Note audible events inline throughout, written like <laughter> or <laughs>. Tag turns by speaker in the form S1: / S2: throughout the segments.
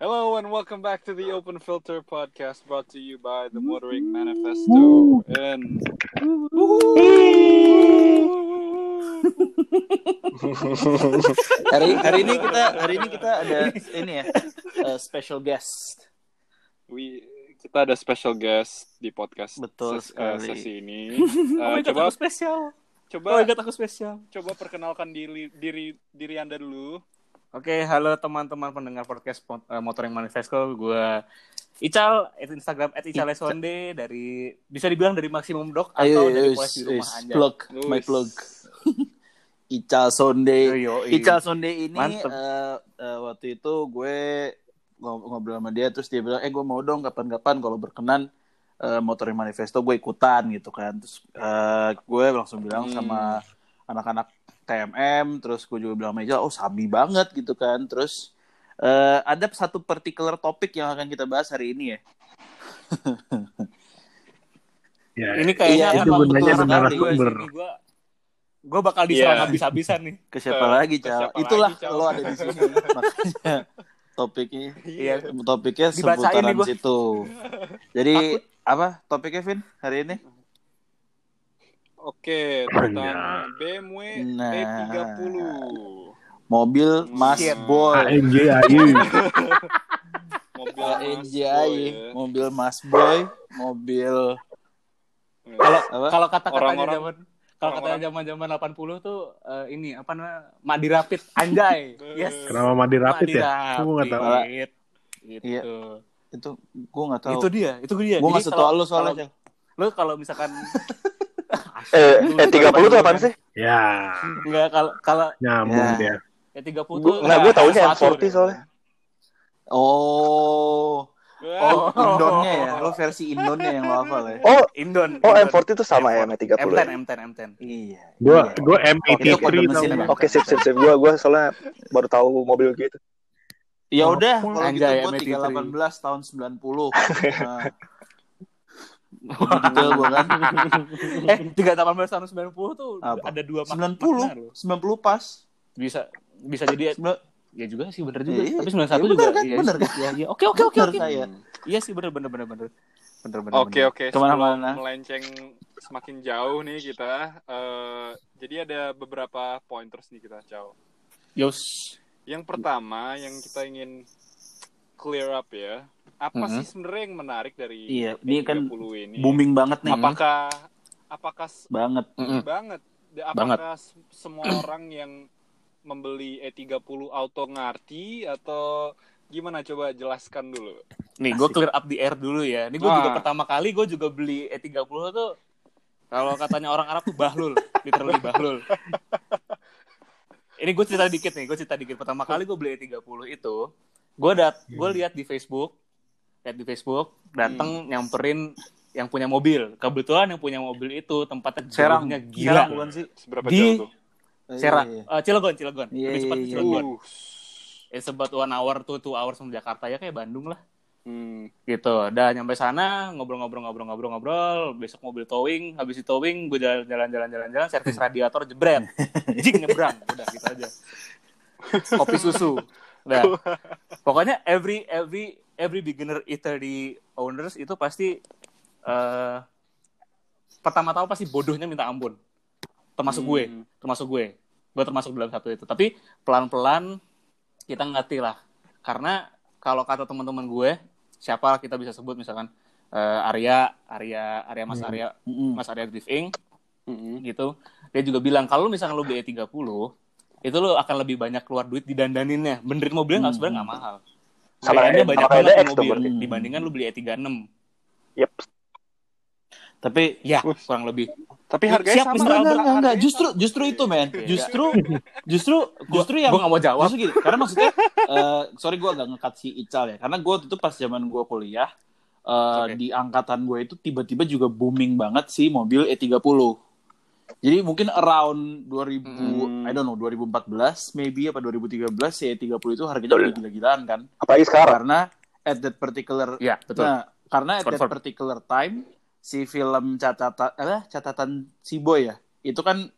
S1: Hello and welcome back to the Open Filter podcast brought to you by the Watering Manifesto. And
S2: hari hari ini kita hari ini kita ada ini ya eh, special guest
S1: we kita ada special guest di podcast
S2: Betul
S1: ses- eh,
S2: sekali.
S1: sesi ini.
S2: <laughs>
S1: Eh,
S3: oh my god,
S1: coba
S3: aku spesial.
S1: coba
S3: Oh my god, aku spesial.
S1: coba perkenalkan diri diri diri Anda dulu.
S3: Oke, halo teman-teman pendengar podcast Mot- eh, Motoring Manifesto. Gue Ical, at Instagram at Icalesonde dari bisa dibilang dari Maximum Dok atau
S2: ayo
S3: dari
S2: ayo
S3: Polres di rumah
S2: ayo,
S3: aja.
S2: plug
S1: Luis.
S2: my plug Ical Sonde
S3: Yo, yo, yo.
S2: Ical Sonde ini
S3: Mantep.
S2: eh, eh, waktu itu gue ngob- ngobrol sama dia terus dia bilang eh gue mau dong kapan-kapan kalau berkenan eh, motorin manifesto gue ikutan gitu kan terus eh, gue langsung bilang
S1: Hmm.
S2: sama anak-anak TMM terus gue juga bilang sama Ical oh sabi banget gitu kan terus eh, ada satu particular topik yang akan kita bahas hari ini ya
S4: Ya,
S3: Ini kayaknya
S2: Iya, itu
S3: emang
S2: gunanya
S3: betul
S2: benar
S3: sekali gue
S4: sumber.
S3: sini. Gue gue bakal diserang
S1: Iya.
S3: habis-habisan nih.
S2: ke siapa
S1: Ke-
S2: lagi
S1: ke
S2: Cal
S1: siapa
S2: itulah
S1: lagi, Cal?
S2: lo ada di sini makanya topiknya
S3: Iya.
S2: topiknya
S3: Dibacain
S2: seputaran
S3: nih gua.
S2: situ jadi apa topiknya Vin hari ini
S1: Oke, tentang BMW
S2: Nah.
S1: E30.
S2: mobil Mas
S1: Shit.
S2: Boy Iya,
S4: ANJ AYU
S2: Nah.
S1: Mobil Mas
S2: ANJI
S1: Boy, ya.
S2: mobil Mas Boy mobil
S3: Kalau
S2: Apa?
S3: kalau kata-katanya
S1: Orang-orang-
S3: zaman kalau katanya zaman-zaman 80 tuh eh, ini apa namanya? Madi Rapid <laughs> anjay. Yes.
S4: Kenapa mandi rapid
S3: Madi
S4: ya? Aku nggak tahu.
S3: Rapid. Gitu.
S2: Iya. itu gue nggak tahu
S3: Itu dia, itu dia.
S2: gue nggak
S3: Jadi
S2: setua
S3: kalau-
S2: lo soalnya
S3: kalau- Lu kalau misalkan <laughs>
S5: Eh, eh 30 tuh apaan sih?
S4: Ya,
S3: Enggak kalau kalau
S2: Ya.
S4: nyambung dia.
S3: ya 30 tuh
S5: Gua- Nah, gue taunya
S3: satu
S5: M40
S3: deh.
S5: soalnya.
S2: Cal. oh
S1: Wah,
S2: oh Indonnya ya lo versi Indonnya yang lo hafal ya
S5: Oh,
S3: Indon.
S5: oh
S3: Indon.
S5: M40 tuh sama ya sama 30
S3: M10,
S5: ya?
S3: M10, M10.
S2: iya
S4: Gue
S2: iya.
S4: gue
S2: Itu kode
S4: M83
S3: ya?
S2: mesin.
S4: namanya.
S5: Oke, sip, sip, sip. Gue gua soalnya baru tahu mobil gitu.
S2: Ya udah, kalau gitu
S3: Anjay,
S2: gue
S3: MT3.
S2: 318 tahun
S3: <laughs>
S2: 90. Nah. Lebih detail gue kan.
S3: eh, 318 tahun 90 tuh
S2: Apa?
S3: ada dua mak-
S2: 90,
S3: makna loh.
S2: 90 pas.
S3: Bisa bisa jadi
S2: Sembilan-
S3: ya juga sih bener juga.
S2: Iya,
S3: Tapi 91
S2: iya, bener
S3: juga.
S2: kan?
S3: Iya,
S2: Bener
S3: iya.
S2: kan?
S3: Iya, iya. Oke, oke, oke,
S2: Bener
S3: oke.
S2: saya.
S3: Iya sih bener bener bener bener. Bener bener.
S1: Oke
S3: bener.
S1: oke,
S2: Kemana-mana.
S1: sebelum melenceng semakin jauh nih kita. eh, jadi ada beberapa pointers nih kita, Cao.
S3: Yos.
S1: Yang pertama yang kita ingin clear up ya, apa
S3: Mhm.
S1: sih sebenarnya yang menarik dari
S2: Mm-hmm. Iya, ini kan
S1: 30 ini?
S2: booming banget nih.
S1: Apakah apakah s-
S2: Banget.
S3: Mm-mm.
S1: banget? Apakah s-
S2: <clears throat>
S1: semua orang yang membeli E30 auto ngerti atau gimana coba jelaskan dulu.
S3: Nih, gue clear up di air dulu ya. Ini gue
S1: Wah.
S3: juga
S2: Ah.
S3: pertama kali gue juga beli E30 tuh kalau katanya orang Arab tuh bahlul, literally bahlul. Ini gue cerita dikit nih, gue cerita dikit. Pertama kali gue beli E30 itu, gue dat,
S2: Hmm.
S3: gue lihat di Facebook, lihat di Facebook, datang nyamperin yang punya mobil. Kebetulan yang punya mobil itu tempatnya
S2: Serang.
S3: jauhnya
S2: Serang
S3: gila.
S2: bukan sih?
S1: Seberapa
S3: Di-
S1: jauh tuh?
S3: Serang,
S2: Iya, iya.
S3: Eh, Cilegon, Cilegon.
S2: Iya,
S3: Lebih
S2: iya,
S3: cepat ke
S2: iya.
S3: Cilegon.
S1: Uh.
S3: It's about one hour to two hours from Jakarta ya kayak Bandung lah.
S1: Hmm.
S3: gitu udah nyampe sana ngobrol-ngobrol-ngobrol-ngobrol-ngobrol besok mobil towing habis di towing gue jalan-jalan-jalan-jalan-jalan servis radiator jebret jing nyebrang udah gitu aja kopi susu udah pokoknya every every every beginner E30 owners itu pasti eh pertama-tama pasti bodohnya minta ampun termasuk gue
S1: Hmm.
S3: termasuk gue gue termasuk dalam satu itu tapi pelan-pelan kita ngerti lah karena kalau kata teman-teman gue siapa kita bisa sebut misalkan eh, Arya Arya Arya Mas Arya
S2: Mm-mm.
S3: Mas Arya Grief Inc
S1: Mm-mm.
S3: gitu dia juga bilang kalau misalkan lu beli 30 itu lu akan lebih banyak keluar duit didandaninnya benerin mobilnya nggak
S2: Hmm.
S3: sebenarnya nggak mahal
S5: Sama
S3: Harganya
S5: kayak-
S3: banyak
S5: sama kayak
S3: banget tuh
S5: DX dong
S3: mobil
S5: berarti.
S3: dibandingkan lu beli E E36
S5: Yep.
S2: Tapi
S3: ya kurang lebih
S1: Tapi harganya
S3: Iya,
S1: sama. ya.
S3: Siap, Mister
S2: Enggak, enggak,
S1: Harganya
S2: enggak, enggak.
S1: sama.
S2: Justru justru itu, men.
S3: Iya.
S2: Justru justru justru yang
S3: gue nggak mau jawab
S2: Justru gini, karena maksudnya, eh, sorry gue agak ngekat si Ical ya, karena gue itu pas zaman gue kuliah, eh,
S3: Oke.
S2: di angkatan gue itu tiba-tiba juga booming banget sih mobil E30. Jadi mungkin around 2000,
S1: Hmm.
S2: I don't know, 2014 maybe apa 2013 si E30 itu harganya udah gila-gilaan kan.
S5: Apalagi sekarang.
S2: Karena at that particular,
S3: ya betul
S2: nah, karena at that
S3: Confirm.
S2: particular time, si film catatan, eh, catatan si boy ya, itu kan,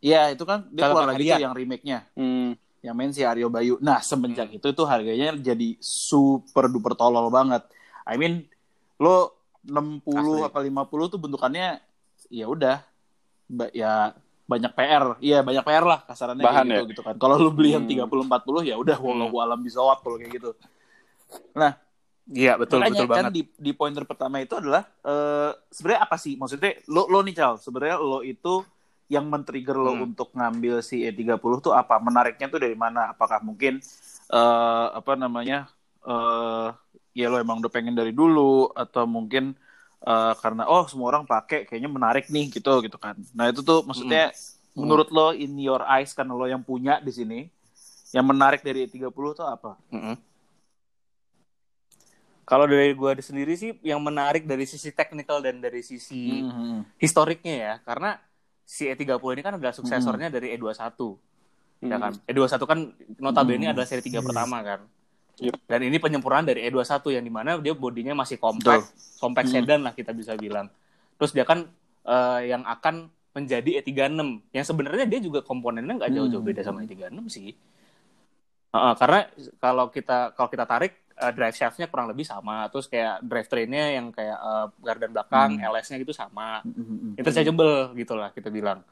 S2: ya itu kan dia
S3: Catatan
S2: keluar lagi tuh
S3: harian.
S2: yang remake-nya
S1: Hmm.
S2: yang main si Aryo Bayu. Nah, semenjak
S5: Hmm.
S2: itu tuh harganya jadi super duper tolol banget. I mean, lo 60
S3: Asli.
S2: apa 50 tuh bentukannya ya udah ba- ya banyak PR. Iya, banyak PR lah kasarannya kayak
S5: Bahan ya?
S2: gitu gitu kan. Kalau lu beli yang
S5: Hmm.
S2: 30 40 ya udah walau alam bisawab kalau kayak gitu.
S3: Iya betul
S2: Makanya
S3: betul
S2: kan
S3: banget.
S2: di di pointer pertama itu adalah eh, sebenarnya apa sih maksudnya lo lo nih Charles sebenarnya lo itu yang men-trigger lo
S3: Hmm.
S2: untuk ngambil si E30 tuh apa menariknya tuh dari mana apakah mungkin eh, apa namanya eh ya lo emang udah pengen dari dulu atau mungkin eh, karena oh semua orang pakai kayaknya menarik nih gitu gitu kan nah itu tuh maksudnya
S3: Hmm.
S2: menurut lo in your eyes karena lo yang punya di sini yang menarik dari E30 tuh apa
S3: Mm-mm. Hmm. Kalau dari gua ada sendiri sih yang menarik dari sisi teknikal dan dari sisi
S2: Mhm.
S3: historiknya ya karena si E30 ini kan adalah suksesornya dari E21 ya kan E21 kan notabene
S2: Hmm. Iya.
S3: adalah seri 3 pertama kan
S1: Yep.
S3: dan ini penyempurnaan dari E E21 yang dimana dia bodinya masih kompak kompak
S2: Hmm.
S3: sedan lah kita bisa bilang terus dia kan eh, yang akan menjadi E E36 yang sebenarnya dia juga komponennya nggak jauh-jauh
S2: Hmm.
S3: beda sama E E36 sih Heeh, karena kalau kita kalau kita tarik eh, drive shaftnya kurang lebih sama terus kayak drive trainnya yang kayak eh, gardan belakang
S2: Hmm.
S3: LS-nya gitu sama
S2: Mhm.
S3: interchangeable gitu lah kita bilang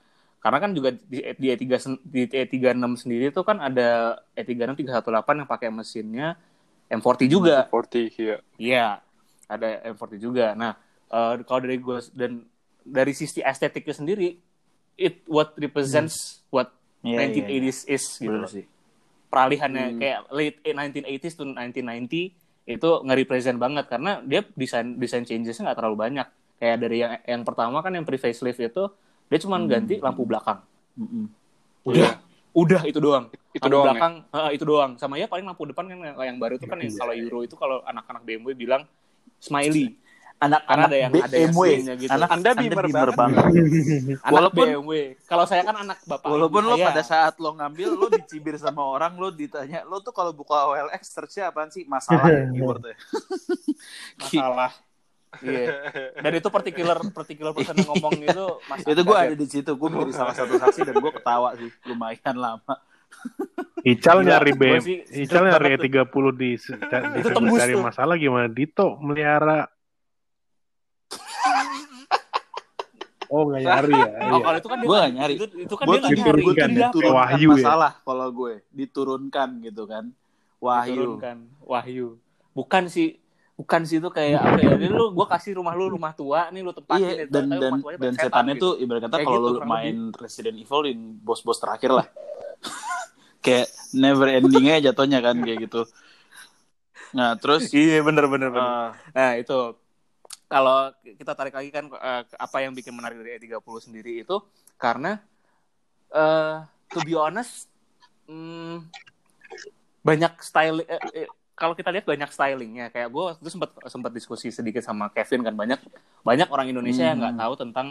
S3: karena kan juga di, di, E3, sen- di E36 sendiri tuh kan ada E36 318 yang pakai mesinnya M40 juga
S1: 40 ya.
S3: Iya, ada M40 juga. Nah, eh, kalau dari gue dan dari sisi estetiknya sendiri, it what represents what
S2: Iya, iya, iya.
S3: 1980s is gitu
S2: Bener
S3: loh.
S2: sih.
S3: Peralihannya
S1: Hmm.
S3: kayak late 1980s to 1990 itu nge-represent banget karena dia desain desain changesnya nggak terlalu banyak. Kayak dari yang yang pertama kan yang pre facelift itu dia cuma
S2: Hmm.
S3: ganti lampu belakang.
S2: Mm-mm.
S3: Udah, udah itu doang.
S1: Itu
S3: Lampu
S1: doang. ya?
S3: belakang eh, itu doang. Sama ya paling lampu depan kan yang- yang baru itu kan yang
S2: Iya.
S3: kalau Euro itu kalau anak-anak BMW bilang smiley.
S2: Anak-anak
S3: ada yang-
S2: B-
S3: ada yang
S2: BMW.
S3: swingnya gitu.
S2: Anak
S1: Anda
S2: Anda
S1: bimer
S2: bimer
S1: banget.
S2: banget.
S3: Anak
S2: Walaupun-
S3: BMW. Kalau saya kan anak bapak.
S2: <laughs> Walaupun
S3: ibu
S2: lo
S3: saya.
S2: pada saat lo ngambil lo dicibir sama orang lo ditanya lo tuh kalau buka OLX searchnya apaan sih masalah
S1: <laughs>
S2: ya keywordnya.
S3: masalah. Iya. Dan itu particular particular person yang ngomong itu
S2: <laughs>
S3: Mas
S2: itu gue
S3: Andar, ya.
S2: ada di situ gue menjadi salah satu saksi dan gue ketawa sih lumayan lama.
S4: Ical
S3: Gila,
S4: nyari
S3: gua
S4: BM,
S3: sih
S4: Ical
S3: seret
S4: nyari
S3: banget tuh.
S4: E30 di, di
S3: Itu tembus
S4: cari
S3: tuh.
S4: masalah gimana? Dito melihara. Oh nggak nyari ya?
S3: Oh,
S4: <laughs> Iya.
S3: kalau itu kan dia
S2: Gua nggak
S3: lagi-
S2: nyari.
S3: Itu, itu kan
S2: Gue
S3: dia lagi nyari.
S2: gue
S3: Itu
S2: tuh
S4: diturunkan ya?
S3: dia
S2: diturunkan
S4: Wahyu ya?
S2: masalah kalau gue diturunkan gitu kan. Wahyu.
S3: diturunkan. Wahyu. Bukan sih bukan sih itu kayak apa ya? Ini lu gua kasih rumah lu rumah tua, nih lu tempatin
S2: Iya,
S3: itu,
S2: dan
S3: tapi
S2: dan
S3: rumah tuanya
S2: dan
S3: pakai setan,
S2: setannya
S3: gitu.
S2: tuh ibarat kata
S3: Kayak
S2: kalau
S3: gitu,
S2: lo
S3: kurang
S2: main Resident Evil yang bos-bos terakhir lah. <laughs> kayak never endingnya jatuhnya kan kayak gitu. Nah terus
S3: Iya, bener bener bener.
S2: eh,
S3: Nah, itu kalau kita tarik lagi kan eh, apa yang bikin menarik dari E30 sendiri itu karena eh to be honest hmm, banyak style eh, eh, kalau kita lihat banyak stylingnya kayak gue waktu itu sempat sempat diskusi sedikit sama Kevin kan banyak banyak orang Indonesia yang nggak
S2: Hmm.
S3: tahu tentang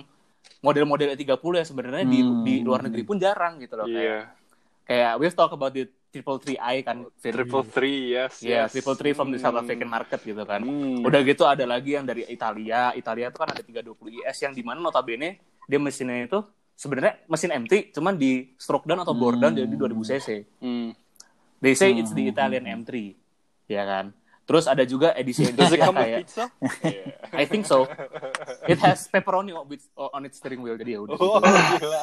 S3: model-model E30 yang sebenarnya di
S2: Hmm.
S3: di luar negeri pun jarang gitu loh kayak
S1: Iya.
S3: kayak we've talk about the triple three I kan Vin.
S1: Triple three, yes.
S3: Yeah,
S1: yes.
S3: Iya, triple three from the South African
S1: Hmm.
S3: market gitu kan
S1: Hmm.
S3: Udah gitu ada lagi yang dari Italia. Italia itu kan ada 320 IS yang dimana notabene dia mesinnya itu sebenarnya mesin MT cuman di stroke down atau bore down
S2: Hmm.
S3: jadi 2000 cc.
S1: Hmm.
S3: They say it's the Italian M3. Ya kan? Terus ada juga edisi
S1: Does
S3: <laughs>
S1: it
S3: edisi
S1: come with
S3: kayak
S1: pizza? Iya.
S3: I think so. It has pepperoni on its, on its steering wheel jadi ya udah.
S1: Oh, gila.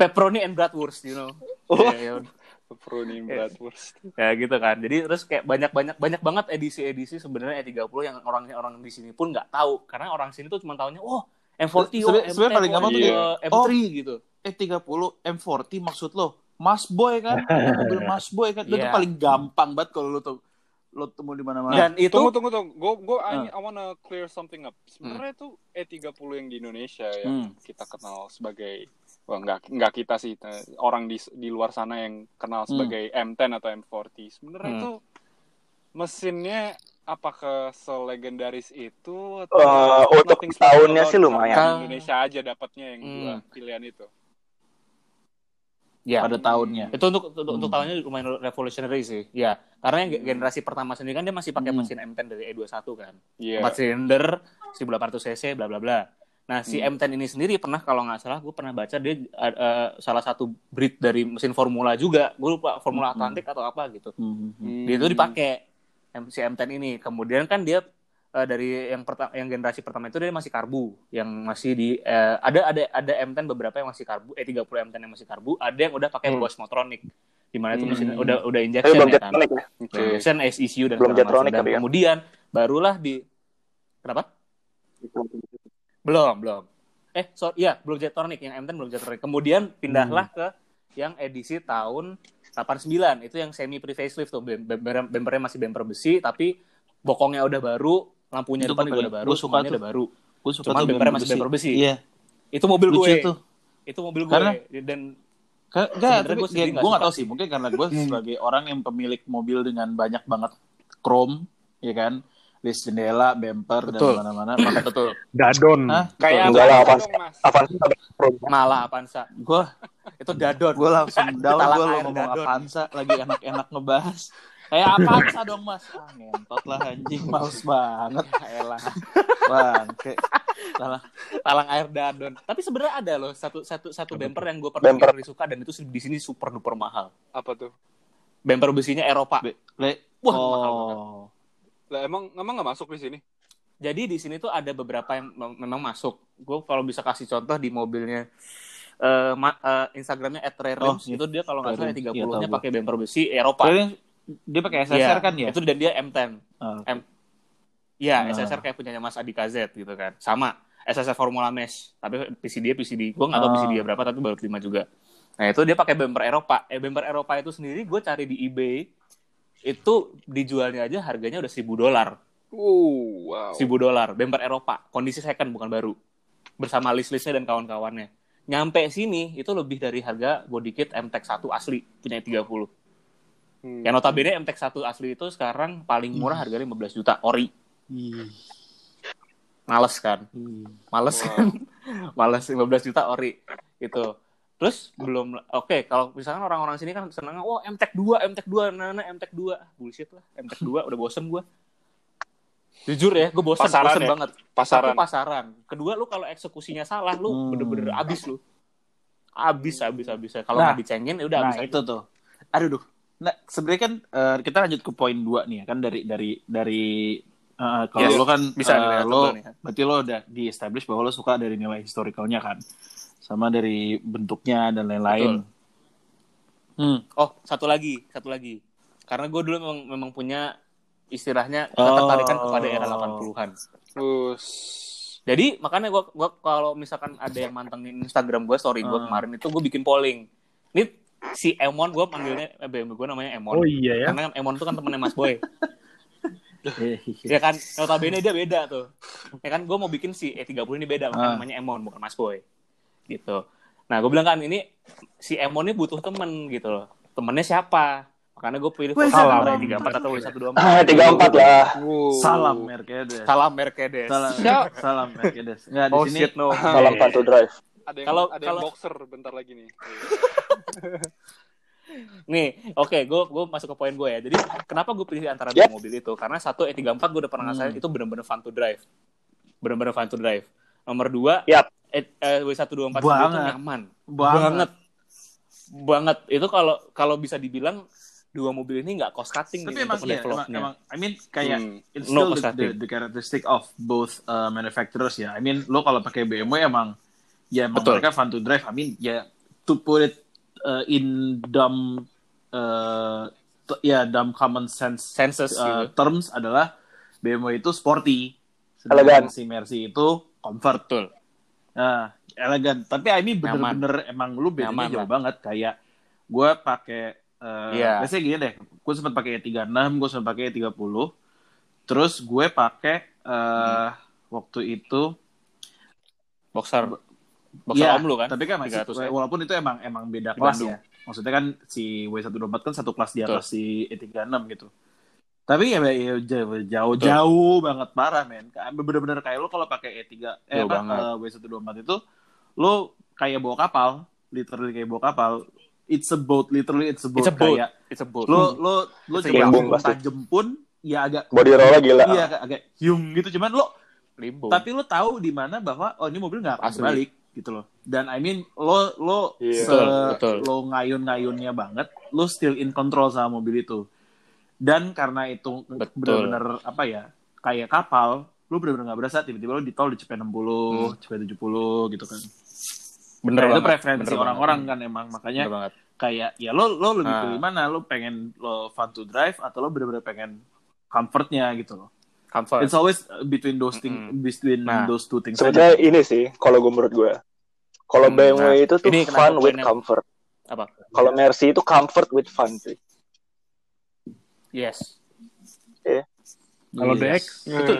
S3: Pepperoni and bratwurst, you know.
S1: Oh.
S3: Ya, ya udah.
S1: Pepperoni
S3: Eh.
S1: Bratwurst.
S3: ya gitu kan jadi terus kayak banyak banyak banyak banget edisi-edisi sebenarnya E30 yang orang orang di sini pun nggak tahu karena orang sini tuh cuma taunya oh M40 oh,
S2: Sebe- sebenarnya paling gampang
S1: tuh
S3: M10,
S1: dia,
S3: M3
S2: oh,
S3: gitu
S2: eh 30 M40 maksud lo Mas Boy kan mobil Mas Boy kan itu
S3: Iya.
S2: paling gampang banget kalau lo tuh lo temu di mana-mana
S3: dan itu
S1: Tunggu tunggu tunggu. Gue gue I, I wanna clear something up. Sebenarnya
S3: Hmm.
S1: tuh E30 yang di Indonesia yang kita kenal sebagai Wah, nggak nggak kita sih eh, orang di di luar sana yang kenal sebagai M10 atau M40. Sebenarnya
S3: Hmm.
S1: tuh mesinnya apakah selegendaris itu
S5: Eh, untuk
S1: nothing
S5: tahunnya
S1: special
S5: sih
S1: about
S5: lumayan.
S1: orang Indonesia aja dapatnya yang
S3: Hmm.
S1: dua pilihan itu.
S3: ya
S2: pada tahunnya
S3: itu untuk untuk,
S2: Hmm.
S3: untuk tahunnya lumayan revolutionary sih ya karena yang ge- generasi pertama sendiri kan dia masih pakai
S2: Hmm. Ya.
S3: mesin M10 dari E21 kan
S1: Iya.
S3: empat silinder 1800 cc bla bla bla Nah, si
S2: Hmm.
S3: M10 ini sendiri pernah kalau nggak salah gue pernah baca dia eh, eh, salah satu breed dari mesin formula juga. Gue lupa formula
S2: Hmm.
S3: Atlantik atau apa gitu.
S2: Mhm.
S3: Dia
S5: Hmm.
S3: itu dipakai M- si M10 ini. Kemudian kan dia eh, dari yang pertama yang generasi pertama itu dia masih karbu, yang masih di eh, ada ada ada M10 beberapa yang masih karbu, eh 30 M10 yang masih karbu, ada yang udah pakai
S4: Hmm.
S3: Bosch Motronic. Di mana itu mesin
S1: Hmm.
S3: udah udah
S5: Tapi
S3: injection
S5: belum
S3: ya kan.
S5: Jetronic ya.
S1: Oke.
S3: Injection SECU dan
S5: Belum
S3: segala macam.
S5: Jetronic
S3: dan
S5: tapi ya.
S3: kemudian barulah di Kenapa? Belum, belum. Eh, sorry, ya, belum Jetronic yang M10 belum Jetronic. Kemudian pindahlah
S2: Hmm.
S3: ke yang edisi tahun 89, itu yang semi pre facelift tuh. Bem- bemper- Bempernya masih bemper besi tapi bokongnya udah baru, lampunya
S2: Itu
S3: depan
S2: gua-
S3: juga udah baru,
S2: gua suka
S3: semuanya
S2: tuh.
S3: udah baru.
S2: Gue suka
S3: Cuman
S2: tuh
S3: bempernya
S2: bemper
S3: masih bemper besi.
S2: Iya,
S3: Itu mobil
S2: lucu
S3: gue.
S2: tuh.
S3: Itu mobil gue.
S2: Karena-
S3: Dan
S2: Ke, gak,
S3: Sebenarnya
S2: tapi
S3: gua sendiri
S2: gue
S3: nggak
S2: gak
S3: suka
S2: tau sih. Mungkin karena gue sebagai orang yang pemilik mobil dengan banyak banget chrome, ya kan? List jendela, bemper,
S3: Betul. Iya.
S2: dan mana-mana. Maka
S3: betul.
S4: Dadon.
S2: Hah?
S1: Kayak
S5: Enggak lah,
S1: apa
S5: apa-
S1: dong, Mas?
S5: Avanza ada perubahan.
S3: Malah Avanza.
S2: gue
S3: Itu dadon.
S2: gue langsung down
S3: Talak
S2: gue lo
S3: air
S2: ngomong
S3: dadon.
S2: Avanza lagi enak-enak ngebahas kayak Avanza dong mas ah, ngentot lah anjing males banget
S3: Ya elah.
S2: bangke salah
S3: Talang air dadon. Tapi sebenarnya ada loh satu satu satu bemper yang gue
S5: Bemper.
S3: pernah suka dan itu di sini super duper mahal.
S1: Apa tuh?
S3: Bemper besinya Eropa.
S2: Be- le
S3: Wah, mahal
S2: oh
S1: Lah emang emang nggak masuk di sini?
S3: Jadi di sini tuh ada beberapa yang mem- memang masuk. Gue kalau bisa kasih contoh di mobilnya eh, ma- eh, Instagramnya
S2: Oh,
S3: @rerims
S2: iya.
S3: itu dia kalau nggak salah ya
S2: Rerims.
S3: tiga
S2: Iya, tahu
S3: puluhnya
S2: gua.
S3: pakai bemper besi Eropa.
S2: Dia- dia pakai SSR
S3: Iya,
S2: kan ya
S3: Itu dan dia M10.
S2: Ah, oke.
S3: M- Ya,
S2: Ah.
S3: SSR kayak punyanya Mas Adi KZ gitu kan. Sama SSR Formula Mesh, tapi PC dia PC di gua nggak tahu
S2: Ah.
S3: PC dia berapa tapi baru terima juga. Nah, itu dia pakai bumper Eropa. Eh bumper Eropa itu sendiri gue cari di eBay itu dijualnya aja harganya udah 1000 dolar.
S1: Wow. wow.
S3: 1000 dolar bumper Eropa, kondisi second bukan baru. Bersama list-listnya dan kawan-kawannya. Nyampe sini itu lebih dari harga body kit MTEK 1 asli punya 30.
S1: Hmm.
S3: Yang notabene MTEK 1 asli itu sekarang paling murah
S2: Hmm.
S3: harganya 15 juta ori.
S2: Ih,
S3: Males kan?
S2: ih.
S3: males
S1: Wow.
S3: kan <laughs> males 15 juta ori gitu terus belum oke kalau misalkan orang-orang sini kan senang wah MTEK 2 MTEK 2 nah, nah MTEK 2 Ah, bullshit lah MTEK 2 udah bosen gue jujur ya gue bosen
S1: Pasaran
S3: bosen
S1: ya?
S3: banget
S1: Pasaran.
S3: Satu, pasaran kedua lu kalau eksekusinya salah lu
S2: Hmm.
S3: bener-bener abis lu abis abis abis ya. kalau
S2: Nah.
S3: nggak dicengin ya udah
S2: nah
S3: abis
S2: itu tuh aduh duh nah sebenarnya kan eh, kita lanjut ke poin dua nih ya kan dari dari dari eh, kalau
S3: Yes,
S2: lo kan
S3: bisa
S2: eh,
S3: dilihat
S2: lo
S3: nih.
S2: berarti lo udah di establish bahwa lo suka dari nilai historikalnya kan sama dari bentuknya dan lain-lain hmm.
S3: Oh, satu lagi, satu lagi. Karena gue dulu memang, memang punya istilahnya
S2: Oh.
S3: ketertarikan kepada era 80-an.
S1: Terus
S3: Jadi makanya gua, gua kalau misalkan ada yang mantengin Instagram gue, story gue
S4: Ah.
S2: Hmm.
S3: kemarin itu gue bikin polling. Ini si Emon gue panggilnya eh, BMW gue namanya Emon.
S4: Oh iya ya.
S3: Karena Emon itu kan temennya Mas Boy.
S2: Hehehe.
S3: <laughs> ya kan notabene dia beda tuh. <laughs> Ya kan gue mau bikin si E30 ini beda makanya
S2: Ah.
S3: namanya Emon bukan Mas Boy. Gitu. Nah, gue bilang kan ini si Emon ini butuh temen gitu loh. Temennya siapa? Makanya gue pilih E
S2: Wih,
S3: Volkswagen
S4: salam.
S3: W34 eh, atau
S5: Ah,
S3: W124.
S5: 34 lah.
S1: wow.
S2: salam Mercedes
S3: Salam Mercedes.
S2: salam salam Mercedes nggak di
S3: Oh
S2: sini
S3: shit no.
S5: Salam Pantu Drive.
S1: Ada yang,
S3: Kalau-
S1: ada yang
S3: kalau-
S1: boxer bentar lagi nih.
S3: Nih, oke, gue gue masuk ke poin gue ya. Jadi, kenapa gue pilih antara dua mobil itu? Karena satu E E34 gue udah pernah
S2: Hmm.
S3: ngasain itu bener-bener fun to drive. Bener-bener fun to drive. Nomor dua,
S5: Yap.
S3: E- eh, W124 itu
S2: Banget.
S3: nyaman.
S2: banget
S3: Banget. Banget. Itu kalau kalau bisa dibilang dua mobil ini nggak cost cutting
S2: tapi
S3: nih
S2: emang
S3: gitu untuk
S2: iya emang,
S3: developnya.
S2: emang- I mean kayak
S1: Hmm.
S2: it's
S3: No
S2: still the,
S3: cost
S2: the, the characteristic of both uh, manufacturers ya. I mean, lo kalau pakai BMW emang ya emang
S3: Betul.
S2: mereka fun to drive. I mean, ya to put it uh, in dumb uh, t- ya dumb common sense
S3: Senses
S2: uh,
S3: gitu.
S2: terms adalah BMW itu sporty, sedangkan
S5: Elegan.
S2: si Mercy itu comfort.
S3: Betul.
S2: Nah, elegan. Tapi I mean bener-bener emang lu bedanya
S3: Nyaman
S2: jauh
S3: lah.
S2: banget. Kayak gue pakai, eh,
S3: Iya.
S2: biasanya gini deh. Gue sempat pakai 36, gue sempat pakai 30. Terus gue pakai eh,
S3: Hmm.
S2: waktu itu,
S3: Boxer. Boxer
S2: Iya,
S3: om lu kan?
S2: tapi kan masih,
S3: 300 ya.
S2: walaupun itu emang emang beda
S3: Di
S2: kelas
S3: Bandung.
S2: ya. Maksudnya kan si W124 kan satu kelas di
S3: Betul.
S2: atas si E36 gitu. Tapi ya, ya jauh, jauh,
S3: Betul.
S2: jauh banget parah men. Bener-bener kayak lu kalau pakai E3, eh,
S3: Jauh
S2: apa,
S3: banget.
S2: eh, W124 itu, lu kayak bawa kapal, literally kayak bawa kapal. It's a boat, literally it's a boat.
S3: It's a boat.
S2: Kayak
S3: It's a boat.
S2: lu, lu, lu
S3: It's a
S2: coba
S5: boom,
S2: langsung
S5: pasti.
S2: tajam pun, ya agak
S5: Body rollnya gila.
S2: Iya, agak, agak hiung gitu. Cuman lo
S3: limbo.
S2: Tapi lo tahu di mana bahwa oh ini mobil nggak akan
S3: Asli.
S2: balik gitu loh. Dan I mean lo lo
S1: Iya.
S2: se-
S3: Betul, betul.
S2: lo ngayun-ngayunnya banget, lo still in control sama mobil itu. Dan karena itu
S3: Betul.
S2: benar-benar apa ya kayak kapal, lo benar-benar nggak berasa tiba-tiba lo di tol di cepet 60, cepet 70 gitu kan.
S3: Hmm. bener
S2: Nah, itu
S3: banget.
S2: preferensi
S3: bener
S2: orang-orang
S3: banget.
S2: kan emang makanya
S3: Bener banget.
S2: kayak ya lo lo lebih
S3: Ah.
S2: pilih mana lo pengen lo fun to drive atau lo bener-bener pengen comfortnya gitu loh
S3: Comfort.
S2: it's always between those thing
S3: Mm-mm.
S2: between
S3: Nah.
S2: those two things
S5: Sebenarnya
S2: aja.
S5: ini sih kalau gue menurut gue. Kalau
S3: Hmm,
S5: BMW
S3: nah,
S5: itu tuh
S3: ini
S5: fun
S3: kenapa
S5: with
S3: poinnya-
S5: comfort.
S3: Apa?
S5: Kalau Mercy itu comfort with fun sih.
S3: Yes.
S4: Kalau
S3: <laughs>
S4: DX,
S3: Betul.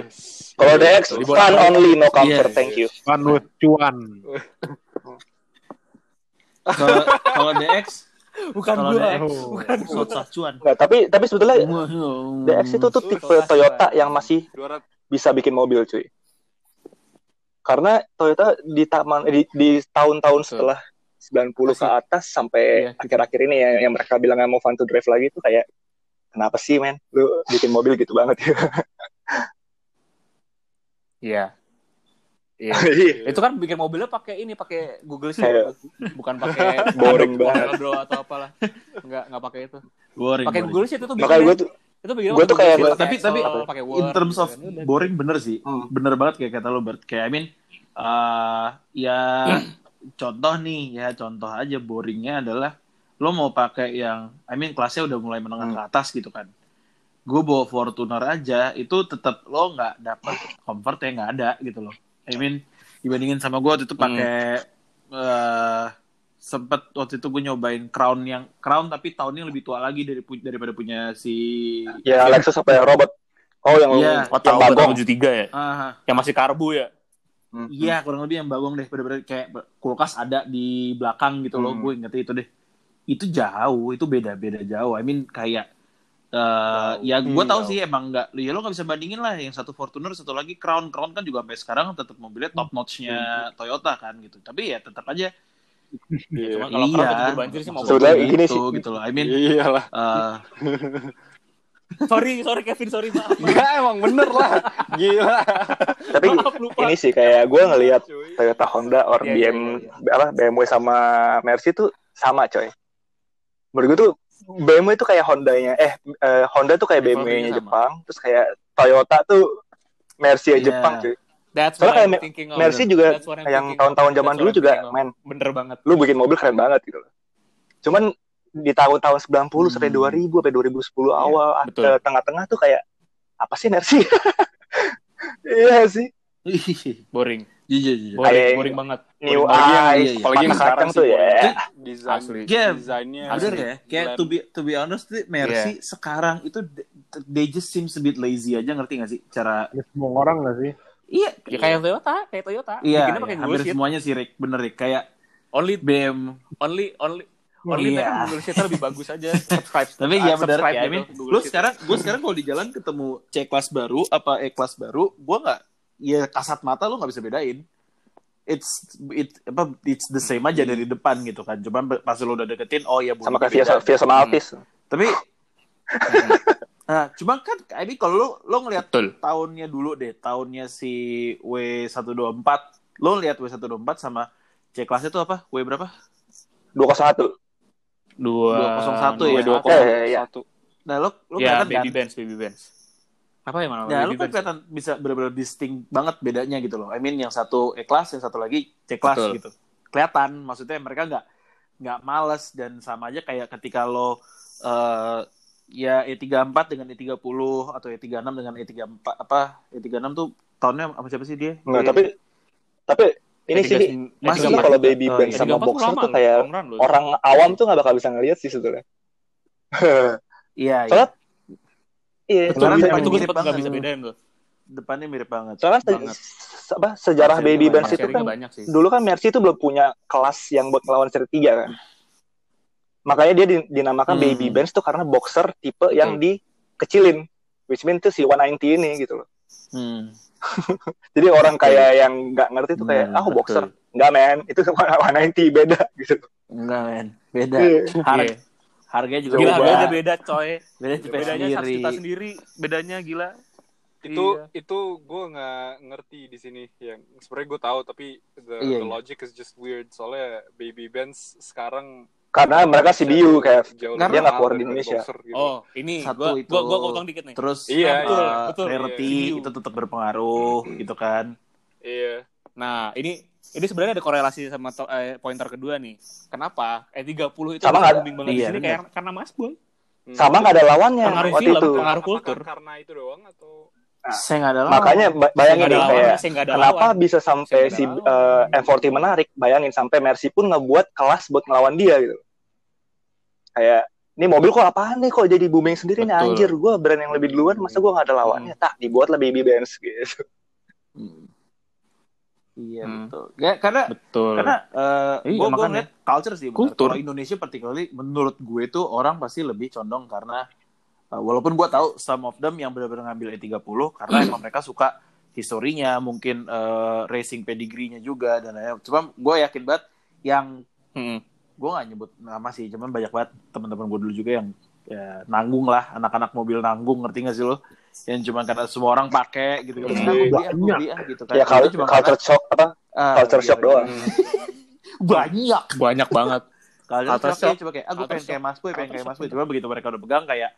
S5: Kalau DX
S3: Iya, Di bawah
S5: fun
S3: itu. Iya,
S5: only no comfort,
S2: Yes.
S5: thank you.
S4: fun with cuan.
S2: Kalau- kalau DX
S3: Eh, Bukan
S2: kalau
S3: gua.
S2: DX
S4: Bukan
S2: buat sacuan
S5: Enggak, tapi tapi sebetulnya DX itu tuh tipe Toyota yang masih
S1: 200
S5: bisa bikin mobil cuy karena Toyota di taman di, di tahun-tahun setelah 90 ke
S3: Masih.
S5: atas sampai
S3: Iya, gitu.
S5: akhir-akhir ini ya yang mereka bilang nggak mau fun to drive lagi tuh kayak kenapa sih men lu bikin mobil gitu banget <laughs> ya
S3: Iya. Iya. Itu kan bikin mobilnya pakai ini, pakai Google
S5: Kayak-
S3: Sheet. Bukan pakai
S5: <laughs> Boring banget.
S3: Bro atau apalah. Enggak, enggak pakai itu.
S2: boring
S3: Pakai
S2: boring.
S3: Google Sheet itu
S5: makanya gue tuh
S3: itu bikin
S5: gua tuh kayak-
S2: tapi- tapi
S3: pakai Word.
S2: in terms of
S3: gitu kan. Udah.
S2: boring bener sih
S5: Hmm.
S2: bener banget kayak kata lo Bert kayak I mean eh, ya contoh nih ya contoh aja boringnya adalah lo mau pakai yang I mean kelasnya udah mulai menengah ke atas gitu kan gue bawa Fortuner aja itu tetap lo nggak dapat comfort yang nggak ada gitu loh I mean dibandingin sama gue waktu itu pakai eh, sempet waktu itu gue nyobain crown yang crown tapi tahunnya lebih tua lagi dari pu- daripada punya si
S5: ya Lexus apa ya robot oh yang
S2: Iya.
S5: yang
S3: Oh, tahun
S5: bagong
S3: 73 ya.
S2: Ah,
S3: Yang masih karbu ya.
S5: Hmm.
S2: Iya kurang lebih yang bagong deh bener-bener kayak kulkas ada di belakang gitu loh
S5: Hmm.
S2: gue inget itu deh itu jauh itu beda-beda jauh I mean kayak eh ya gue
S1: Hmm,
S2: tahu
S1: jauh.
S2: sih emang nggak ya lo nggak bisa bandingin lah yang satu Fortuner satu lagi Crown Crown kan juga sampai sekarang tetap mobilnya top notchnya Toyota kan gitu tapi ya tetap aja
S1: Iya.
S3: Cuma kalau
S2: iya,
S3: Crown ketuker banjir sih mau
S5: Sebenarnya
S2: gitu,
S5: gini sih.
S2: gitu loh I mean
S1: Iyalah. <laughs>
S2: eh,
S3: <laughs>
S2: <laughs>
S3: Sorry, sorry Kevin, sorry maaf.
S1: Enggak emang bener lah. Gila.
S5: tapi
S3: <laughs> Maaf, lupa.
S5: ini sih kayak gue ngelihat Toyota Honda or
S3: Iya, iya,
S5: BM apa BMW sama Mercy tuh sama coy menurut gue tuh BMW tuh kayak Hondanya eh, eh, Honda tuh kayak
S2: Levelnya
S5: BMW-nya
S2: sama.
S5: Jepang terus kayak Toyota tuh Mercy ya
S2: Iya.
S5: Jepang cuy
S3: That's what
S5: Soalnya kayak
S3: I'm
S5: Me-
S3: thinking of.
S5: Mercy juga
S3: That's what I'm
S5: yang
S3: thinking of.
S5: tahun-tahun zaman
S3: That's
S5: dulu
S3: what I'm
S5: juga
S3: thinking of.
S5: men
S3: bener banget.
S5: lu bikin mobil keren banget gitu loh cuman di tahun-tahun 90 sampai
S2: Hmm.
S5: 2000 sampai 2010 awal
S3: betul.
S5: eh, tengah-tengah tuh kayak apa sih Mercy <laughs> iya sih
S3: Boring.
S2: jujur jujur
S3: Boring,
S5: Kayak-
S3: boring banget.
S5: New
S1: Apalagi yang-
S5: Eyes
S2: iya, iya.
S1: Apalagi yang
S5: patah
S1: sekarang
S5: kacang
S1: sih
S5: tuh ya
S1: boy. Desain,
S3: Asli.
S2: Iya,
S1: desainnya.
S2: Bener ya, kayak to be to be honest, nih, Mercy
S5: Iya.
S2: sekarang itu they just seems a bit lazy aja ngerti gak sih cara
S4: Ini semua orang nggak sih?
S2: Iya,
S3: Ya kayak Toyota, kayak Toyota.
S2: iya,
S3: Bikinnya pakai
S2: iya,
S3: Google
S2: hampir
S3: Sheet.
S2: semuanya sih Rick, bener Rick. Kayak
S3: Only
S2: BM,
S3: only only only
S2: Iya.
S3: mereka Google Sheet lebih bagus aja. Subscribe.
S2: tapi
S3: Ah,
S2: ya bener
S3: subscribe
S2: ya, I
S3: gitu,
S2: mean,
S3: Google
S2: lu
S3: Sheet.
S2: sekarang, gue sekarang kalau di jalan ketemu C kelas baru apa E kelas baru, gue nggak, ya kasat mata lu nggak bisa bedain. It's it apa it's the same aja dari depan gitu kan. Cuman be- pas lu udah deketin, oh ya
S5: sama
S2: bodinya
S5: kayak Via,
S2: beda.
S5: Via sama Altis
S2: Tapi <laughs> Nah, cuma kan I mean, kalau lu lu ngelihat
S3: Betul.
S2: tahunnya dulu deh, tahunnya si W124. Lo lihat W124 sama C kelasnya tuh apa? W berapa?
S5: 201
S3: Dua
S2: 201 ya.
S1: dua
S5: Iya, iya, iya.
S1: satu.
S2: Nah, lo lo
S3: Ya,
S2: kelihatan
S3: baby
S2: kan?
S3: bands, baby bands. Apa yang mana?
S2: Nah, lo kan kelihatan bisa benar-benar distinct banget bedanya gitu loh. I mean, yang satu E kelas, yang satu lagi C kelas
S3: Betul.
S2: gitu. Kelihatan, maksudnya mereka nggak nggak males dan sama aja kayak ketika lo eh ya E34 dengan E30 atau E36 dengan E34 apa E36 tuh tahunnya sama siapa sih dia?
S5: Nah,
S2: Eh,
S5: tapi tapi ini sih
S2: masih
S5: maksudnya kalau baby
S2: Oh,
S5: band
S2: iya.
S5: sama boxer tuh kayak orang awam tuh nggak bakal bisa ngeliat sih sebetulnya.
S2: iya, iya.
S5: Soalnya iya,
S4: Betul,
S2: Sekarang
S5: soalnya-
S2: depannya
S3: itu gue
S2: mirip
S3: sempet nggak
S2: banget.
S3: bisa
S5: gitu.
S3: bedain tuh.
S2: depannya mirip banget.
S5: soalnya se-
S2: banget.
S5: se- apa, sejarah
S2: Masih
S5: baby
S2: banyak,
S5: bands itu
S3: Sharingnya
S5: kan
S3: banyak sih.
S5: dulu kan Mercy itu belum punya kelas yang buat ngelawan seri tiga kan. Makanya dia din- dinamakan
S2: Hmm.
S5: baby bands tuh karena boxer tipe yang dikecilin. Which means tuh si 190 ini gitu loh.
S2: Hmm.
S5: Jadi orang kayak yang nggak ngerti tuh kayak,
S2: Hmm,
S5: ah boxer. Nggak men, <laughs> itu 190 beda gitu.
S2: Enggak, men. Beda.
S5: Iya.
S2: Har-
S3: Iya.
S2: Harganya juga
S3: Gila,
S2: beda.
S3: beda beda coy.
S2: Beda cepet
S3: Bedanya satu
S2: sendiri.
S3: juta sendiri, bedanya gila. Iya.
S1: itu
S2: Iya.
S1: itu gue nggak ngerti di sini yang sebenarnya gue tahu tapi the,
S5: Iya,
S1: the
S5: iya.
S1: logic is just weird soalnya baby bands sekarang
S5: Karena mereka CDU kayak
S1: jauh lebih
S2: Karena-
S5: dia nggak keluar
S1: mahal
S5: di
S1: daripada
S5: Indonesia.
S1: boxer gitu.
S3: Oh, ini
S2: Satu
S3: gua
S2: itu.
S3: gua gua potong dikit nih.
S2: Terus
S1: Iya,
S2: eh,
S1: iya,
S3: betul,
S2: rarity
S3: iya.
S2: itu tetap berpengaruh gitu kan.
S1: iya
S3: Nah, ini ini sebenarnya ada korelasi sama to- eh, pointer kedua nih. Kenapa? E30 itu
S5: Sama
S3: bisa
S5: nggak?
S3: booming banget di
S2: Iya,
S3: sini
S2: benar.
S3: kayak- karena Mas Boy.
S1: Hmm.
S5: sama nggak ada lawannya
S3: Pengaruh
S5: waktu
S3: film,
S5: itu.
S3: pengaruh
S1: Apakah
S3: kultur.
S1: karena itu doang atau
S2: Saya nggak ada lawan.
S5: Makanya ba- bayangin
S3: Nggak
S5: deh
S3: ada lawan,
S5: kayak
S3: saya nggak ada
S5: kenapa
S3: lawan.
S5: bisa sampai
S3: Saya
S5: si
S3: nggak
S5: eh, M40 menarik? Bayangin sampai Mercy pun ngebuat kelas buat ngelawan dia gitu. Kayak ini mobil kok apaan nih kok jadi booming sendiri nih
S2: Betul.
S5: anjir gue brand yang lebih duluan masa gue nggak ada lawannya tak dibuat lebih baby bands gitu
S2: Hmm. Iya
S3: Hmm.
S2: betul. Ya, karena
S3: Betul.
S2: karena eh,
S3: Iya,
S2: gua, gua
S3: makanya.
S2: ngeliat culture sih. benar.
S3: Kultur.
S2: Kalau Indonesia particularly menurut gue tuh orang pasti lebih condong karena eh, walaupun gua tahu some of them yang benar-benar ngambil E30 karena
S3: Hmm.
S2: emang mereka suka historinya, mungkin eh, racing pedigree-nya juga dan lain-lain. Cuma gue yakin banget yang
S3: Hmm.
S2: gue nggak nyebut nama sih, cuman banyak banget teman-teman gue dulu juga yang ya, nanggung lah, anak-anak mobil nanggung, ngerti gak sih lo? Yang cuma karena semua orang pakai gitu,
S5: Hmm.
S2: gitu.
S1: Iya.
S2: Nah, gua beli ah, gua
S4: Banyak.
S2: beli ah, gitu kan.
S5: ya
S2: Itu
S5: kalau
S2: cuma karena-
S5: culture shock apa
S2: Ah,
S5: culture
S2: iya,
S5: shock
S2: iya.
S5: doang
S2: Banyak.
S3: Banyak banget.
S2: Kalau
S3: Culture
S2: culture
S3: shock.
S2: shock, coba kayak, ah gue
S3: Culture
S2: pengen
S3: shock.
S2: kayak Mas Boy, pengen
S3: Culture
S2: kayak
S3: shock gitu.
S2: Mas Boy. Cuma begitu mereka udah pegang kayak,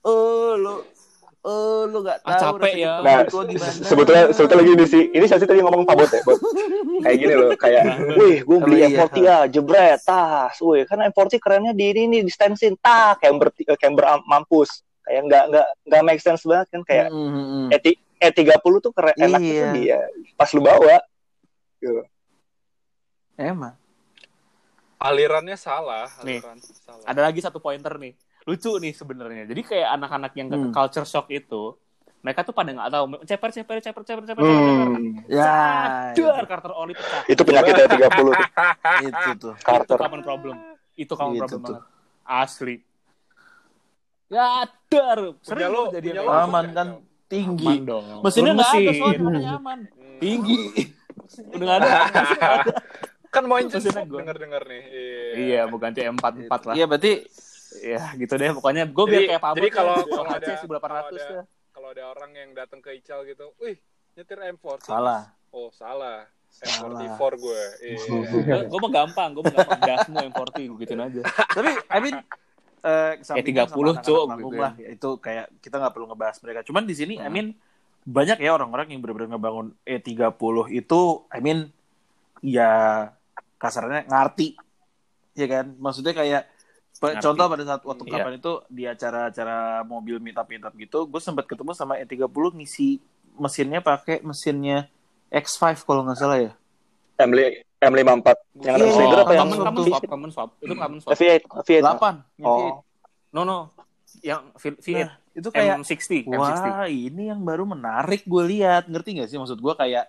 S2: eh lo, eh lo gak
S3: Ah,
S2: tahu
S3: capek ya.
S5: nah
S2: perut lo
S5: se-
S2: gimana.
S5: se- sebetulnya sebetulnya gini sih ini sih tadi ngomong Pak Bot ya Bot. kayak gini loh
S2: <laughs>
S5: kayak wih gue beli
S2: Sama iya.
S5: M40 ya jebret tas wih karena M40 kerennya di ini nih di stensin tak camber ti- eh, camber am- mampus kayak nggak nggak nggak make sense banget kan kayak
S2: Mm, mm, mm.
S5: E ti- E30 tuh keren enaknya tuh
S2: Iya.
S5: dia pas lu bawa
S2: Emang.
S1: alirannya salah
S3: Nih,
S1: aliran salah
S3: <laughs> Ada lagi satu pointer nih. Lucu nih sebenarnya. Jadi kayak anak-anak yang ke-
S2: Hmm.
S3: culture shock itu, mereka tuh pada nggak tahu ceper ceper ceper ceper ceper. ceper.
S5: hmm,
S2: Ya,
S3: Sadar Carter oli pecah.
S5: itu penyakit E30 tuh
S2: itu tuh.
S3: Itu
S5: Carter
S3: common problem. Itu common
S5: Gitu
S2: Itu
S3: problem
S2: tuh.
S3: banget. Asli. Ya, dar.
S1: Punya lo-
S3: jadi
S1: punya lo
S2: Aman kan
S3: Aman
S2: tinggi.
S3: dong.
S2: Mesinnya
S3: Lu
S2: nggak ada
S3: mesin.
S2: soalnya makanya aman.
S1: Hmm.
S2: Tinggi.
S3: Udah nggak ada.
S1: kan mau engine
S3: Maksudnya
S1: swap
S3: gua.
S1: denger-denger nih
S3: <laughs> Iya, mau ganti M44 lah.
S2: Iya berarti
S3: Iya, gitu deh. Pokoknya gue
S1: Jadi-
S3: biar kayak Pablo.
S1: jadi kalau- kalau
S3: HC
S1: ada-
S3: 1800
S1: kalau ada-
S3: ya.
S1: kalau ada orang yang datang ke Ical gitu, wih nyetir M40.
S2: Salah.
S1: Oh salah.
S2: Salah.
S1: M44 gue. Iya.
S3: <laughs> Gue mah gampang, gue mah gampang. Gas mau M40, gue gituin aja.
S2: Tapi I mean eh
S3: 30,
S2: sampingan sama anak-anak
S3: cowok,
S2: panggung
S3: gitu ya. Hmm.
S2: lah. Itu kayak kita nggak perlu ngebahas mereka. Cuman di sini I mean banyak ya orang-orang yang benar-benar ngebangun E30 itu I mean ya kasarnya ngerti. Ya kan? Maksudnya kayak pe-
S3: Ngerti.
S2: Contoh pada saat waktu
S3: Iya.
S2: kapan itu di acara-acara mobil meetup meetup gitu, gue sempat ketemu sama E30 ngisi mesinnya pakai mesinnya X5 kalau nggak salah ya.
S5: M5 M54 yang ada
S2: Iya,
S5: mesin
S2: iya.
S5: apa yang
S3: common, common swap, common swap. Itu common swap.
S5: V8 V8
S2: 8.
S5: oh
S3: No, no. Yang V- V8,
S2: Nah, itu kayak
S3: M60, M60.
S2: Wah, ini yang baru menarik gue lihat. Ngerti gak sih maksud gue kayak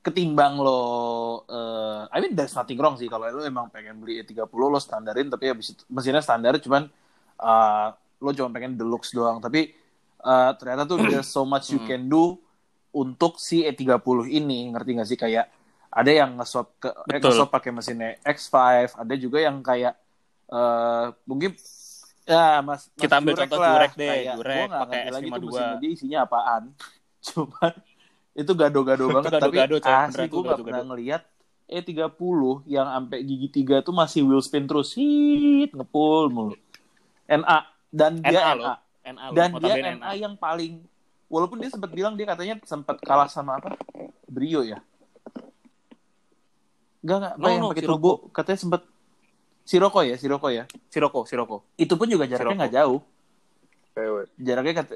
S2: ketimbang lo eh I mean there's nothing wrong sih kalau lo emang pengen beli E30 lo standarin tapi habis itu mesinnya standar cuman eh, lo cuma pengen deluxe doang tapi eh, ternyata tuh there's so much you can do untuk si E30 ini ngerti gak sih kayak ada yang nge-swap ke eh,
S3: Betul.
S2: nge-swap pakai mesinnya X5 ada juga yang kayak eh mungkin ya mas
S3: Kita
S2: Mas
S3: ambil
S2: Jurek
S3: contoh
S2: lah.
S3: Jurek deh,
S2: Kayak, gua
S3: Jurek
S2: nggak
S3: pakai
S2: ngerti lagi
S3: S52.
S2: tuh mesinnya dia isinya apaan <laughs> cuman itu gado-gado banget tapi
S3: gado-gado, coy. Beneran tuh
S2: asli gue nggak
S3: gado-gado.
S2: pernah ngeliat E30 yang sampai gigi 3 tuh masih wheel spin terus hit ngepul mulu NA dan dia
S3: NA
S2: NA,
S3: lo. NA lo.
S2: dan
S3: mau
S2: dia
S3: tambahin
S2: NA, yang paling walaupun dia sempat bilang dia katanya sempat kalah sama apa Brio ya Enggak, enggak,
S3: No,
S2: yang
S3: no,
S2: pakai
S3: Sirocco.
S2: turbo katanya sempat Sirocco ya, Sirocco ya.
S3: Siroko, Siroko.
S2: Itu pun juga jaraknya
S3: Sirocco.
S2: nggak jauh.
S1: Oke,
S2: Jaraknya kata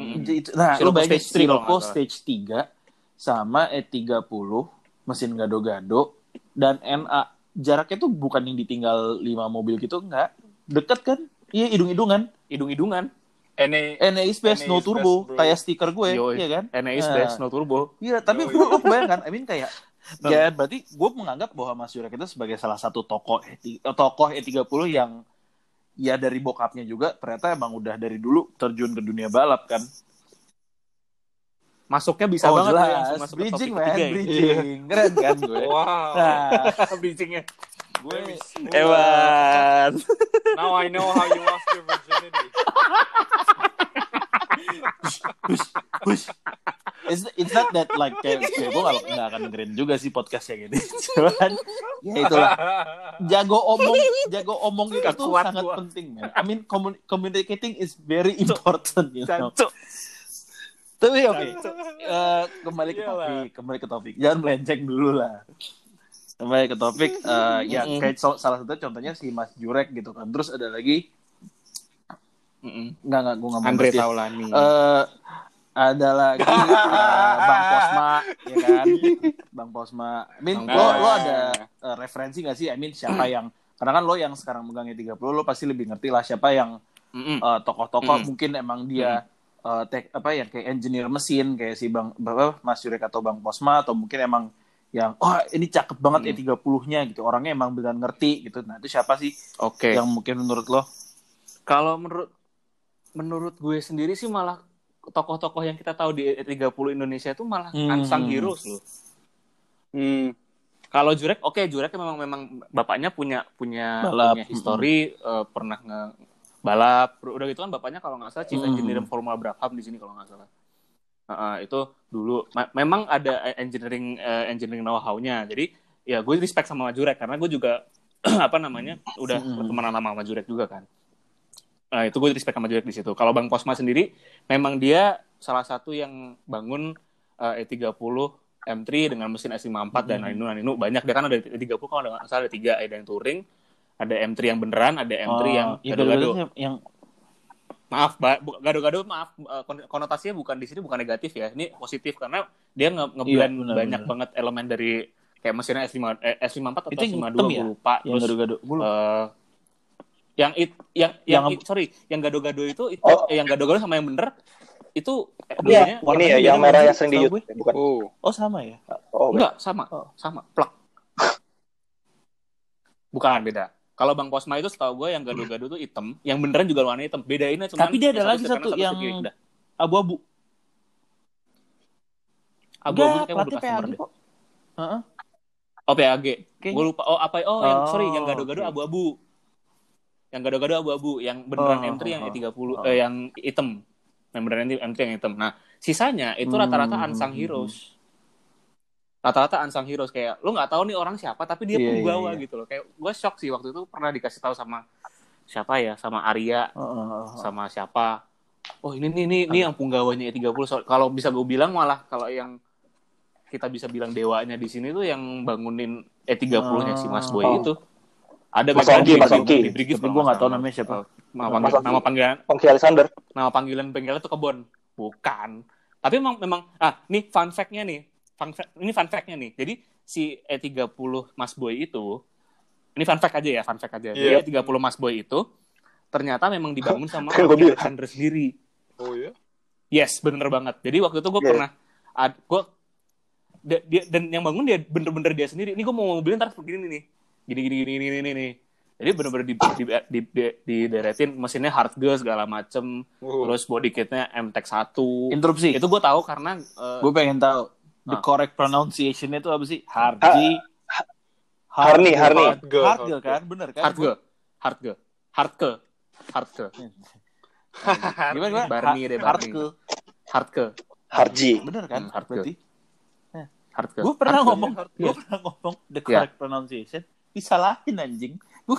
S3: Mm-mm.
S2: itu- nah,
S3: Sirocco
S2: lu bayangin
S3: stage three kalau
S2: Sirocco
S3: nggak salah.
S2: stage 3 sama E30 mesin gado-gado dan NA. Jaraknya tuh bukan yang ditinggal 5 mobil gitu, enggak. Deket kan? Iya, hidung-hidungan.
S3: Hidung-hidungan.
S1: Ini
S2: NA is best,
S1: NA
S2: no
S1: is best,
S2: turbo.
S1: bro.
S2: kayak stiker gue,
S3: Yoi.
S2: iya kan?
S3: NA is
S2: Nah.
S3: best, no turbo.
S2: Iya, tapi
S1: Yoi.
S2: gue gue kebayang kan, I mean kayak
S3: No.
S2: ya berarti gue menganggap bahwa Mas Yurek itu sebagai salah satu tokoh E3 tokoh E30 yang ya dari bokapnya juga ternyata emang udah dari dulu terjun ke dunia balap kan. Oh,
S3: Masuknya bisa banget lo langsung masuk ke topik
S2: bridging man,
S3: ketiga ya. <laughs>
S2: bridging. Keren kan gue. <laughs>
S1: Wow.
S2: Nah,
S3: Bridgingnya.
S2: gue
S3: Ewan.
S1: Now I know how you lost your virginity.
S2: push, push, it's not that like kayak, kayak gue nggak nggak akan dengerin juga sih podcast yang ini. <laughs> Cuman ya itulah. Jago omong, jago omong itu
S3: Nggak
S2: tuh
S3: kuat
S2: sangat
S3: gua.
S2: penting. Man. I mean commu- communicating is very important. You know? Tapi oke, eh, kembali ke
S3: Iya,
S1: Iyalah.
S2: topik, kembali ke topik. Jangan melenceng dulu lah. Kembali ke topik, eh, ya
S3: Mm-mm.
S2: kayak so- salah satu contohnya si Mas Jurek gitu kan. Terus ada lagi, nggak nggak gue nggak mau
S3: Andre
S2: bahas dia.
S3: Taulani.
S2: Eh, ada
S3: <laughs>
S2: lagi eh, Bang Posma, ya kan? Bang Posma. I mean,
S3: Bang
S2: lo,
S3: Posma.
S2: lo ada eh, referensi gak sih? I mean,
S3: <clears throat>
S2: siapa yang... Karena kan lo yang sekarang megangnya 30, lo pasti lebih ngerti lah siapa yang eh, tokoh-tokoh
S3: Mm.
S2: mungkin emang dia
S3: Hmm.
S2: eh, tek- apa ya kayak engineer mesin kayak si Bang apa, Mas Yurek atau Bang Posma atau mungkin emang yang oh ini cakep banget
S3: Hmm.
S2: E30-nya gitu. Orangnya emang benar ngerti gitu. Nah, itu siapa sih
S3: Oke.
S2: yang mungkin menurut lo?
S3: Kalau menurut menurut gue sendiri sih malah tokoh-tokoh yang kita tahu di 30 Indonesia itu malah
S2: Hmm.
S3: unsung heroes loh.
S1: Hmm.
S3: Kalau Jurek, oke Jurek memang memang bapaknya punya punya
S2: Balap.
S3: punya histori eh, pernah nge balap. Udah gitu kan bapaknya kalau nggak salah chief
S2: Hmm.
S3: engineer Formula Brabham di sini kalau nggak salah. Heeh, itu dulu me- memang ada engineering eh, engineering know-how-nya. Jadi ya gue respect sama Jurek karena gue juga <clears throat> apa namanya udah
S2: Hmm.
S3: berteman lama sama Jurek juga kan. Nah, itu gue respect sama Jurek di situ. Kalau Bang Posma sendiri memang dia salah satu yang bangun eh, E30 M3 dengan mesin S54 dan
S2: Hmm.
S3: Aninu Aninu banyak dia kan ada 30 kalau nggak salah ada tiga ada yang touring ada M3 yang beneran ada M3 yang
S2: Oh, ya,
S3: gado-gado
S2: gado-gadonya yang
S3: maaf Ba- bu- gado-gado maaf eh, kon- konotasinya bukan di sini bukan negatif ya ini positif karena dia nge ngeblend
S2: Iya, benar,
S3: banyak
S2: benar.
S3: banget elemen dari kayak mesinnya S5 eh, S54 atau
S2: Itu yang
S3: S52
S2: hitam
S3: gue
S2: ya?
S3: lupa
S2: yang
S3: terus
S2: gado-gado. Gua lupa.
S3: eh, yang it, yang yang,
S2: Yang-
S3: it- sorry yang gado-gado itu, itu
S5: Oh.
S3: eh, yang gado-gado sama yang bener itu eh, dulunya
S5: Iya, ini
S3: warnanya
S5: ya yang
S3: beda
S5: merah
S3: banget,
S5: yang sering di
S3: setahu
S5: YouTube
S3: gue.
S5: bukan.
S1: Oh.
S2: Oh sama ya.
S5: Oh,
S3: Enggak, sama.
S2: Oh.
S3: Sama, plak. <laughs> Bukan, beda. Kalau Bang Posma itu setahu gue yang gado-gado tuh hitam, yang beneran juga warna hitam. Bedainnya cuma
S2: Tapi dia ada lagi satu yang-
S3: udah.
S2: Abu-abu.
S3: Abu-abu kayak mobil
S2: platnya
S3: customer
S2: PAG
S3: deh.
S2: kok. Heeh.
S3: Oh, PAG.
S2: Kayaknya.
S3: Gue lupa. Oh, apa? Oh, yang
S2: Oh,
S3: sorry, yang gado-gado
S2: oke.
S3: abu-abu. Yang gado-gado abu-abu, yang beneran
S2: Oh,
S3: M3 yang
S2: oh,
S3: E30
S2: oh.
S3: eh, yang hitam. Yang beneran M3 yang hitam. Nah, sisanya itu rata-rata
S2: Hmm.
S3: unsung heroes. Rata-rata unsung heroes kayak lu nggak tahu nih orang siapa tapi dia
S2: Iya, iya,
S3: penggawa
S2: iya.
S3: gitu loh. Kayak gue shock sih waktu itu pernah dikasih tahu sama siapa ya? Sama Arya
S2: Heeh, heeh, heeh.
S3: sama siapa oh ini nih nih, nih yang punggawanya E30 So- kalau bisa gue bilang malah kalau yang kita bisa bilang dewanya di sini tuh yang bangunin E30-nya si Mas Boy
S5: Oh.
S3: itu ada
S5: Mas
S3: background
S5: Oki,
S3: di-
S5: Mas
S3: di-
S5: Oki.
S3: di Brigif,
S2: Tapi
S3: kalau
S2: gua nggak
S3: salah.
S2: tahu namanya siapa.
S3: Oh, gitu? nama panggilan
S5: Mas Oki.
S3: nama panggilan
S5: Pongki Alexander.
S3: nama panggilan panggilan itu kebon bukan tapi memang memang ah nih fun fact-nya nih fun fact, ini fun fact-nya nih jadi si E30 Mas Boy itu ini fun fact aja ya fun fact aja
S1: Iya.
S3: jadi E30 Mas Boy itu ternyata memang dibangun sama
S5: Kan gua bilang.
S3: Alexander sendiri
S1: Oh ya.
S3: Yes, bener banget. Jadi waktu itu gue
S5: Iya.
S3: pernah, ad, gue da- dia, dan yang bangun dia bener-bener dia sendiri. Ini gue mau mobilin ntar begini nih, gini gini gini gini gini nih. Jadi bener-bener di, di, di, di, dideretin mesinnya hard gas segala macem,
S1: Oh.
S3: terus body kitnya MTEK 1
S2: Interupsi.
S3: Itu gue tahu karena eh,
S2: Gue pengen tahu
S3: Ah.
S2: the correct pronunciation itu apa sih? Harji.
S5: Harni, Harni.
S2: Hard girl, hard girl
S1: Hard girl.
S2: kan, bener kan?
S3: hard gas, hard gas, hard gas, hard gas. <laughs>
S2: Gimana gimana?
S3: Barney deh,
S2: Hard
S3: Barney.
S2: girl.
S3: hard gas,
S5: Harji.
S2: Bener kan?
S3: Hmm, hard girl.
S2: Berarti
S3: hard gas.
S2: gue
S3: Hard
S2: pernah
S3: gas.
S2: ngomong,
S1: hard
S2: gue pernah ngomong
S3: Ya.
S2: the correct pronunciation disalahin anjing. Gue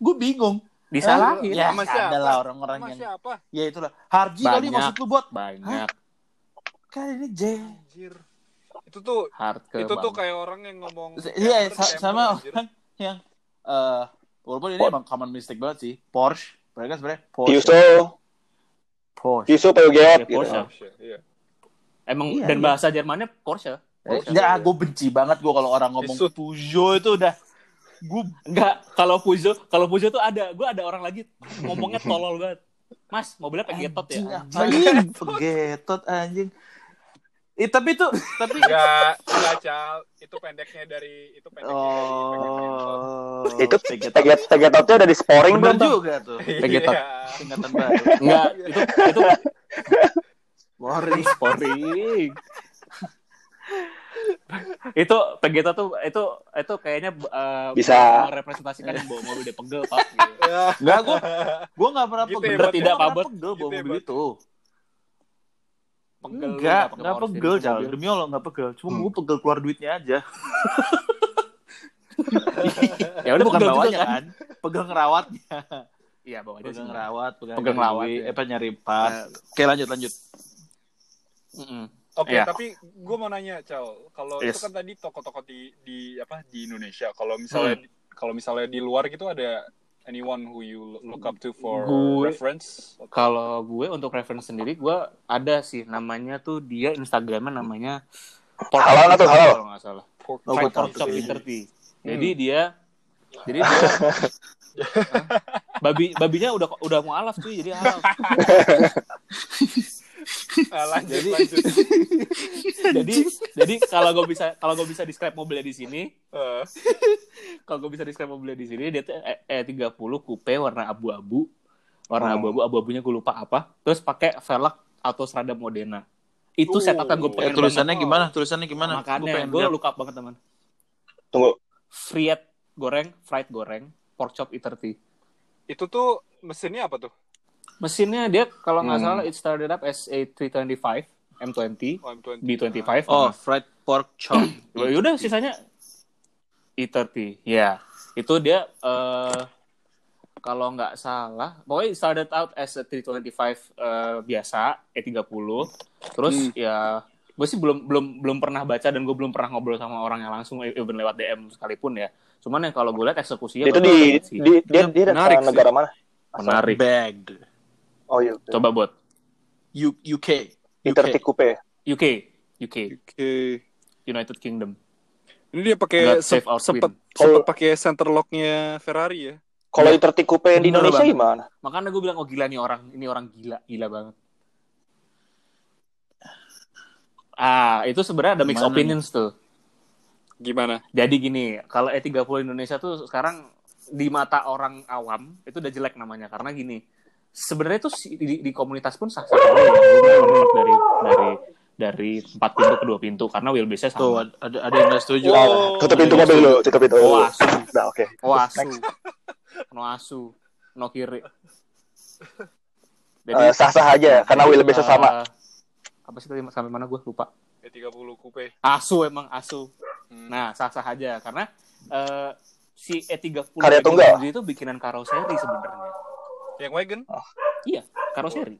S2: gue bingung.
S3: disalahin
S2: Ya,
S1: Sama siapa?
S2: ada lah orang-orang
S1: Mas
S2: yang
S1: siapa?
S2: ya itulah. Harji kali
S3: Banyak.
S2: maksud lu buat
S3: banyak
S2: kan ini J.
S1: Anjir. Itu tuh
S3: hard gas.
S1: itu tuh
S3: banget.
S1: kayak orang yang ngomong
S2: Iya,
S1: Camper,
S2: sa-
S1: Camper,
S2: sama
S1: anjir.
S2: orang yang eh walaupun ini emang common mistake banget sih. Porsche, mereka kan sebenarnya Porsche.
S5: Yuso,
S2: Porsche.
S5: Yuso Peyogeot
S3: Iya,
S5: gitu.
S3: Porsche.
S1: Porsche, iya.
S3: Emang
S2: Iya,
S3: dan
S2: iya.
S3: bahasa Jermannya Porsche.
S2: Eh,
S1: Porsche.
S2: Ya, gue benci banget gue kalau orang ngomong
S1: Isut.
S2: Peugeot itu udah gue
S3: Enggak, kalau Pujo, kalau Pujo tuh ada, gue ada orang lagi ngomongnya tolol banget. Mas, mobilnya pegetot
S2: anjing
S3: ya?
S2: apaan? Pegetot anjing. Eh, tapi itu tapi
S1: Enggak, enggak, Cal. Itu pendeknya dari itu pendeknya <laughs> dari
S2: oh
S5: Itu
S2: Pegetot.
S5: Teget Tegetotnya udah di sporing
S2: Bener
S5: belum tuh?
S2: juga tuh.
S1: Pegetot.
S3: Pegetot.
S1: Iya.
S2: Ingatan baru. <laughs>
S3: Enggak, itu itu
S2: Boris.
S3: boring. itu pegetot tuh itu itu kayaknya eh,
S5: Bisa.
S3: merepresentasikan yang bawa mobil dia pegel pak gitu.
S1: Ya.
S2: Enggak gue gue nggak pernah
S1: Gitu
S2: pegel.
S1: hebatnya.
S2: Tidak
S3: Tidak, Pak
S2: pernah
S3: Bot.
S2: pegel bawa
S1: Gitu
S2: mobil itu.
S3: Pegel lu
S2: Enggak,
S3: pakai
S2: enggak
S3: power steering
S2: pegel,
S3: ke
S2: Jal.
S3: mobil?
S2: Demi Allah, enggak pegel. Cuma
S4: Hmm.
S2: gue pegel keluar duitnya aja.
S3: Ya udah
S2: bukan
S3: pegel juga
S2: bawanya
S3: kan.
S2: kan? Pegel ngerawatnya.
S3: Iya, bawahnya
S2: Pegel
S3: sih.
S2: ngerawat, pegel,
S3: Pegel ngerawat,
S2: duit,
S3: ya.
S2: Eh, apa nyari pas. Oke, lanjut, lanjut.
S3: Mm-mm.
S1: Oke,
S3: Iya.
S1: tapi gue mau nanya, Cal, kalau
S2: Yes.
S1: itu kan tadi toko-toko di di apa di Indonesia, kalau misalnya
S2: Hmm.
S1: kalau misalnya di luar gitu ada anyone who you look up to for
S3: Gue-
S1: reference?
S3: Kalau gue untuk reference sendiri gue ada sih namanya tuh dia Instagramnya namanya Pork
S5: Halal nggak tuh, halal?
S3: Kalau nggak salah.
S1: Pork
S2: Oh,
S3: Five
S2: gue tahu
S3: Pork Chop
S2: <laughs> tuh.
S3: Liberty. Jadi
S2: Hmm.
S3: dia jadi
S2: <laughs>
S3: dia Hah? babi babinya udah udah mau alaf cuy jadi halal.
S1: Ah, lanjut,
S3: Jadi-
S1: lanjut.
S3: jadi jadi kalau gue bisa kalau gue bisa describe mobilnya di sini
S1: Eh,
S3: kalau gue bisa describe mobilnya di sini dia tuh E, E30 coupe warna abu-abu warna
S2: Hmm.
S1: Oh.
S3: abu-abu abu-abunya gue lupa apa terus pakai velg atau serada modena itu
S1: Uh.
S3: setup yang gue
S2: Eh,
S3: pengen
S2: tulisannya
S1: banget.
S3: Oh,
S2: gimana? Tulisannya gimana?
S3: banget. makanya
S2: pengen
S3: gue
S2: lihat.
S3: luka banget teman
S5: Tunggu.
S3: fried goreng fried goreng pork chop E30
S1: itu tuh mesinnya apa tuh?
S3: mesinnya dia kalau nggak
S1: Hmm.
S3: salah it started up as A325 M20
S1: Oh, M20.
S3: B25
S2: Oh, fried pork
S3: <clears throat>
S2: chop.
S3: Loh, yaudah Ya sisanya E30. Ya, itu dia eh kalau nggak salah, pokoknya it started out as a 325 eh, biasa E30. Terus
S5: Hmm.
S3: ya gue sih belum belum belum pernah baca dan gue belum pernah ngobrol sama orang yang langsung e, even lewat DM sekalipun ya. Cuman yang kalau gue lihat eksekusinya
S5: itu
S3: bagus
S5: di,
S3: Iya, banget sih.
S5: di dia dia
S2: Menarik
S5: datang negara mana?
S3: menarik.
S2: Bagged.
S5: Oh iya. betul.
S3: Coba buat
S2: U- UK.
S5: Peter
S2: UK.
S5: Tikupe.
S3: UK, UK,
S1: Oke.
S3: United Kingdom.
S1: Ini dia pakai
S3: God save
S1: sep-
S3: our queen.
S1: sempet
S5: Kalau-
S1: sempet pakai center locknya Ferrari ya.
S5: Kalau Peter Tikupe yang di
S3: Bener
S5: Indonesia
S3: banget.
S5: gimana?
S3: Makanya gue bilang oh gila nih orang, ini orang gila, gila banget. Ah, itu sebenarnya ada mixed
S2: Mana nih?
S3: opinions tuh.
S1: Gimana?
S3: Jadi gini, kalau E30 Indonesia tuh sekarang di mata orang awam itu udah jelek namanya karena gini. Sebenarnya tuh si- di, di komunitas pun sah-sah aja ya. Lu convert dari dari dari empat pintu ke dua pintu karena wheelbase-nya
S2: Tuh,
S3: sama.
S2: ad- ada, ada yang nggak setuju.
S1: Wow.
S5: Tutup pintu mobil dulu, tutup pintu.
S3: Oh,
S5: dulu.
S3: asu.
S5: Nah, oke.
S3: Oh, asu. <laughs> No asu. No kiri. Jadi
S5: Eh, sah-sah aja karena wheelbase-nya sama.
S3: eh, apa sih tadi sampai mana gue lupa.
S1: E30 coupe.
S3: Asu emang asu.
S1: Hmm.
S3: Nah, sah-sah aja karena eh, si E30
S5: Karya
S3: E30
S5: tunggal?
S3: itu bikinan karoseri sebenarnya.
S1: Yang wagon?
S3: Iya, karoseri.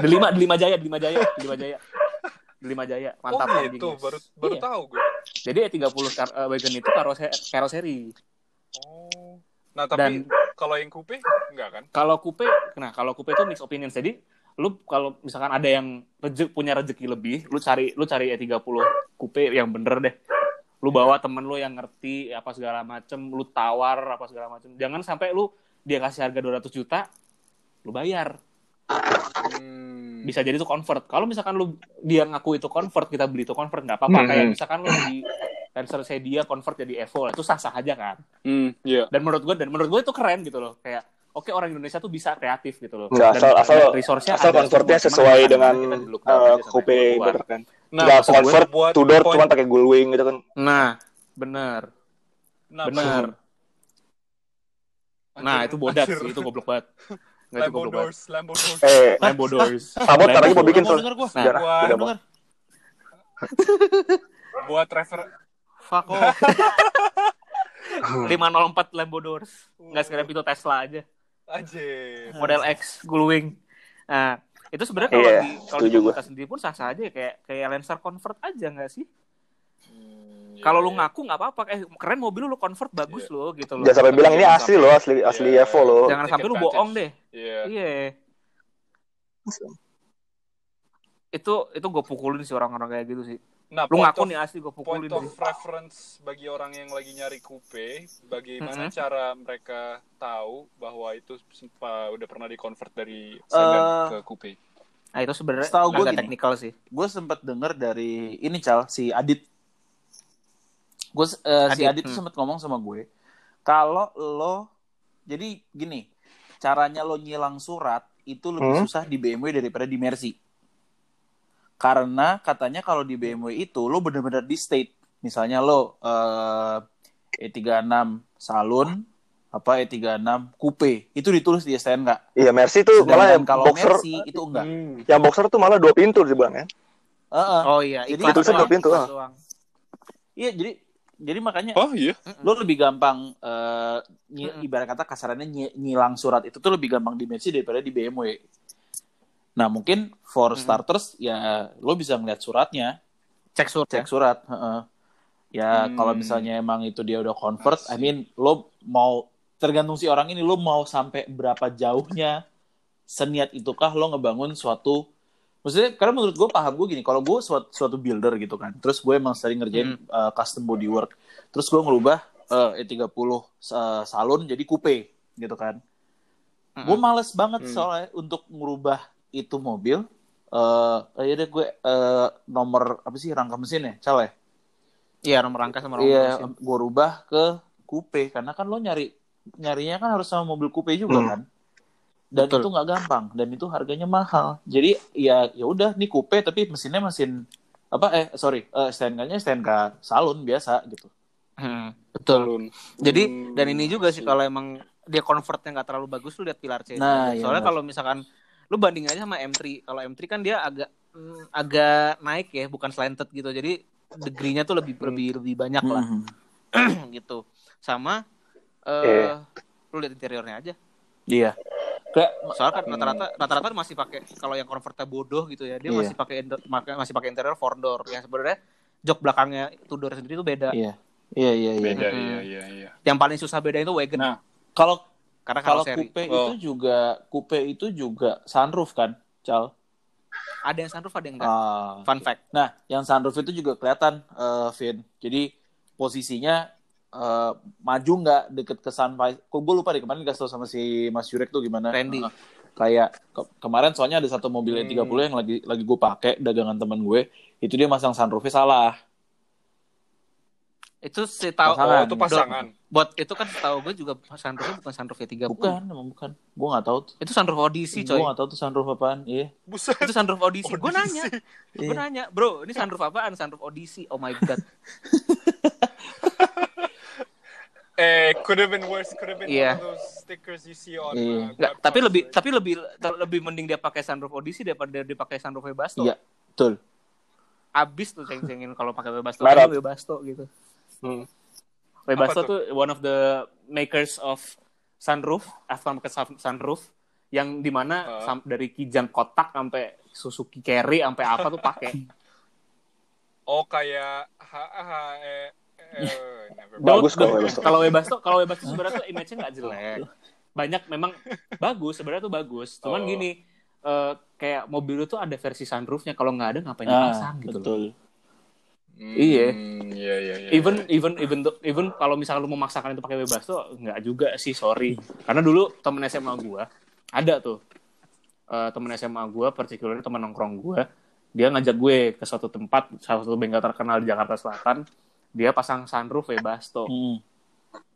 S3: Delima, Delima Jaya, Delima Jaya, Delima Jaya. Delima Jaya,
S1: oh
S3: mantap anjingnya.
S1: gitu, baru baru
S3: Iya.
S1: tahu gue.
S3: Jadi E30 kar- eh, wagon itu karoseri, karoseri.
S1: Oh. Nah, tapi
S3: Dan-
S1: kalau yang coupe enggak kan?
S3: Kalau coupe, nah kalau coupe itu mixed opinions. Jadi lu kalau misalkan ada yang reje- punya rezeki lebih, lu cari lu cari E30 coupe yang bener deh. Lu bawa temen lu yang ngerti apa segala macem, lu tawar apa segala macem. Jangan sampai lu dia kasih harga 200 juta, lu bayar.
S1: Hmm.
S3: Bisa jadi itu convert. Kalau misalkan lu dia ngaku itu convert, kita beli itu convert nggak apa-apa.
S1: Hmm.
S3: Kayak misalkan lu di Lancer saya dia convert jadi Evo, itu sah-sah aja kan.
S1: Hmm, iya.
S3: dan menurut gue dan menurut gue itu keren gitu loh kayak oke orang Indonesia tuh bisa kreatif gitu loh
S5: Nggak,
S3: Dan-
S5: asal-
S3: dan
S5: asal-
S3: resource-nya
S5: Asal
S3: ada semua.
S5: konvertnya
S3: Cuman
S5: sesuai
S3: kadang-kadang
S5: dengan
S3: kita di look down
S5: eh,
S3: aja sama
S5: coupe
S3: yang keluar.
S5: bener kan.
S1: Nah,
S5: Nggak
S1: maksud gue
S5: convert
S1: buat
S5: two door
S1: poin-
S5: cuman pakai gull wing gitu kan.
S3: nah bener
S1: nah,
S3: bener
S1: maksud-
S3: nah
S1: anjir,
S3: itu bodat
S1: anjir.
S3: sih itu goblok banget nggak itu
S1: Lambo
S3: goblok banget
S1: doors, Lambo doors.
S5: Eh,
S3: Lambo doors
S5: <laughs> Sabot ntar lagi mau bikin
S2: Mau
S5: tuh.
S2: denger gua.
S3: Nah,
S5: Sejarah,
S1: gua
S5: udah
S2: denger.
S1: buat refer
S3: fuck
S5: <laughs>
S3: off 504 Lambo doors nggak sekalian pintu Tesla aja
S1: aja.
S3: model X Gullwing nah itu sebenarnya kalau di
S5: Iya,
S3: kalau di
S5: setuju gua.
S3: komunitas sendiri pun sah-sah aja ya, kayak kayak Lancer convert aja nggak sih
S2: Iya,
S3: Kalau lu ngaku nggak apa-apa, eh keren mobil lu, lu convert bagus lo gitu loh.
S5: Jangan sampai bilang ini asli loh, asli asli
S1: Iya.
S5: Evo loh.
S3: Jangan sampai lu
S1: Take
S3: bohong deh.
S1: advantage. Iya.
S3: Iya. Itu itu gue pukulin sih orang-orang kayak gitu sih.
S1: Nah,
S3: Lu
S1: point
S3: ngaku
S1: of-
S3: nih asli gue
S1: point
S3: pukulin.
S1: of
S3: sih.
S1: reference bagi orang yang lagi nyari coupe, bagaimana
S3: Mm-mm.
S1: cara mereka tahu bahwa itu sempa- udah pernah dikonvert dari
S2: Eh,
S1: sedan ke coupe?
S3: Nah, itu sebenarnya
S2: Setahu gua
S3: agak
S2: gini.
S3: teknikal sih.
S2: Gue sempat denger dari ini Cal, si Adit. Gue si
S3: Adit,
S2: Adit tuh
S3: hmm.
S2: sempat ngomong sama gue, kalau lo jadi gini, caranya lo nyilang surat itu lebih
S5: Hmm?
S2: susah di BMW daripada di Mercy. Karena katanya kalau di BMW itu lo bener-bener di state. Misalnya lo eh, E36 Salon, apa E36 coupe itu ditulis di STNK.
S5: Iya, Mercy tuh malah yang
S2: Sedangkan kalau
S5: boxer,
S2: Mercy itu enggak.
S1: Hmm.
S5: yang boxer tuh malah dua pintu dibilang ya.
S2: Heeh.
S5: Hmm.
S3: Oh iya,
S2: Jadi
S3: iklan
S5: itu
S3: doang,
S5: sebabnya tuh,
S3: iklan
S5: ah.
S3: doang.
S2: Iya jadi jadi makanya
S1: Oh iya.
S2: lo lebih gampang eh, nyi-
S3: Mm-mm.
S2: ibarat kata kasarannya nyi- nyilang surat itu tuh lebih gampang di Mercy daripada di BMW. Nah mungkin for
S3: Mm-mm.
S2: starters ya lo bisa ngeliat suratnya,
S3: Cek surat.
S2: cek surat. heeh. Ya
S1: Hmm.
S2: kalau misalnya emang itu dia udah convert,
S1: I see.
S2: I mean lo mau tergantung si orang ini lo mau sampai berapa jauhnya seniat itukah lo ngebangun suatu maksudnya karena menurut gue paham gue gini kalau gue suatu, suatu builder gitu kan terus gue emang sering ngerjain uh, custom bodywork terus gue ngerubah uh, E30 uh, salon jadi coupe gitu kan
S3: Hmm.
S2: gue males banget
S1: Mm.
S2: soalnya untuk ngerubah itu mobil eh ya deh gue eh, nomor apa sih rangka mesin ya cal ya
S3: Iya, nomor rangka sama nomor
S2: iya
S3: mesin.
S2: gue rubah ke coupe karena kan lo nyari nyarinya kan harus sama mobil coupe juga
S5: Hmm.
S2: kan dan
S3: Betul.
S2: itu nggak gampang dan itu harganya mahal jadi ya ya udah nih coupe tapi mesinnya mesin apa eh sorry eh, STNK-nya STNK salon biasa gitu
S3: Hmm, Betul.
S1: Belum.
S3: Jadi
S1: Hmm,
S3: dan ini juga sih
S1: I see.
S2: iya.
S3: kalau emang dia convertnya nggak terlalu bagus lu lihat pilar C.
S2: Nah, iya,
S3: Soalnya
S2: benar.
S3: kalau misalkan lu banding aja sama M3. Kalau M3 kan dia agak mm, agak naik ya, bukan slanted gitu. Jadi degree-nya tuh lebih
S2: Hmm.
S3: lebih lebih banyak lah
S2: Mhm.
S3: <clears throat> gitu. Sama
S5: Iya.
S3: eh lu lihat interiornya aja.
S2: iya kayak
S3: Soalnya kan rata-rata rata-rata masih pakai kalau yang convertnya bodoh gitu ya. Dia
S2: Hmm. Iya.
S3: masih pakai indo- maka- masih pakai interior four door yang sebenarnya jok belakangnya Tudor sendiri itu beda.
S2: iya iya iya iya
S1: Beda
S3: Mm-mm.
S1: iya iya iya.
S3: Yang paling susah beda itu wagon.
S1: Nah,
S2: kalau
S3: karena kalau
S2: kalau
S3: seri
S2: coupe
S1: Oh.
S2: itu juga coupe itu juga sunroof kan cal
S3: ada yang sunroof ada yang enggak.
S2: ah
S3: Fun fact.
S2: Nah, yang sunroof itu juga kelihatan, eh, Vin. Jadi posisinya eh, maju nggak deket ke sunrise? Kok gue lupa deh kemarin dikasih tau sama si Mas Yurek tuh gimana?
S3: Randy.
S2: Eh, kayak ke- kemarin soalnya ada satu mobil E30 yang lagi lagi gue pakai dagangan temen gue, itu dia masang sunroofnya salah.
S3: Itu si tahu
S2: Pasangan.
S1: oh itu pasangan.
S3: buat itu kan tahu gue juga sunroofnya bukan sunroof ya 30
S2: Bukan, emang bukan. Gue nggak tahu. tuh.
S3: Itu sunroof Odyssey,
S2: Gue
S3: coy.
S2: nggak tahu tuh sunroof apaan. Iya.
S1: Buset.
S3: Itu sunroof Odyssey. Gue nanya,
S2: Iya.
S3: gue nanya, bro, ini sunroof apaan? Sunroof Odyssey. Oh my <laughs> god.
S1: Eh, could have been worse. Could have been
S3: Iya.
S1: one of those stickers you see on.
S2: Iya.
S1: uh,
S3: Nggak,
S1: Grab
S3: tapi
S1: cars,
S3: lebih
S1: right?
S3: tapi lebih ter- lebih mending dia pakai sunroof Odyssey daripada dia pakai sunroof Webasto.
S2: Iya, betul.
S3: Abis tuh ceng-cengin kalau pakai Webasto.
S5: Marah.
S3: Ini Webasto gitu.
S1: Hmm.
S3: Webasto
S1: Apa
S3: tuh? one of the makers of sunroof, aftermarket sun- sunroof yang dimana
S1: Heeh.
S3: sam- dari Kijang kotak sampai Suzuki Carry sampai apa tuh
S2: <laughs>
S3: pakai.
S1: Oh kayak ha, ha, eh,
S2: <laughs>
S1: eh, never mind.
S5: Bagus
S3: Don't- don't-
S5: kalau Webasto.
S3: Kalau Webasto, kalau Webasto sebenarnya tuh image-nya nggak jelek. Banyak memang bagus, sebenarnya tuh bagus.
S1: Oh.
S3: Cuman gini, eh, kayak mobil itu ada versi sunroofnya. Kalau nggak ada ngapain
S2: Nah,
S3: dipasang gitu loh.
S2: betul.
S1: Hmm,
S3: Iya.
S1: Iya iya iya.
S3: Even even even tuh- even kalau misalnya lu memaksakan itu pakai Webasto, nggak juga sih, sorry. Karena dulu temen SMA gua ada tuh eh, temen SMA gua, particularly temen nongkrong gua, dia ngajak gue ke suatu tempat, salah satu bengkel terkenal di Jakarta Selatan. Dia pasang sunroof Webasto.
S2: Hmm.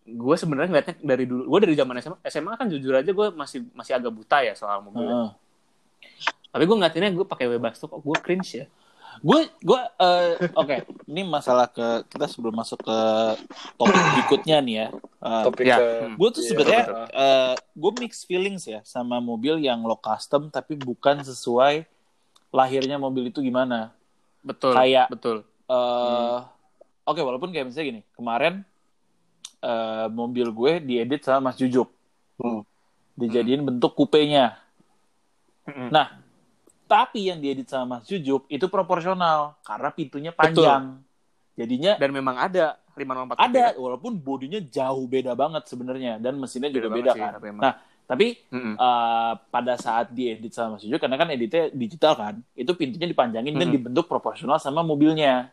S3: gue sebenarnya ngeliatnya dari dulu gue dari zaman SMA SMA kan jujur aja gue masih masih agak buta ya soal mobil
S2: Heeh.
S3: tapi gue ngeliatinnya gue pakai Webasto kok gue cringe ya
S2: gue gue eh, oke ini masalah ke kita sebelum masuk ke topik berikutnya nih ya Eh,
S1: topik
S3: ya.
S1: ke
S2: gue tuh
S1: Iya,
S2: sebenarnya
S1: betul.
S2: eh, gue mixed feelings ya sama mobil yang lo custom tapi bukan sesuai lahirnya mobil itu gimana
S3: betul
S2: Kayak-
S3: betul
S2: Eh, oke walaupun kayak misalnya gini kemarin eh, mobil gue diedit sama Mas Jujuk
S5: Hmm.
S2: dijadiin bentuk kupenya
S3: Hmm.
S2: nah tapi yang diedit sama Mas Jujuk itu proporsional karena pintunya panjang jadinya
S3: dan memang ada 504
S2: ada walaupun bodinya jauh beda banget sebenarnya dan mesinnya juga
S3: Beda
S2: beda
S3: banget sih,
S2: kan
S3: tapi emang.
S2: nah tapi <laughs>
S3: Mm-mm.
S2: eh, pada saat diedit sama Mas Jojo karena kan editnya digital kan itu pintunya dipanjangin dan
S3: Mm-mm.
S2: dibentuk proporsional sama mobilnya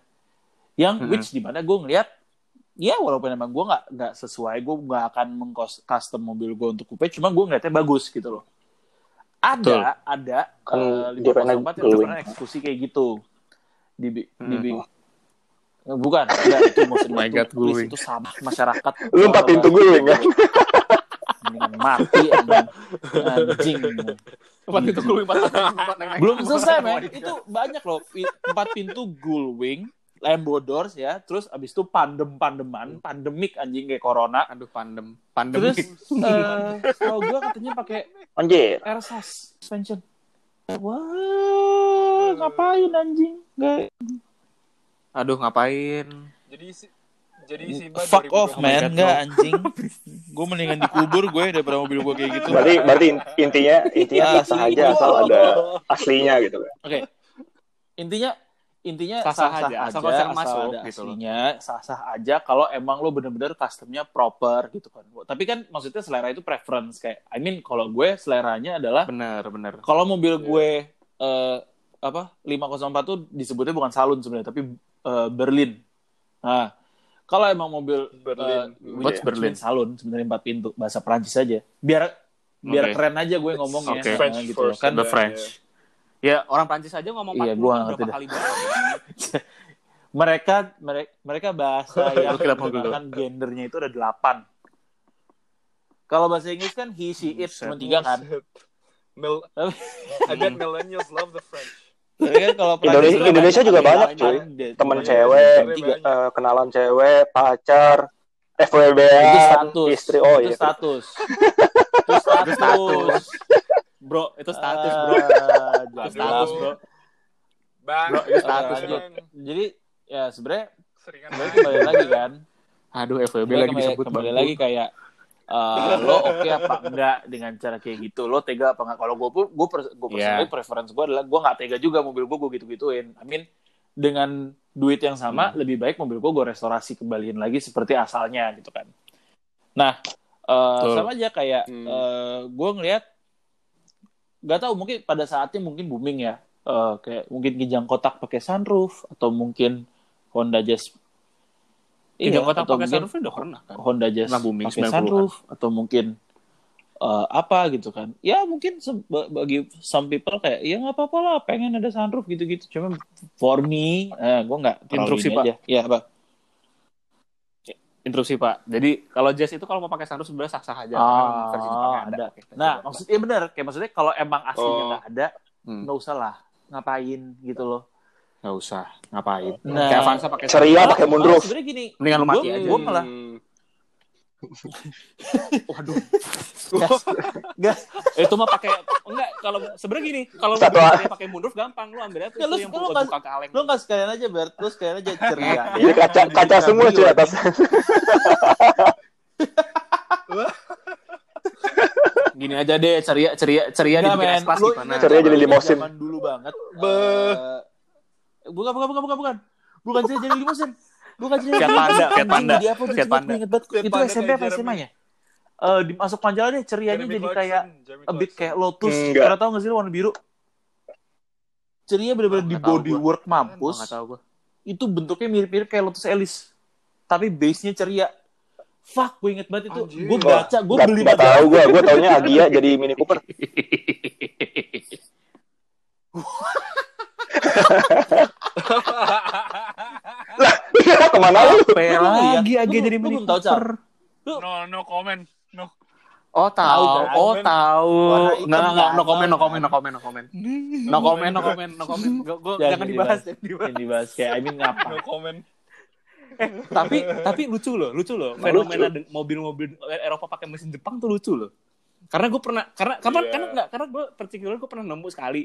S2: yang
S3: Mm-mm.
S2: which dimana gue ngeliat ya walaupun emang gue nggak nggak sesuai gue nggak akan mengcustom custom mobil gue untuk coupe cuma gue ngeliatnya bagus gitu loh
S3: Betul.
S2: ada ada
S5: Kan
S2: eh,
S5: dia
S2: 504
S5: pernah
S2: yang
S5: glowing.
S2: pernah eksekusi kayak gitu di,
S3: Mm.
S2: di, Bukan, enggak, itu maksud
S3: Oh My
S2: itu,
S3: God,
S2: please,
S3: glowing.
S2: itu sama masyarakat.
S5: Lu empat pintu glowing, kan?
S2: Mendingan mati anjing. anjing.
S3: empat itu <laughs> keluar empat
S2: Belum selesai, men. Itu banyak loh. I- Empat pintu gullwing Lambo Doors ya, terus abis itu pandem-pandeman, pandemik anjing kayak corona.
S3: Aduh pandem, pandemik.
S2: Terus eh kalau gue katanya pakai
S5: Anjir.
S2: air sus- suspension. Wah, ngapain anjing? Gak
S3: Aduh ngapain?
S1: Jadi si- jadi Simba
S2: fuck
S1: 2020
S2: off man,
S3: God,
S2: enggak anjing. gue mendingan dikubur gue daripada mobil gue kayak gitu.
S5: Berarti berarti in- intinya intinya
S2: Ah,
S5: sah aja asal ada
S1: Oh,
S5: aslinya gitu kan.
S2: Oke. Intinya intinya
S3: Sah-sah
S2: sah-sah
S3: aja,
S2: aja,
S3: asal konsep masuk
S2: ada
S3: gitu loh.
S2: aslinya, sah-sah aja kalau emang lo bener-bener customnya proper gitu kan. Tapi kan maksudnya selera itu preference kayak, I mean kalau gue seleranya adalah
S3: Bener bener.
S2: kalau mobil
S3: Iya.
S2: gue eh, apa 504 tuh disebutnya bukan salon sebenarnya tapi eh, Berlin. Nah, kalau emang mobil
S1: Berlin.
S2: eh,
S5: Iya.
S2: what's Berlin salon sebenarnya empat pintu bahasa Prancis aja. Biar biar
S3: Oke.
S2: keren aja gue ngomongnya
S3: Oke.
S2: nah,
S1: French
S2: gitu loh.
S1: first.
S2: kan
S1: The French.
S3: Ya orang Prancis aja ngomong
S2: Iya,
S3: 40
S2: gua
S3: kan
S2: ngerti
S3: berapa
S2: dah.
S3: kali banget.
S2: mereka mereka mereka
S5: <laughs>
S2: bahasa yang
S3: Lu kenapa gitu?
S2: menggunakan gendernya itu ada delapan. Kalau bahasa Inggris kan he, she, it cuma tiga kan.
S1: Mil- I bet millennials love the French.
S2: Tapi kan kalau
S5: Indonesia-
S2: Prancis-
S5: Indonesia juga
S2: ada
S5: banyak,
S2: delapan.
S5: Temen
S1: Iya,
S5: cewek,
S1: iya,
S5: tiga,
S1: banyak.
S5: eh, kenalan cewek, pacar, FWB,
S2: itu status
S5: istri oh
S2: itu
S5: iya. <laughs>
S2: status itu status Ah,
S3: Bro itu status bro.
S2: bro
S3: status bro.
S1: Bang,
S3: Bro, ini status,
S2: bro.
S1: Bang.
S2: jadi ya sebenarnya
S1: Seringan
S2: sebenarnya kembali lagi kan
S3: Aduh FWB
S2: Sebenarnya
S3: lagi
S2: kembali,
S3: disebut.
S2: kembali
S3: Bang.
S2: lagi kayak
S3: <laughs>
S2: eh, lo oke apa enggak dengan cara kayak gitu lo tega apa enggak kalau gue pun gue per,
S3: Iya.
S2: gue personally preference gue adalah gue nggak tega juga mobil gue gue gitu gituin I mean dengan duit yang sama
S3: Hmm.
S2: lebih baik mobil gue gue restorasi kembaliin lagi seperti asalnya gitu kan nah eh,
S3: Betul.
S2: sama aja kayak
S1: Hmm.
S2: eh, gue ngelihat nggak tahu mungkin pada saatnya mungkin booming ya Eh, kayak mungkin kijang kotak pakai sunroof atau mungkin Honda Jazz
S3: Iya, kotak pakai
S2: atau mungkin-
S3: sunroof udah pernah kan.
S2: Honda Jazz
S3: Nah, booming
S2: pakai
S3: 90-an.
S2: sunroof atau mungkin eh, apa gitu kan ya mungkin se- ba- bagi some people kayak ya nggak apa-apa lah pengen ada sunroof gitu-gitu cuma for me eh, gue nggak terlalu
S3: Instruksi,
S2: ini
S3: Pak.
S2: aja. ya apa
S3: Interupsi Pak. Jadi kalau jazz itu kalau mau pakai sunroof sebenarnya sah-sah aja.
S2: Ah,
S3: Karena versi Jepangnya
S2: ada.
S3: Oke, kita
S2: nah
S3: coba.
S2: maksudnya iya bener kayak maksudnya kalau emang aslinya
S1: Oh.
S2: nggak ada
S3: Hmm.
S2: nggak usah lah ngapain gitu loh
S3: nggak usah ngapain.
S2: Nah.
S3: Kayak Avanza pakai
S5: Ceria
S2: Malah-
S5: pakai
S2: malah
S5: moonroof.
S2: Oh, sebenarnya gini <laughs>
S3: Mendingan lu mati
S2: Gua-
S3: aja.
S2: gua malah
S1: Hmm.
S2: waduh Gas. Gas.
S3: Eh, itu mah pakai enggak kalau sebenarnya gini kalau lu
S5: Satu
S3: bisa pakai moonroof gampang lu ambil aja tuh
S2: Ya, lu-
S3: yang
S2: lu
S3: buat
S2: kan-
S3: buka kaleng
S2: lo nggak sekalian aja Bert lo sekalian aja
S3: Iya.
S2: ya. ceria
S5: Jadi kaca kaca semua cuy atas.
S3: gini aja deh ceria ceria ceria
S2: Nggak,
S3: dibikin
S2: men.
S3: Ya, es kelas
S2: Lu
S3: gimana
S2: ingat
S5: Ceria
S2: zaman-
S5: jadi limosin.
S2: zaman dulu banget.
S1: Be.
S2: eh, bukan, bukan, bukan, bukan, bukan. Bukan ceria jadi limosin. Bukan ceria
S3: Fiat Panda, Fiat
S2: Anjing,
S3: Panda,
S2: Jadi apa tuh?
S3: Fiat
S2: Cepat,
S3: Panda.
S2: inget banget.
S1: Fiat
S2: Itu
S1: Panda
S2: SMP
S1: kayak
S2: apa
S1: Jeremy.
S2: SMA ya? Eh, di masuk Panjala deh, cerianya
S1: Jeremy
S2: jadi
S1: Clarkson,
S2: kayak
S1: Jeremy
S2: a bit
S1: Clarkson. <laughs>
S2: kayak Lotus.
S5: Enggak.
S2: Karena tau gak sih lu warna biru? Ceria bener-bener
S3: Nggak
S2: di
S3: tahu
S2: body
S3: gua.
S2: work
S3: mampus
S2: mampus.
S3: tahu gua
S2: Itu bentuknya mirip-mirip kayak Lotus Elise. Tapi base-nya ceria. Fuck, gue inget banget itu.
S1: Anjir.
S2: Gue baca, gue
S5: Nggak-
S2: beli
S5: nggak tahu gue, gue
S2: <laughs>
S5: taunya Agia jadi Mini Cooper. Kemana lu?
S2: lagi Agia jadi Mini Cooper.
S1: No, no comment. No.
S3: oh tahu
S2: Tahu, kan?
S3: oh tahu
S2: Warna hitam,
S3: nggak nggak nggak no
S2: nggak
S3: comment no
S2: tahu,
S3: comment no comment no comment no comment no comment no
S2: <laughs>
S3: comment Gua- gua-
S2: Jangan
S3: jangan dibahas
S2: dibahas.
S3: jangan dibahas
S2: yang dibahas kayak I mean
S1: No
S2: <laughs> ngapa
S1: comment.
S3: tapi tapi lucu loh lucu loh fenomena de- mobil-mobil eh, Eropa pakai mesin Jepang tuh lucu loh karena gue pernah karena kapan
S1: Iya.
S3: karena enggak karena gue particular gue pernah nemu sekali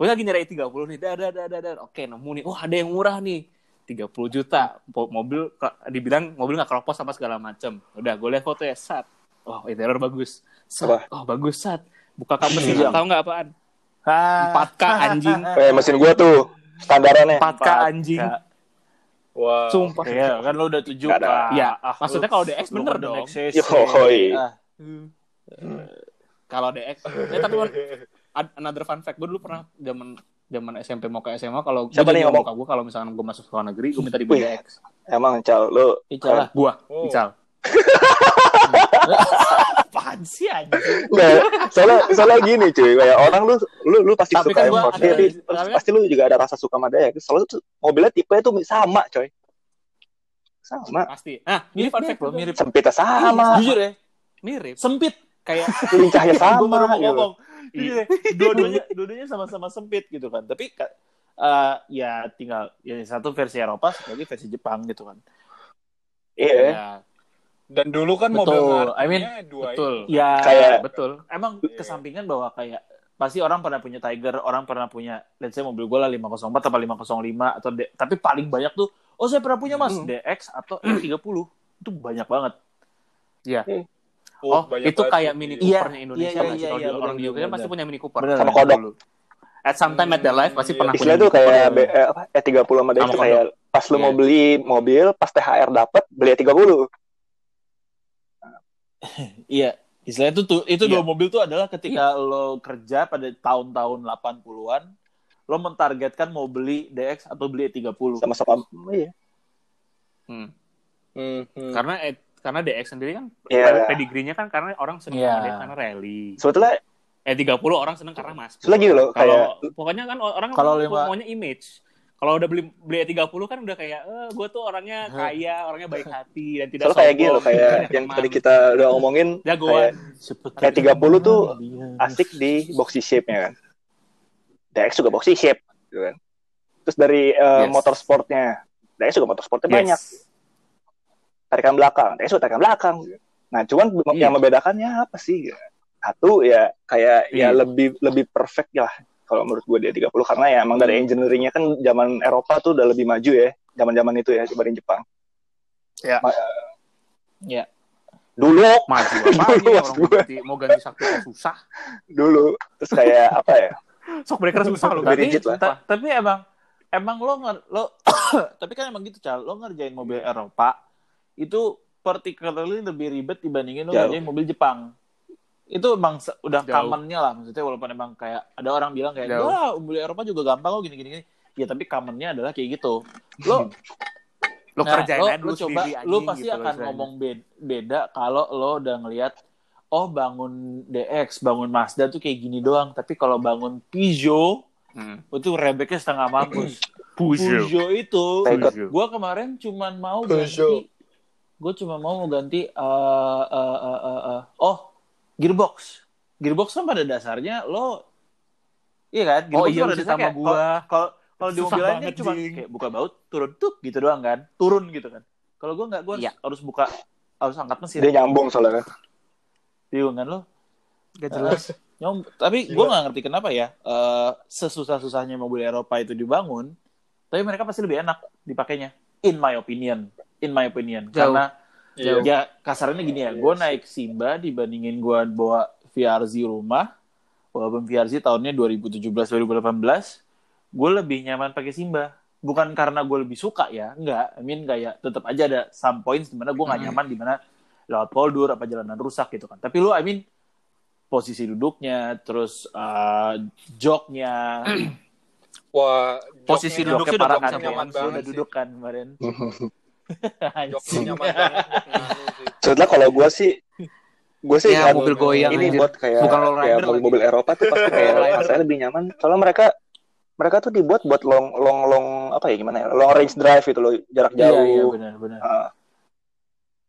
S3: gue lagi nyari 30 nih dar dar dar dar, dar oke nemu nih wah ada yang murah nih 30 juta Mo- mobil ke- dibilang mobil nggak keropos sama segala macem udah gue lihat fotonya sat wah interior bagus sat oh bagus sat buka kap mesin
S2: Iya.
S3: tahu nggak apaan
S2: Ah.
S3: 4K anjing
S5: Eh mesin gue tuh standarannya.
S3: 4K anjing
S2: Empat
S1: Wow.
S3: sumpah
S2: Iya, kan lo udah tujuh
S5: Nggak ada.
S2: Pak.
S3: Iya,
S2: Ah,
S3: maksudnya
S2: lu-
S3: kalau DX bener
S2: lu kan udah
S3: dong.
S2: XCC.
S5: Yoi.
S2: Ah,
S3: kalau DX ya, tapi ad- another fun fact gue dulu pernah zaman zaman SMP mau ke SMA kalau
S5: Siapa nih yang ngomong?
S3: gue kalau misalkan gue masuk sekolah negeri gue minta
S5: Wih.
S3: dibawa DX
S5: Emang cal lu
S2: Ical lah.
S3: gue
S1: Wow.
S3: ical apaan sih aja
S5: Nah, soalnya soalnya gini cuy, kayak orang lu lu lu pasti
S3: Tapi
S5: suka
S3: kan gua
S5: import,
S3: ada-
S5: tapi
S3: tapi-
S5: pasti lu juga ada rasa suka sama dia. ya. Soalnya tuh mobilnya tipe itu sama coy, sama,
S3: pasti nah ini fun fact
S2: Mirip,
S3: loh mirip
S2: mirip.
S5: sempitnya
S3: Ah,
S5: sama,
S2: Jujur ya,
S3: mirip
S2: sempit.
S5: <laughs>
S3: kayak
S5: lincahnya sama.
S2: Gue Iya. baru mau Iya,
S5: gitu.
S3: Iya.
S2: ngomong. Jujur ya, Dua-duanya dua-duanya sama-sama sempit gitu kan. Tapi ka- eh, ya tinggal yang satu versi Eropa, satu lagi versi Jepang gitu kan.
S5: Iya.
S3: Ya,
S1: Dan dulu kan
S2: Betul.
S1: mobil
S2: I mean,
S1: ngartinya dua
S3: betul.
S2: Ya
S5: Kayak-
S2: betul. Emang
S1: Iya.
S2: kesampingan bahwa kayak pasti orang pernah punya Tiger, orang pernah punya let's say mobil gue lah 504 atau 505 atau D- tapi paling banyak tuh oh saya pernah punya Mas
S1: Hmm.
S2: DX atau E30. Itu banyak banget.
S1: Oh,
S3: Oh,
S1: banyak
S3: itu
S1: banget
S3: kayak
S1: sih.
S3: Mini
S2: Iya.
S3: Coopernya Indonesia
S2: Iya,
S3: nggak sih?
S2: iya,
S3: Kalau
S2: iya,
S3: di- orang di
S2: benar,
S3: UK kan
S2: benar,
S3: pasti
S2: benar.
S3: punya Mini Cooper.
S2: Benar,
S5: Sama
S2: benar.
S5: kodok.
S2: Dulu. At some time at their life pasti
S1: Iya.
S2: pernah punya
S5: Istilah tuh
S2: Mini Cooper.
S5: kayak B, eh, apa, E30 sama DX
S3: Sama
S5: kayak pas lu
S3: Iya.
S5: mau beli mobil, pas THR dapet, beli E E30.
S2: Iya. Istilah itu tuh itu
S3: Iya.
S2: dua mobil tuh adalah ketika lo kerja pada tahun-tahun 80-an lo mentargetkan mau beli DX atau beli E E30.
S5: Sama-sama. Iya.
S3: Hmm.
S1: Hmm, hmm.
S3: Karena eh, karena DX sendiri kan
S5: Iya.
S3: pedigrinya kan karena orang seneng
S2: Iya.
S3: sama dia karena rally.
S5: Sebetulnya,
S3: Eh 30 orang seneng karena mas.
S5: sebetulnya gitu loh.
S3: Kalau
S5: Kayak,
S3: pokoknya kan orang
S2: Kalau
S3: mau-
S2: lima-
S3: maunya image. Kalau udah beli beli 30 kan udah kayak eh gue tuh orangnya kaya, orangnya baik hati dan tidak
S5: soalnya kayak gini
S3: sombong.
S5: loh.
S3: <laughs>
S5: Kayak yang tadi kita udah omongin,
S3: jagoan.
S2: Seperti
S5: kayak 30 tuh
S2: dia.
S5: asik di boxy shape-nya kan. DX juga boxy shape, gitu kan. Terus dari eh,
S3: Yes.
S5: motorsportnya, DX juga motorsportnya banyak. Tarikan belakang, Eh, DX juga tarikan belakang. Nah, cuman be-
S3: Iya.
S5: yang membedakannya apa sih? gitu. Satu ya kayak
S3: Iya.
S5: ya lebih lebih perfect lah kalau menurut gue dia 30 karena ya emang dari engineeringnya kan zaman Eropa tuh udah lebih maju ya zaman-zaman itu ya dibanding Jepang.
S2: Iya.
S5: Ma-
S2: Iya.
S5: Dulu
S3: maju
S5: <laughs>
S3: apa
S5: Dulu
S3: ya
S5: maksud
S3: orang mau
S5: gue.
S3: ganti mau ganti sakti kok susah.
S5: dulu terus kayak apa ya?
S3: Sok breaker susah loh.
S5: Lebih
S2: tapi,
S5: rigid lah.
S2: ta- tapi emang emang lo nger lo <coughs> tapi kan emang gitu cal lo ngerjain mobil Eropa itu particularly lebih ribet dibandingin lo
S5: Jauh.
S2: ngerjain mobil Jepang itu emang se- udah
S3: Jauh.
S2: commonnya lah maksudnya walaupun emang kayak ada orang bilang kayak
S3: Jauh.
S2: wah mobil Eropa juga gampang kok gini gini, gini." ya tapi commonnya adalah kayak gitu lo
S3: Lo
S2: Nah,
S3: kerjain
S2: lo-
S3: aja dulu
S2: lo coba,
S3: sendiri
S2: Lo
S3: anjing,
S2: pasti
S3: gitu loh,
S2: akan
S3: istilahnya.
S2: ngomong bed- beda kalau lo udah ngelihat oh bangun DX, bangun Mazda tuh kayak gini doang, tapi kalau bangun Peugeot
S3: Hmm.
S2: itu rebeknya setengah
S3: <clears throat>
S2: mampus. Peugeot itu
S5: Peugeot.
S2: gua kemarin cuman mau
S1: Peugeot.
S2: ganti gue cuma mau ganti eh, eh, eh, eh, eh, oh gearbox gearbox kan pada dasarnya lo iya kan
S3: Oh
S2: gearbox
S3: iya,
S2: pada
S3: lu
S2: dasarnya
S3: sama
S2: kayak-
S3: gua.
S2: kalau kalau di
S3: Susah
S2: mobil lain kan
S3: banget,
S2: cuma
S3: Jing.
S2: kayak buka baut turun tuh gitu doang kan turun gitu kan kalau gue nggak gue
S3: Iya.
S2: harus buka harus angkat mesin
S5: Dia nyambung soalnya kan.
S2: bingung kan lo
S3: Gak jelas.
S5: Oh, <laughs>
S2: Nyom, tapi gue nggak ngerti kenapa ya eh, sesusah-susahnya mobil Eropa itu dibangun, tapi mereka pasti lebih enak dipakainya. In my opinion, in my opinion,
S3: Jauh.
S2: karena
S1: Iya.
S2: ya kasarnya gini ya, gue naik Simba dibandingin gue bawa VRZ rumah, walaupun VRZ tahunnya 2017-2018, gue lebih nyaman pakai Simba. Bukan karena gue lebih suka ya, enggak. I mean kayak tetap aja ada some points dimana gue nggak
S3: Hmm.
S2: nyaman, dimana lewat poldur apa jalanan rusak gitu kan. Tapi lu I mean posisi duduknya, terus uh, joknya,
S1: Wah,
S3: Posisi
S1: joknya-
S3: duduknya
S2: joknya
S3: udah
S2: parah
S1: joknya
S2: kan ya.
S1: nyaman
S2: Lu
S1: banget
S2: udah
S1: sih.
S2: duduk kan kemarin.
S1: Joknya nyaman banget. joknya anu sih.
S5: Sebetulnya kalau gue sih gue sih
S3: Ya,
S5: nggak-
S3: mobil goyang,
S5: iya, ini
S3: anjir.
S5: buat kayak
S3: Bukan low rider
S5: kayak mobil-mobil Eropa tuh
S3: <laughs>
S5: pasti kayak
S3: Low rider.
S5: rasanya lebih nyaman soalnya mereka mereka tuh dibuat buat long long long apa ya gimana ya long range drive itu loh jarak
S2: Iya, iya
S5: jauh
S2: benar, benar.
S5: Ah,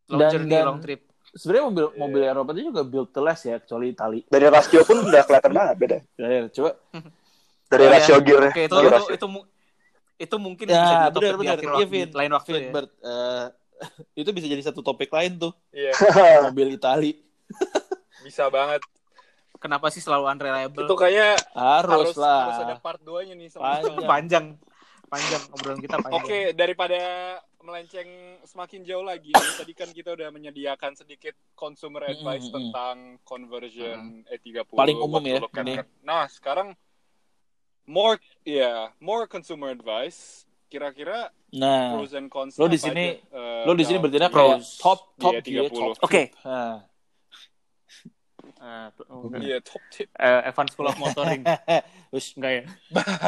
S3: Long
S2: Dan-
S3: journey,
S2: dan-
S3: long trip.
S2: Sebenarnya mobil mobil Eropa itu juga build to last ya, kecuali Itali.
S5: dari rasio pun udah kelihatan banget beda
S2: Ya, coba
S5: dari
S3: Oh, iya.
S5: rasio gear
S3: Oke, itu
S5: gear
S3: itu
S5: rasio
S3: itu, mu- itu mungkin
S2: Ya,
S3: bisa jadi
S2: benar,
S3: topik di
S2: benar.
S3: akhir
S2: Iya,
S3: waktu,
S2: Vin.
S3: lain waktu ya.
S2: Filbert, eh, <laughs> itu bisa jadi satu topik lain tuh,
S1: Iya,
S2: mobil Itali.
S1: bisa banget.
S3: Kenapa sih selalu unreliable?
S1: Itu kayaknya harus
S2: Harus, lah.
S1: harus ada part 2-nya nih sama.
S2: Panjang.
S3: panjang. Panjang obrolan kita panjang.
S1: Oke, daripada melenceng semakin jauh
S2: <coughs>
S1: lagi, tadi kan kita udah menyediakan sedikit consumer
S2: Mm,
S1: advice
S2: mm, mm.
S1: tentang conversion E30.
S2: Paling umum
S1: waktu
S2: ya,
S1: lo
S2: ini.
S1: kan- Nah, sekarang more ya, more consumer advice. Kira-kira
S2: Nah,
S1: pros and cons
S2: Lo di
S1: apa
S2: sini-
S1: aja, eh,
S2: lo di sini
S1: dalam
S2: bertindak
S1: pilihan?
S2: kayak top
S1: Iya,
S2: top gear,
S1: 30.
S2: top.
S3: Oke.
S2: <laughs> Nah.
S3: Eh,
S1: Iya, top tip.
S3: eh, Evan School of
S2: <laughs>
S3: Motoring.
S2: Eh,
S3: Terus enggak ya?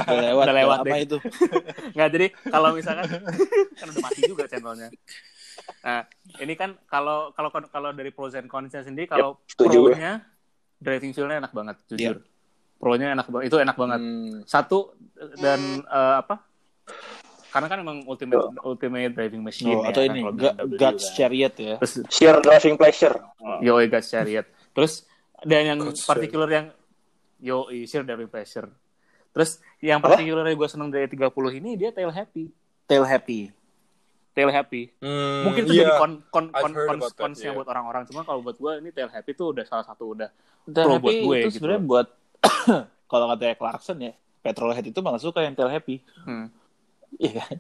S2: udah
S3: <laughs>
S2: lewat,
S3: Udah lewat
S2: lama
S3: deh.
S2: itu.
S3: Nggak, jadi kalau misalkan kan udah mati juga channelnya. Nah, ini kan kalau kalau kalau dari pros and cons-nya sendiri kalau
S5: setuju gue.
S3: pro-nya driving feel-nya enak banget,
S2: Iya.
S3: jujur.
S2: Oh,
S3: Pro-nya enak banget, itu enak banget.
S2: Hmm.
S3: Satu dan eh, apa? Karena kan emang ultimate ultimate driving machine
S2: Oh,
S3: ya,
S2: atau
S3: kan,
S2: ini
S3: kalau
S2: Ga-
S3: BMW
S2: God's
S3: kan.
S2: Chariot ya.
S3: Terus
S5: sheer driving pleasure
S3: Yoi God's Chariot. Terus dan yang particular yang Yoi Sheer Driving Pleasure. Terus yang
S5: Apa?
S3: particular gue seneng dari 30 ini dia tail happy.
S2: Tail happy.
S3: Tail happy.
S1: Hmm,
S3: Mungkin itu
S1: iya.
S3: jadi kon kon
S1: I've
S3: kon
S1: heard
S3: kon
S1: about that,
S3: konsnya
S1: yeah.
S3: buat orang-orang. Cuma kalau buat gue ini tail happy tuh udah salah satu udah.
S2: Tail
S3: Pro
S2: happy
S3: buat gue,
S2: itu
S3: gitu.
S2: sebenarnya <coughs> buat kalau kata Clarkson ya, petrolhead itu malah suka yang tail happy.
S3: Hmm.
S2: Iya kan?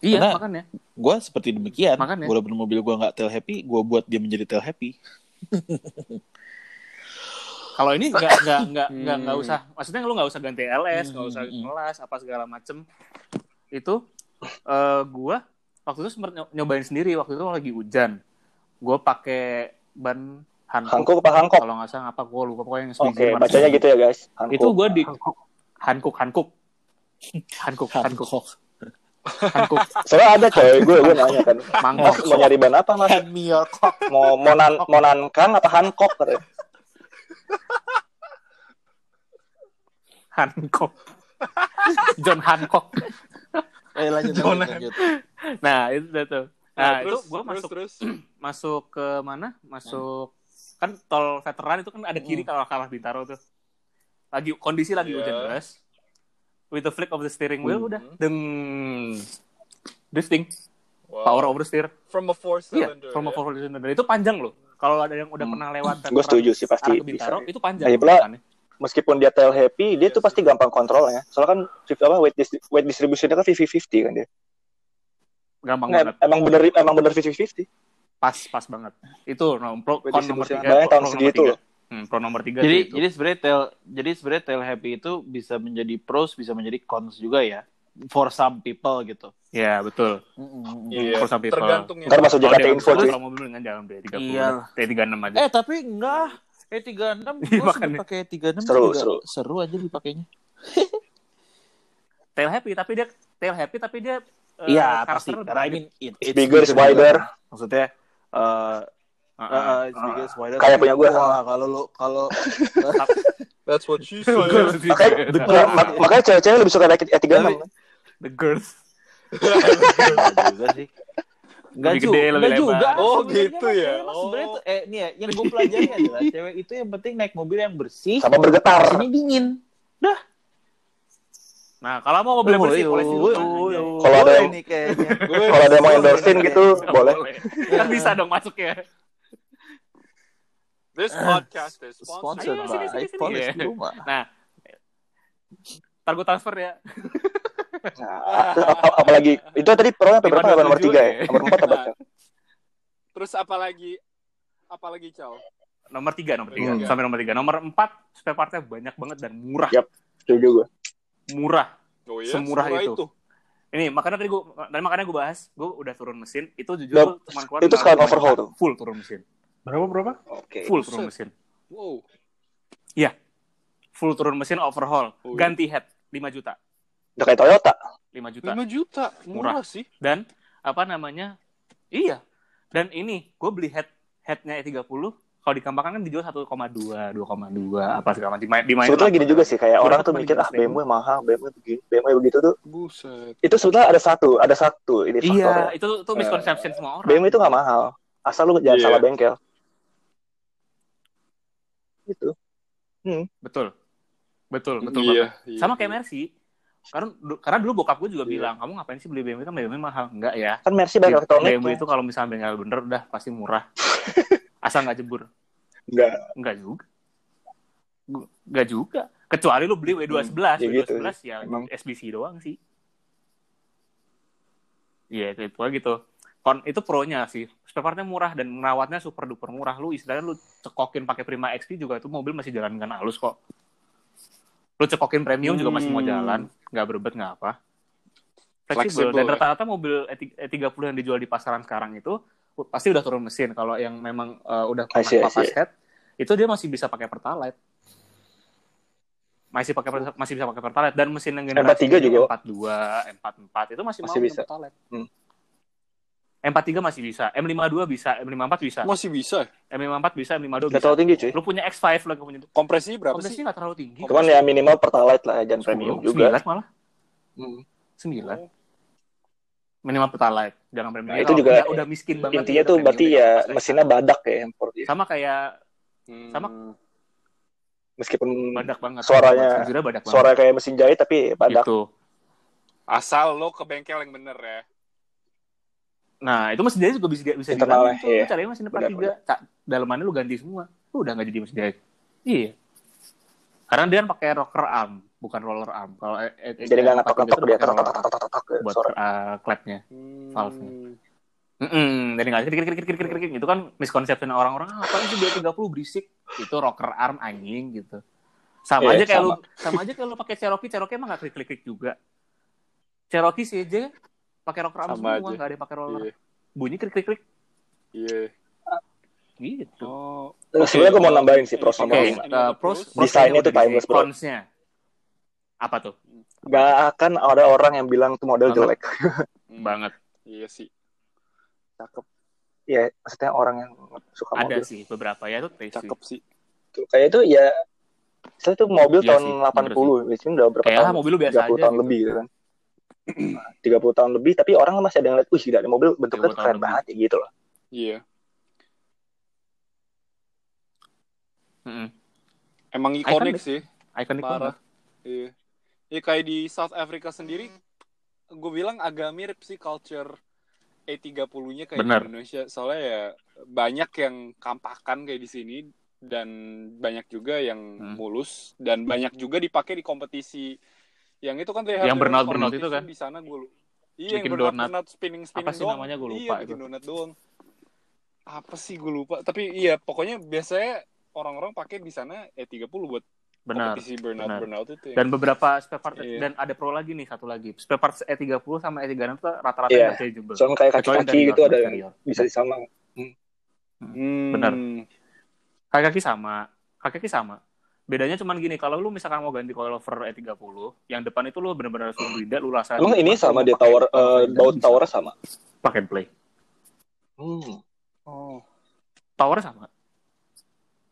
S3: Iya
S2: Karena-
S3: makanya.
S2: Gue seperti demikian.
S3: Makanya.
S2: Walaupun mobil gue nggak tail happy, gue buat dia menjadi tail happy.
S3: Kalau ini nggak nggak nggak nggak nggak
S1: Hmm.
S3: usah. Maksudnya lu nggak usah ganti LS, nggak usah
S2: Hmm.
S3: ngelas apa segala macem. Itu eh gue waktu itu sempet ny- nyobain sendiri. Waktu itu lagi hujan. Gue pakai ban Hankook.
S5: Hankook apa Hankook?
S3: Kalau nggak salah apa gue lupa pokoknya yang
S5: Oke,
S3: seminggu lima ratus.
S5: bacanya gitu ya guys.
S3: Oh, Itu
S5: Hankook.
S3: gue di Hankook Hankook. Hankook Hankook
S2: <laughs> Hancock.
S3: Hankook
S5: Soalnya ada coy, gue gue nanya kan.
S3: Mangkok.
S5: Mas, mau nyari ban apa mas?
S3: Kan
S2: Hand me your cock.
S5: Mau mau nan mau nankang apa Hancock? katanya.
S3: Hancock. <laughs> John Hancock.
S2: Eh, lanjut,
S3: Jangan.
S2: lanjut, lanjut.
S3: Nah, itu udah tuh. Nah,
S1: Nah, terus
S3: itu gue masuk
S2: <clears throat>
S1: terus,
S3: masuk ke mana? Masuk
S1: Nah.
S3: kan tol veteran itu kan ada kiri kalau ke arah Bintaro tuh. Lagi kondisi lagi
S1: Hmm. Iya.
S3: hujan deras. With the flick of the steering wheel udah
S1: Hmm.
S3: deng drifting,
S1: Wow.
S3: power over steer.
S1: from a four
S3: Iya,
S1: cylinder.
S3: from
S1: ya?
S3: a four cylinder. Itu panjang loh. Kalau ada yang udah
S2: Hmm.
S3: pernah
S5: <laughs>
S3: lewat
S5: Gue setuju sih
S3: arah
S5: pasti
S3: ke Bintaro
S5: bisa.
S3: itu panjang.
S5: Lagi pula-
S3: belokannya.
S5: Meskipun dia tail happy, dia
S1: Iya
S5: tuh pasti gampang kontrol ya. Soalnya kan fif- apa weight, dis- weight distribution-nya kan 50-50 kan dia.
S3: gampang
S5: Nggak,
S3: banget.
S5: emang bener emang bener 50-50.
S3: Pas pas banget. Itu nom- pro,
S5: Weight
S3: kon nomor
S5: distribution.
S3: tiga. pro-
S5: Bayangin tahun
S3: pro nomor
S5: segitu
S3: tiga.
S5: loh.
S3: Hmm, pro nomor tiga. tuh
S2: Jadi,
S3: itu.
S2: jadi sebenarnya tail, jadi sebenarnya tail happy itu bisa menjadi pros, bisa menjadi cons juga ya. For some people gitu.
S3: ya betul.
S1: Iya.
S3: For some people.
S1: Tergantung yang
S5: Ntar masuk
S3: Kalau
S5: JKT
S3: dia
S5: info
S3: kalau
S5: cuy.
S3: kalau mobil dengan jalan deh 30.
S2: Iya.
S3: Deh 36 aja.
S2: Eh tapi enggak. Eh <laughs> 36
S3: Iya,
S2: gua
S3: makanya.
S2: sempet pakai 36
S5: Seru,
S2: juga
S5: seru.
S2: seru aja dipakainya.
S3: Tail happy tapi dia tail happy tapi dia eh,
S2: Iya, pasti.
S3: karakternya
S2: Karena I mean, it- it's
S5: Bigger is wider.
S2: Maksudnya eh
S3: Ah,
S2: eh,
S3: ah.
S2: eh, it's bigger is wider.
S5: Kayak punya gua.
S2: Wah, kalau lu kalau
S1: That's what
S3: <laughs> eh.
S1: she said.
S5: Makanya, ma- ma- makanya cewek-cewek lebih suka naik E E36.
S2: Tapi-
S3: the girls.
S2: Enggak juga sih. Enggak
S3: Lebih
S2: juga,
S3: gede, lebih
S2: enggak
S3: lebar.
S2: juga.
S1: Oh,
S2: Sebenarnya
S1: gitu
S2: mah-
S1: ya.
S2: emang sebenarnya
S1: Oh.
S2: tuh- eh nih ya, yang gue pelajari adalah cewek itu yang penting naik mobil yang bersih,
S5: Sama bergetar.
S2: mesinnya dingin.
S3: Nah, kalau mau mobil bersih
S2: Oh,
S3: polisi
S2: oh,
S3: dulu.
S2: oh,
S3: Anjay.
S2: oh.
S5: Kalau ada
S2: Boleh
S5: yang-
S2: nih kayaknya.
S5: <laughs> Kalau ada yang
S2: <laughs>
S5: mau endorsein gitu,
S3: Nggak
S5: boleh.
S3: Kan bisa dong masuk ya.
S1: This podcast is sponsored.
S2: Sponsored
S3: Ayo, sini,
S2: by
S3: sini, sini.
S2: Polis
S3: Iya.
S2: Luma.
S3: Ntar gue transfer ya.
S5: Nah, terus ap- ap- apalagi itu tadi pro apa berapa? Apa Nomor 3 ya? Nomor 4 apa?
S1: Nah, terus apalagi apalagi Cal?
S3: Nomor tiga, nomor tiga.
S5: Iya.
S1: Hmm.
S3: Sampai nomor tiga. Nomor empat, spare partnya banyak banget dan murah.
S5: Yap. Setuju gue.
S3: Murah.
S1: Oh semurah
S3: Semurah itu. ini makanya tadi gue dan makanya gue bahas gue udah turun mesin itu jujur
S5: Dan
S3: gua cuman keluar
S5: itu
S3: lima
S5: sekalian
S3: ratus
S5: overhaul
S3: juta.
S5: tuh.
S3: full turun mesin
S4: Berapa berapa?
S5: Oke.
S3: full
S1: Buset.
S3: turun mesin
S1: Wow.
S3: full turun mesin overhaul
S1: Oh, iya.
S3: ganti head 5 juta
S5: Udah kayak Toyota.
S3: 5 juta
S1: 5 juta. Murah, sih.
S3: dan apa namanya iya dan ini gue beli head headnya E30 kalau di Kampang kan dijual 1,2 2,2 apa segala macam dimain, dimain
S5: Sebetulnya gini juga sih kayak
S3: Berapa
S5: orang tuh
S3: cuma
S5: mikir ah
S3: 13.000?
S5: BMW mahal, BMW begini, BMW begitu tuh.
S1: Buset.
S5: Itu sebetulnya ada satu, ada satu ini ya.
S3: iya
S5: faktornya.
S3: itu
S1: Eh.
S3: tuh misconception semua orang
S5: BMW itu nggak mahal, asal lu jangan
S1: Iya.
S5: salah bengkel. Gitu.
S3: betul betul betul banget.
S1: Iya. iya.
S3: sama kayak Mercy karena karena dulu bokap gue juga
S1: Iya.
S3: bilang kamu ngapain sih beli BMW kan BMW mahal enggak ya
S5: Kan Mercy banyak elektronik. ya.
S3: BMW itu kalau misalnya bengkel bener udah pasti
S5: <laughs>
S3: murah. Asal nggak jebur.
S5: Enggak.
S3: Nggak juga. Gu- Nggak juga. Kecuali lu beli W211.
S5: Hmm, ya gitu
S3: W211 ya
S5: Emang.
S3: SBC doang sih. Iya, itu pokoknya gitu. Kon itu pro-nya sih. Spare partnya murah dan merawatnya super duper murah. Lu istilahnya lu cekokin pakai Prima XP juga itu mobil masih jalan dengan halus kok. Lu cekokin premium juga masih mau
S1: Hmm.
S3: jalan, nggak berbet nggak apa.
S1: Fleksibel
S3: Fleksibel dan
S1: ya.
S3: rata-rata mobil E E30 yang dijual di pasaran sekarang itu pasti udah turun mesin. Kalau yang memang uh, udah
S5: I see, I
S3: papas
S5: see.
S3: head, itu dia masih bisa pakai pertalite. Masih pakai per- masih bisa pakai pertalite dan mesin yang generasi
S5: M43 juga.
S3: 42, M44 itu masih,
S5: Masih
S3: mau
S5: bisa.
S3: pertalite.
S5: Hmm.
S3: M43 masih bisa, M52 bisa, M54 bisa,
S1: Masih bisa.
S3: M54 bisa, M52
S5: Nggak
S3: bisa.
S5: terlalu tinggi cuy.
S3: Lu punya X5 lagi punya itu.
S1: Kompresinya berapa sih?
S3: Kompresinya nggak terlalu tinggi.
S5: Cuman ya minimal pertalite lah, jangan premium juga.
S3: 9 malah.
S5: Hmm.
S3: 9. Minimal pertalite, jangan premium. Ya,
S5: Nah, itu
S3: kalau
S5: juga
S3: udah, udah miskin banget. udah
S5: Intinya tuh
S3: premium,
S5: berarti
S3: udah
S5: ya
S3: pas-
S5: mesinnya badak ya yang Ford ya.
S3: sama kayak
S1: Hmm.
S3: Sama.
S5: meskipun
S3: badak banget
S5: Suaranya-
S3: Jujurnya badak banget
S5: suara kayak mesin jahit tapi badak
S3: gitu
S1: Asal lo ke bengkel yang bener ya.
S3: nah itu mesin jahit juga bisa bisa dihilangin
S5: Internal ya,
S3: tuh.
S5: iya.
S3: Lu caranya mesin depan
S5: Benar,
S3: tiga Ca- dalamannya lu ganti semua lu udah nggak jadi mesin jahit iya karena dia kan pakai rocker arm bukan roller arm kalau eh, eh,
S5: jadi
S3: eh,
S5: nggak
S3: pakai
S5: ngetok ngetok
S3: gitu
S5: dia
S3: pakai
S5: tok
S3: roller
S5: tok
S3: arm
S5: tok tok tok
S3: buat
S5: suara
S3: uh, clapnya
S1: Hmm.
S3: Valve-nya. Mm-mm, dari nggak krik krik krik krik krik krik itu kan misconception orang-orang ah, apaan sih B30 berisik itu rocker arm anjing gitu sama
S5: Iya,
S3: aja kayak lu sama aja kayak lu pakai Cherokee Cherokee emang nggak krik krik krik juga Cherokee sih aja pakai rocker arm
S1: Sama
S3: semua
S1: aja.
S3: nggak ada yang pakai roller
S1: Iya.
S3: bunyi krik krik krik
S1: Iya.
S3: gitu
S1: Oh.
S5: Terus sebenarnya gue mau nambahin sih eh, pros
S1: Oke.
S5: sama
S3: oke
S5: cons.
S3: uh, pros
S1: Desainnya
S3: prosnya
S5: tuh
S3: udah di-
S5: timeless, bro.
S3: consnya apa tuh
S5: Gak akan ada orang yang bilang itu model
S3: Banget.
S5: jelek.
S1: Hmm.
S3: banget
S1: Iya sih. Cakep,
S5: Ya, maksudnya orang yang suka
S3: ada
S5: mobil.
S3: sih beberapa ya tuh taste sih.
S1: cakep sih.
S5: Tuh, Kayak itu ya, saya tuh mobil
S3: Iya
S5: tahun
S3: sih,
S5: 80, biasanya udah berapa
S3: kayak ah,
S5: tahun?
S3: mobil lu
S5: 30
S3: biasa aja
S5: tahun lebih gitu kan. Nah, 30 tahun lebih, tapi orang masih ada yang lihat, wih gila, ada mobil
S3: 30
S5: bentuknya tuh keren
S3: tahun
S5: banget ya gitu loh.
S1: Iya.
S3: Mm-mm.
S1: Emang ikonik
S3: deh.
S1: sih.
S3: ikonik
S1: Parah.
S3: banget
S1: Iya. Ya kayak di South Africa sendiri, gue bilang agak mirip sih culture E30-nya kayak di
S3: Bener.
S1: Indonesia. Soalnya ya banyak yang kampakan kayak di sini dan banyak juga yang
S3: Hmm.
S1: mulus dan banyak juga dipakai di kompetisi yang itu kan they
S3: Yang
S1: have their own
S3: burnout-burnout itu kan?
S1: competition di sana gue lu. Iya, yang
S3: Bikin donat.
S1: burnout, burnout spinning spinning
S3: Apa sih namanya? Gua lupa
S1: Iya, bikin
S3: itu.
S1: donat doang. Apa sih gue lupa, tapi iya pokoknya biasanya orang-orang pakai di sana E30 buat
S3: benar
S1: kompetisi burnout
S3: benar.
S1: burnout itu. ya? yang-
S3: dan beberapa spare part
S1: Iya.
S3: dan ada pro lagi nih satu lagi spare parts E30 sama E E36 tuh rata-rata
S5: Iya.
S3: interchangeable
S5: Soalnya kayak
S3: Kecuali
S5: kaki-kaki
S3: dari
S5: gitu
S3: Lord
S5: ada yang
S3: Superior.
S5: bisa disama.
S1: Hmm.
S3: Benar. kaki-kaki sama kaki-kaki sama bedanya cuman gini kalau lu misalkan mau ganti coilover E30 yang depan itu lu bener-bener harus berida lu rasa
S5: Emang ini sama dia tower, eh, baut towernya sama?
S3: pakai play
S5: Hmm.
S1: Oh.
S3: towernya sama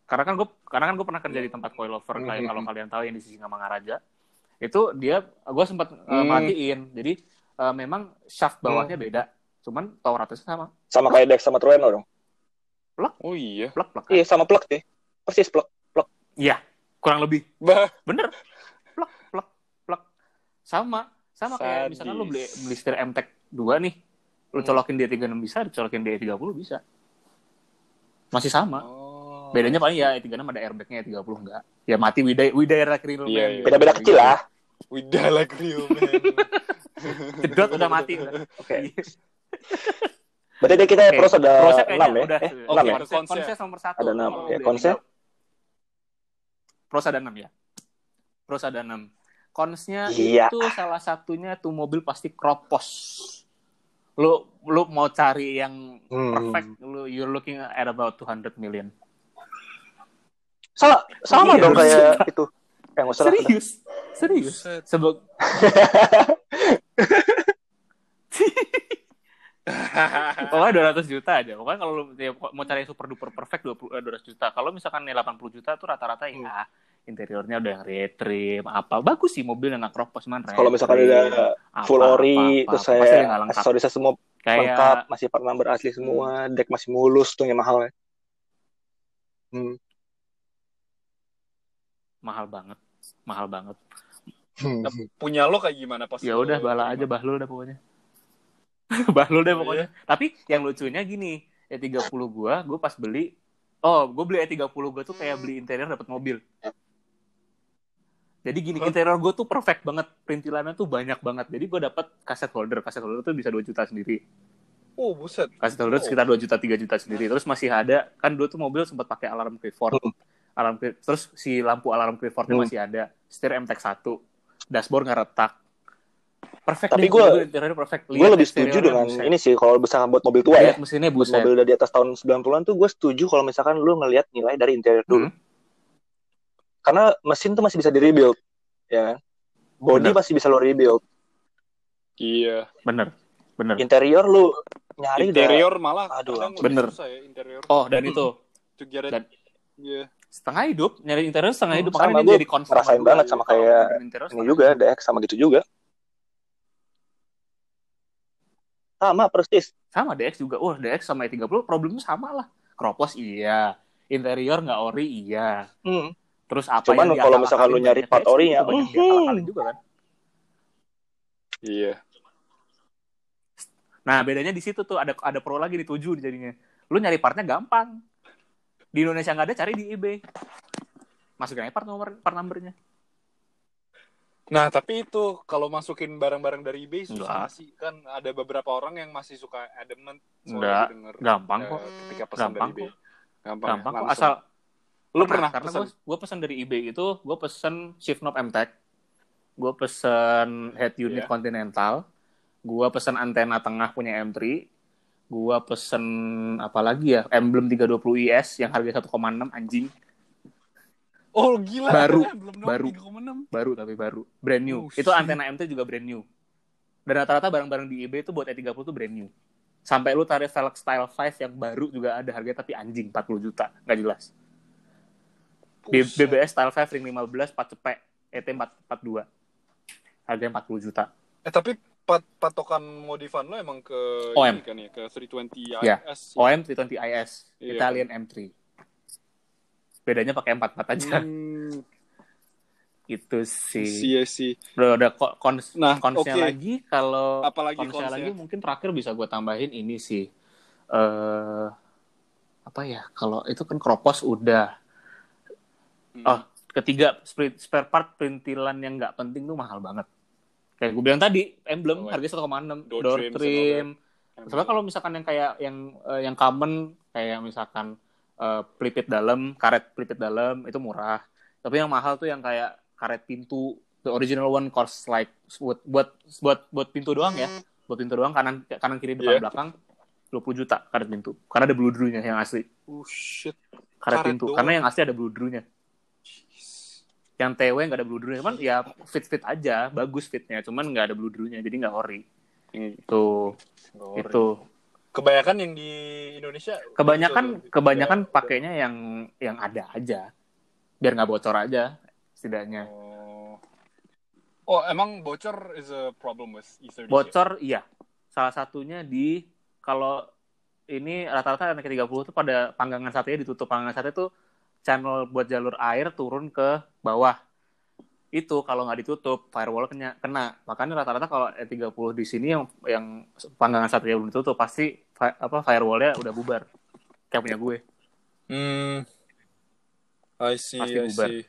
S3: karena kan gue karena kan gue pernah kerja
S1: Iya.
S3: di tempat coilover kayak
S5: Mhm.
S3: kalau kalian tahu yang di sisi Mangaraja itu dia gue sempat uh,
S1: Hmm.
S3: merhatiin. jadi uh, memang shaft
S1: Mhm.
S3: bawahnya beda cuman tower atasnya sama
S5: Sama kayak Dex sama Trueno dong?
S1: Oh iya.
S3: plek plek
S5: Iya, sama plug deh. Persis plug.
S3: Iya, kurang lebih.
S1: Bah.
S3: Bener. Plek, plek, plek. Sama. Sama kayak
S1: Sadis. Mhm.
S3: misalkan lu beli, beli setir MTEK 2 nih. Lu colokin D36 bisa, colokin D30 bisa. Masih sama.
S1: Oh.
S3: Bedanya paling ya E36 ada airbagnya, E30 enggak. Ya mati widai, widai era kering lu. gitu.
S1: Iya,
S3: men.
S1: iya.
S5: Beda-beda kecil lah.
S1: Udah lah Grio,
S3: <laughs>
S1: man.
S3: Jedot udah mati. Iya. udah.
S5: Oke. Berarti dia kita
S3: Oke.
S5: Eh, terus ada
S3: Prosnya
S5: 6
S3: kayaknya
S5: ya?
S3: udah.
S5: Eh,
S1: Oke,
S5: enam ya?
S3: konsep,
S1: konsep.
S3: konsep nomor satu.
S5: Ada enam.
S3: Kalau
S5: Oke,
S3: beli
S5: konsep.
S3: E30. Pros ada 6 ya? Pros ada 6. Konsnya
S5: Iya.
S3: itu salah satunya tuh mobil pasti kropos. Lu lu mau cari yang
S5: Hmm.
S3: perfect, lu you're looking at about 200 million.
S5: Salah, sama
S3: Iya,
S5: dong
S3: harus
S5: kayak itu. Eh, nggak usah lah.
S3: Serius? Serius?
S1: Buset.
S3: <laughs> Sebab Pokoknya 200 juta aja. Pokoknya kalau lu ya, mau cari yang super duper perfect 20 eh, 200 juta. Kalau misalkan nilai 80 juta tuh rata-rata ya interiornya udah yang retrim apa. Bagus sih mobil yang akropos man.
S5: Kalau misalkan
S3: Iya.
S5: ada full ori, terus saya aksesorisnya semua lengkap,
S3: kayak
S5: masih part number asli semua, deck masih mulus tuh yang mahal ya. Hmm.
S3: mahal banget. Mahal banget.
S1: Punya lo kayak gimana pas? Iya.
S3: Ya
S1: lo-
S3: udah bala aja bahlul dah <laughs> pokoknya. bahlul deh pokoknya. Tapi yang lucunya gini, E30 gua, gua pas beli Oh, gue beli E30 gua tuh kayak beli interior dapat mobil. Jadi gini,
S1: Hah?
S3: interior gue tuh perfect banget. Perintilannya tuh banyak banget. Jadi gue dapat kaset holder. Kaset holder tuh bisa 2 juta sendiri.
S1: Oh buset.
S3: Kaset
S1: Oh.
S3: holder sekitar 2 juta, 3 juta sendiri. Terus masih ada, kan dulu tuh mobil sempat pakai alarm Clifford. Alarm Cliff- terus si lampu alarm Cliffordnya
S5: Hmm.
S3: masih ada. Setir MTEK 1. Dashboard nggak retak. Perfect
S5: Tapi
S3: deh,
S5: gua-
S3: mobil interiornya perfect.
S5: Gue lebih setuju
S3: eksteriornya
S5: dengan
S3: buset.
S5: ini sih, kalau misalkan buat mobil tua ya,
S3: Lihat mesinnya
S5: buat
S1: Iya.
S3: buset.
S5: mobil dari atas tahun 90-an tuh gue setuju kalau misalkan lu ngelihat nilai dari interior dulu.
S1: Hmm.
S5: Karena mesin tuh masih bisa di-rebuild, ya kan? Body
S3: Bener.
S5: masih bisa lo rebuild.
S1: Iya.
S3: Bener. Bener.
S5: Interior lu nyari dari
S1: Interior malah.
S5: Aduh,
S1: kadang
S3: bener.
S1: lebih Susah ya interior.
S3: Oh, dan itu.
S1: To get it.
S3: Dan-
S1: Iya.
S3: setengah hidup nyari interior setengah
S5: Hmm,
S3: hidup
S5: sama,
S3: makanya dia
S5: gua
S3: jadi concern
S5: ngerasain
S3: gua.
S5: banget sama
S3: Kalau
S5: kayak
S3: bikin interior
S5: ini
S3: setengah
S5: juga,
S3: hidup.
S5: deck sama gitu juga. Sama persis.
S3: sama DX juga wah DX sama E E30 problemnya sama lah kropos iya interior nggak ori iya
S5: Hmm.
S3: Terus apa
S5: Cuman
S3: yang
S5: kalau
S3: diakal-akalin
S5: misalkan lu nyari
S3: banyak
S5: part
S3: ya,
S5: ori
S3: itu
S5: ya,
S3: banyak
S5: mhm.
S3: diakal-akalin juga kan.
S1: Iya.
S3: Nah, bedanya di situ tuh ada ada pro lagi di tujuh jadinya. Lu nyari partnya gampang. Di Indonesia nggak ada, cari di eBay. Masukin aja part nomor part numbernya.
S1: Nah, tapi itu kalau masukin barang-barang dari eBay susah
S3: Enggak.
S1: sih kan ada beberapa orang yang masih suka adamant
S3: Enggak.
S1: soalnya denger
S3: Gampang
S1: eh,
S3: kok.
S1: ketika pesan dari
S3: Gampang
S1: eBay. Gampang.
S3: Gampang
S1: ya?
S3: kok
S1: Langsung.
S3: asal
S1: lu pernah,
S3: karena
S1: pesan?
S3: gue gue pesen dari eBay itu gue pesen shift knob MTech gue pesen head
S1: Iya.
S3: unit continental gue pesen antena tengah punya M3 gue pesen apa lagi ya emblem 320 IS yang harga 1,6 anjing
S1: Oh, gila.
S3: Baru,
S1: padahal belum nol,
S3: baru.
S1: 3,6.
S3: baru tapi baru brand new
S1: Oh,
S3: itu
S1: shit.
S3: antena MT juga brand new dan rata-rata barang-barang di eBay itu buat E30 tuh brand new sampai lu tarik Felix Style 5 yang baru juga ada harganya tapi anjing 40 juta nggak jelas B-
S1: Buset.
S3: BBS Style 5 ring 15 4 cepek ET 442 harganya 40 juta
S1: Eh tapi pat- patokan modifan lo emang ke
S3: OM.
S1: ini kan ya ke 320
S3: Iya.
S1: IS.
S3: OM 320 IS
S1: Iya.
S3: Italian M3 bedanya pakai 44 aja <laughs>
S1: Hmm,
S3: itu sih
S1: iya sih.
S3: udah udah ko- cons
S1: Nah,
S3: consnya
S1: oke.
S3: lagi kalau
S1: Apalagi
S3: konsel
S1: konsnya?
S3: lagi mungkin terakhir bisa gue tambahin ini sih eh apa ya kalau itu kan kropos udah
S1: Hmm.
S3: oh ketiga spri- spare part perintilan yang nggak penting tuh mahal banget kayak gue bilang tadi
S1: Oh,
S3: emblem harga 1,6
S1: Door
S3: door,
S1: trims and all
S3: trim
S1: Emang.
S3: Sebenarnya kalau misalkan yang kayak yang eh, yang common kayak misalkan eh, pelipit dalam, karet pelipit dalam itu murah. Tapi yang mahal tuh yang kayak karet pintu the original one cost like buat buat buat buat pintu doang
S1: Hmm.
S3: ya. Buat pintu doang kanan kanan kiri depan
S1: Iya.
S3: belakang 20 juta karet pintu. Karena ada bludrunya yang asli.
S1: oh shit.
S3: Karet,
S1: Karet
S3: pintu.
S1: doang.
S3: Karena yang asli ada bludrunya.
S1: Jeez.
S3: Yang TW nggak ada bludrunya, cuman ya fit-fit aja, bagus fitnya, cuman nggak ada bludrunya, jadi nggak ori.
S1: Yang-
S3: Tuh,
S1: Itu.
S3: itu.
S1: Kebanyakan yang di Indonesia
S3: kebanyakan
S1: Udah-
S3: kebanyakan
S1: udah-
S3: pakainya yang yang ada aja biar nggak bocor aja setidaknya
S1: Oh. Oh, emang bocor is a problem with E E30.
S3: bocor iya salah satunya di kalau ini rata-rata anak 30 tuh pada panggangan satenya ditutup panggangan sate tuh channel buat jalur air turun ke bawah itu kalau nggak ditutup firewall kena, kena. makanya rata-rata kalau E30 di sini yang yang panggangan satenya belum ditutup pasti fi- apa firewallnya udah bubar kayak punya gue
S1: Hmm. I see,
S3: Pasti
S1: I
S3: bubar.
S1: see.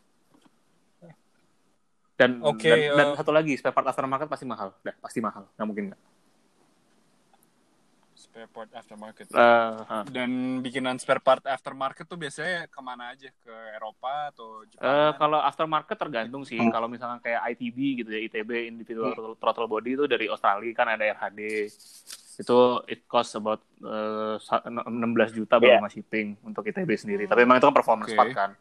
S3: dan
S1: Oke,
S3: dan, dan
S1: eh.
S3: satu lagi spare part aftermarket pasti mahal dah pasti mahal nggak mungkin nggak
S1: Spare part aftermarket.
S3: Eh,
S1: Dan bikinan spare part aftermarket tuh biasanya ya kemana aja? Ke Eropa atau
S3: eh,
S1: Jepang?
S3: kalau aftermarket tergantung sih kalau misalnya kayak ITB gitu ya ITB individual throttle- throttle body itu dari Australia kan ada RHD itu it cost about eh, sa- 16 juta baru
S5: Iya.
S3: sama shipping untuk ITB sendiri tapi memang itu kan performance
S1: Oke.
S3: part kan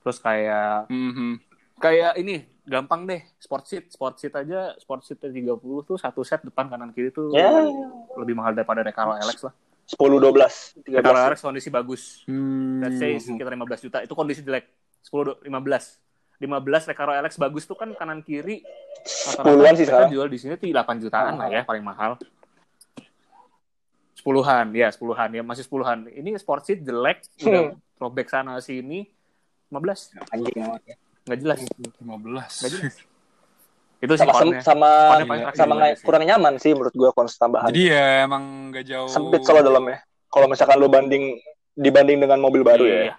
S3: terus kayak
S1: Mhm.
S3: kayak ini gampang deh sport seat sport seat aja sport seat 30 tuh satu set depan kanan kiri tuh
S5: Ya.
S3: lebih mahal daripada Recaro LX lah
S5: 10 12
S3: Recaro
S5: 13.
S3: LX kondisi bagus Let's say
S5: Hmm.
S3: sekitar 15 juta itu kondisi jelek. 10 do- 15. 15 Recaro LX bagus tuh kan kanan kiri
S5: 10-an sih
S3: mereka
S5: sekarang.
S3: jual di sini tuh 8 jutaan lah ya paling mahal. 10-an, ya 10-an ya masih 10-an. Ini sport seat jelek
S5: Hmm.
S3: udah throwback sana sini 15.
S5: Anjing amat ya.
S3: Nggak jelas.
S1: 15.
S3: Nggak
S1: <laughs>
S3: jelas. Itu sih
S5: Sama
S3: kornya.
S5: sama
S3: Kornya paling ya? terakhir
S5: sama
S3: juga
S5: nggak-
S3: sih.
S5: kurang nyaman sih menurut gua kons tambahan.
S1: Iya. Jadi ya emang nggak jauh.
S5: Sempit soalnya dalamnya. Kalau misalkan lu banding dibanding dengan mobil baru ya.
S3: Iya,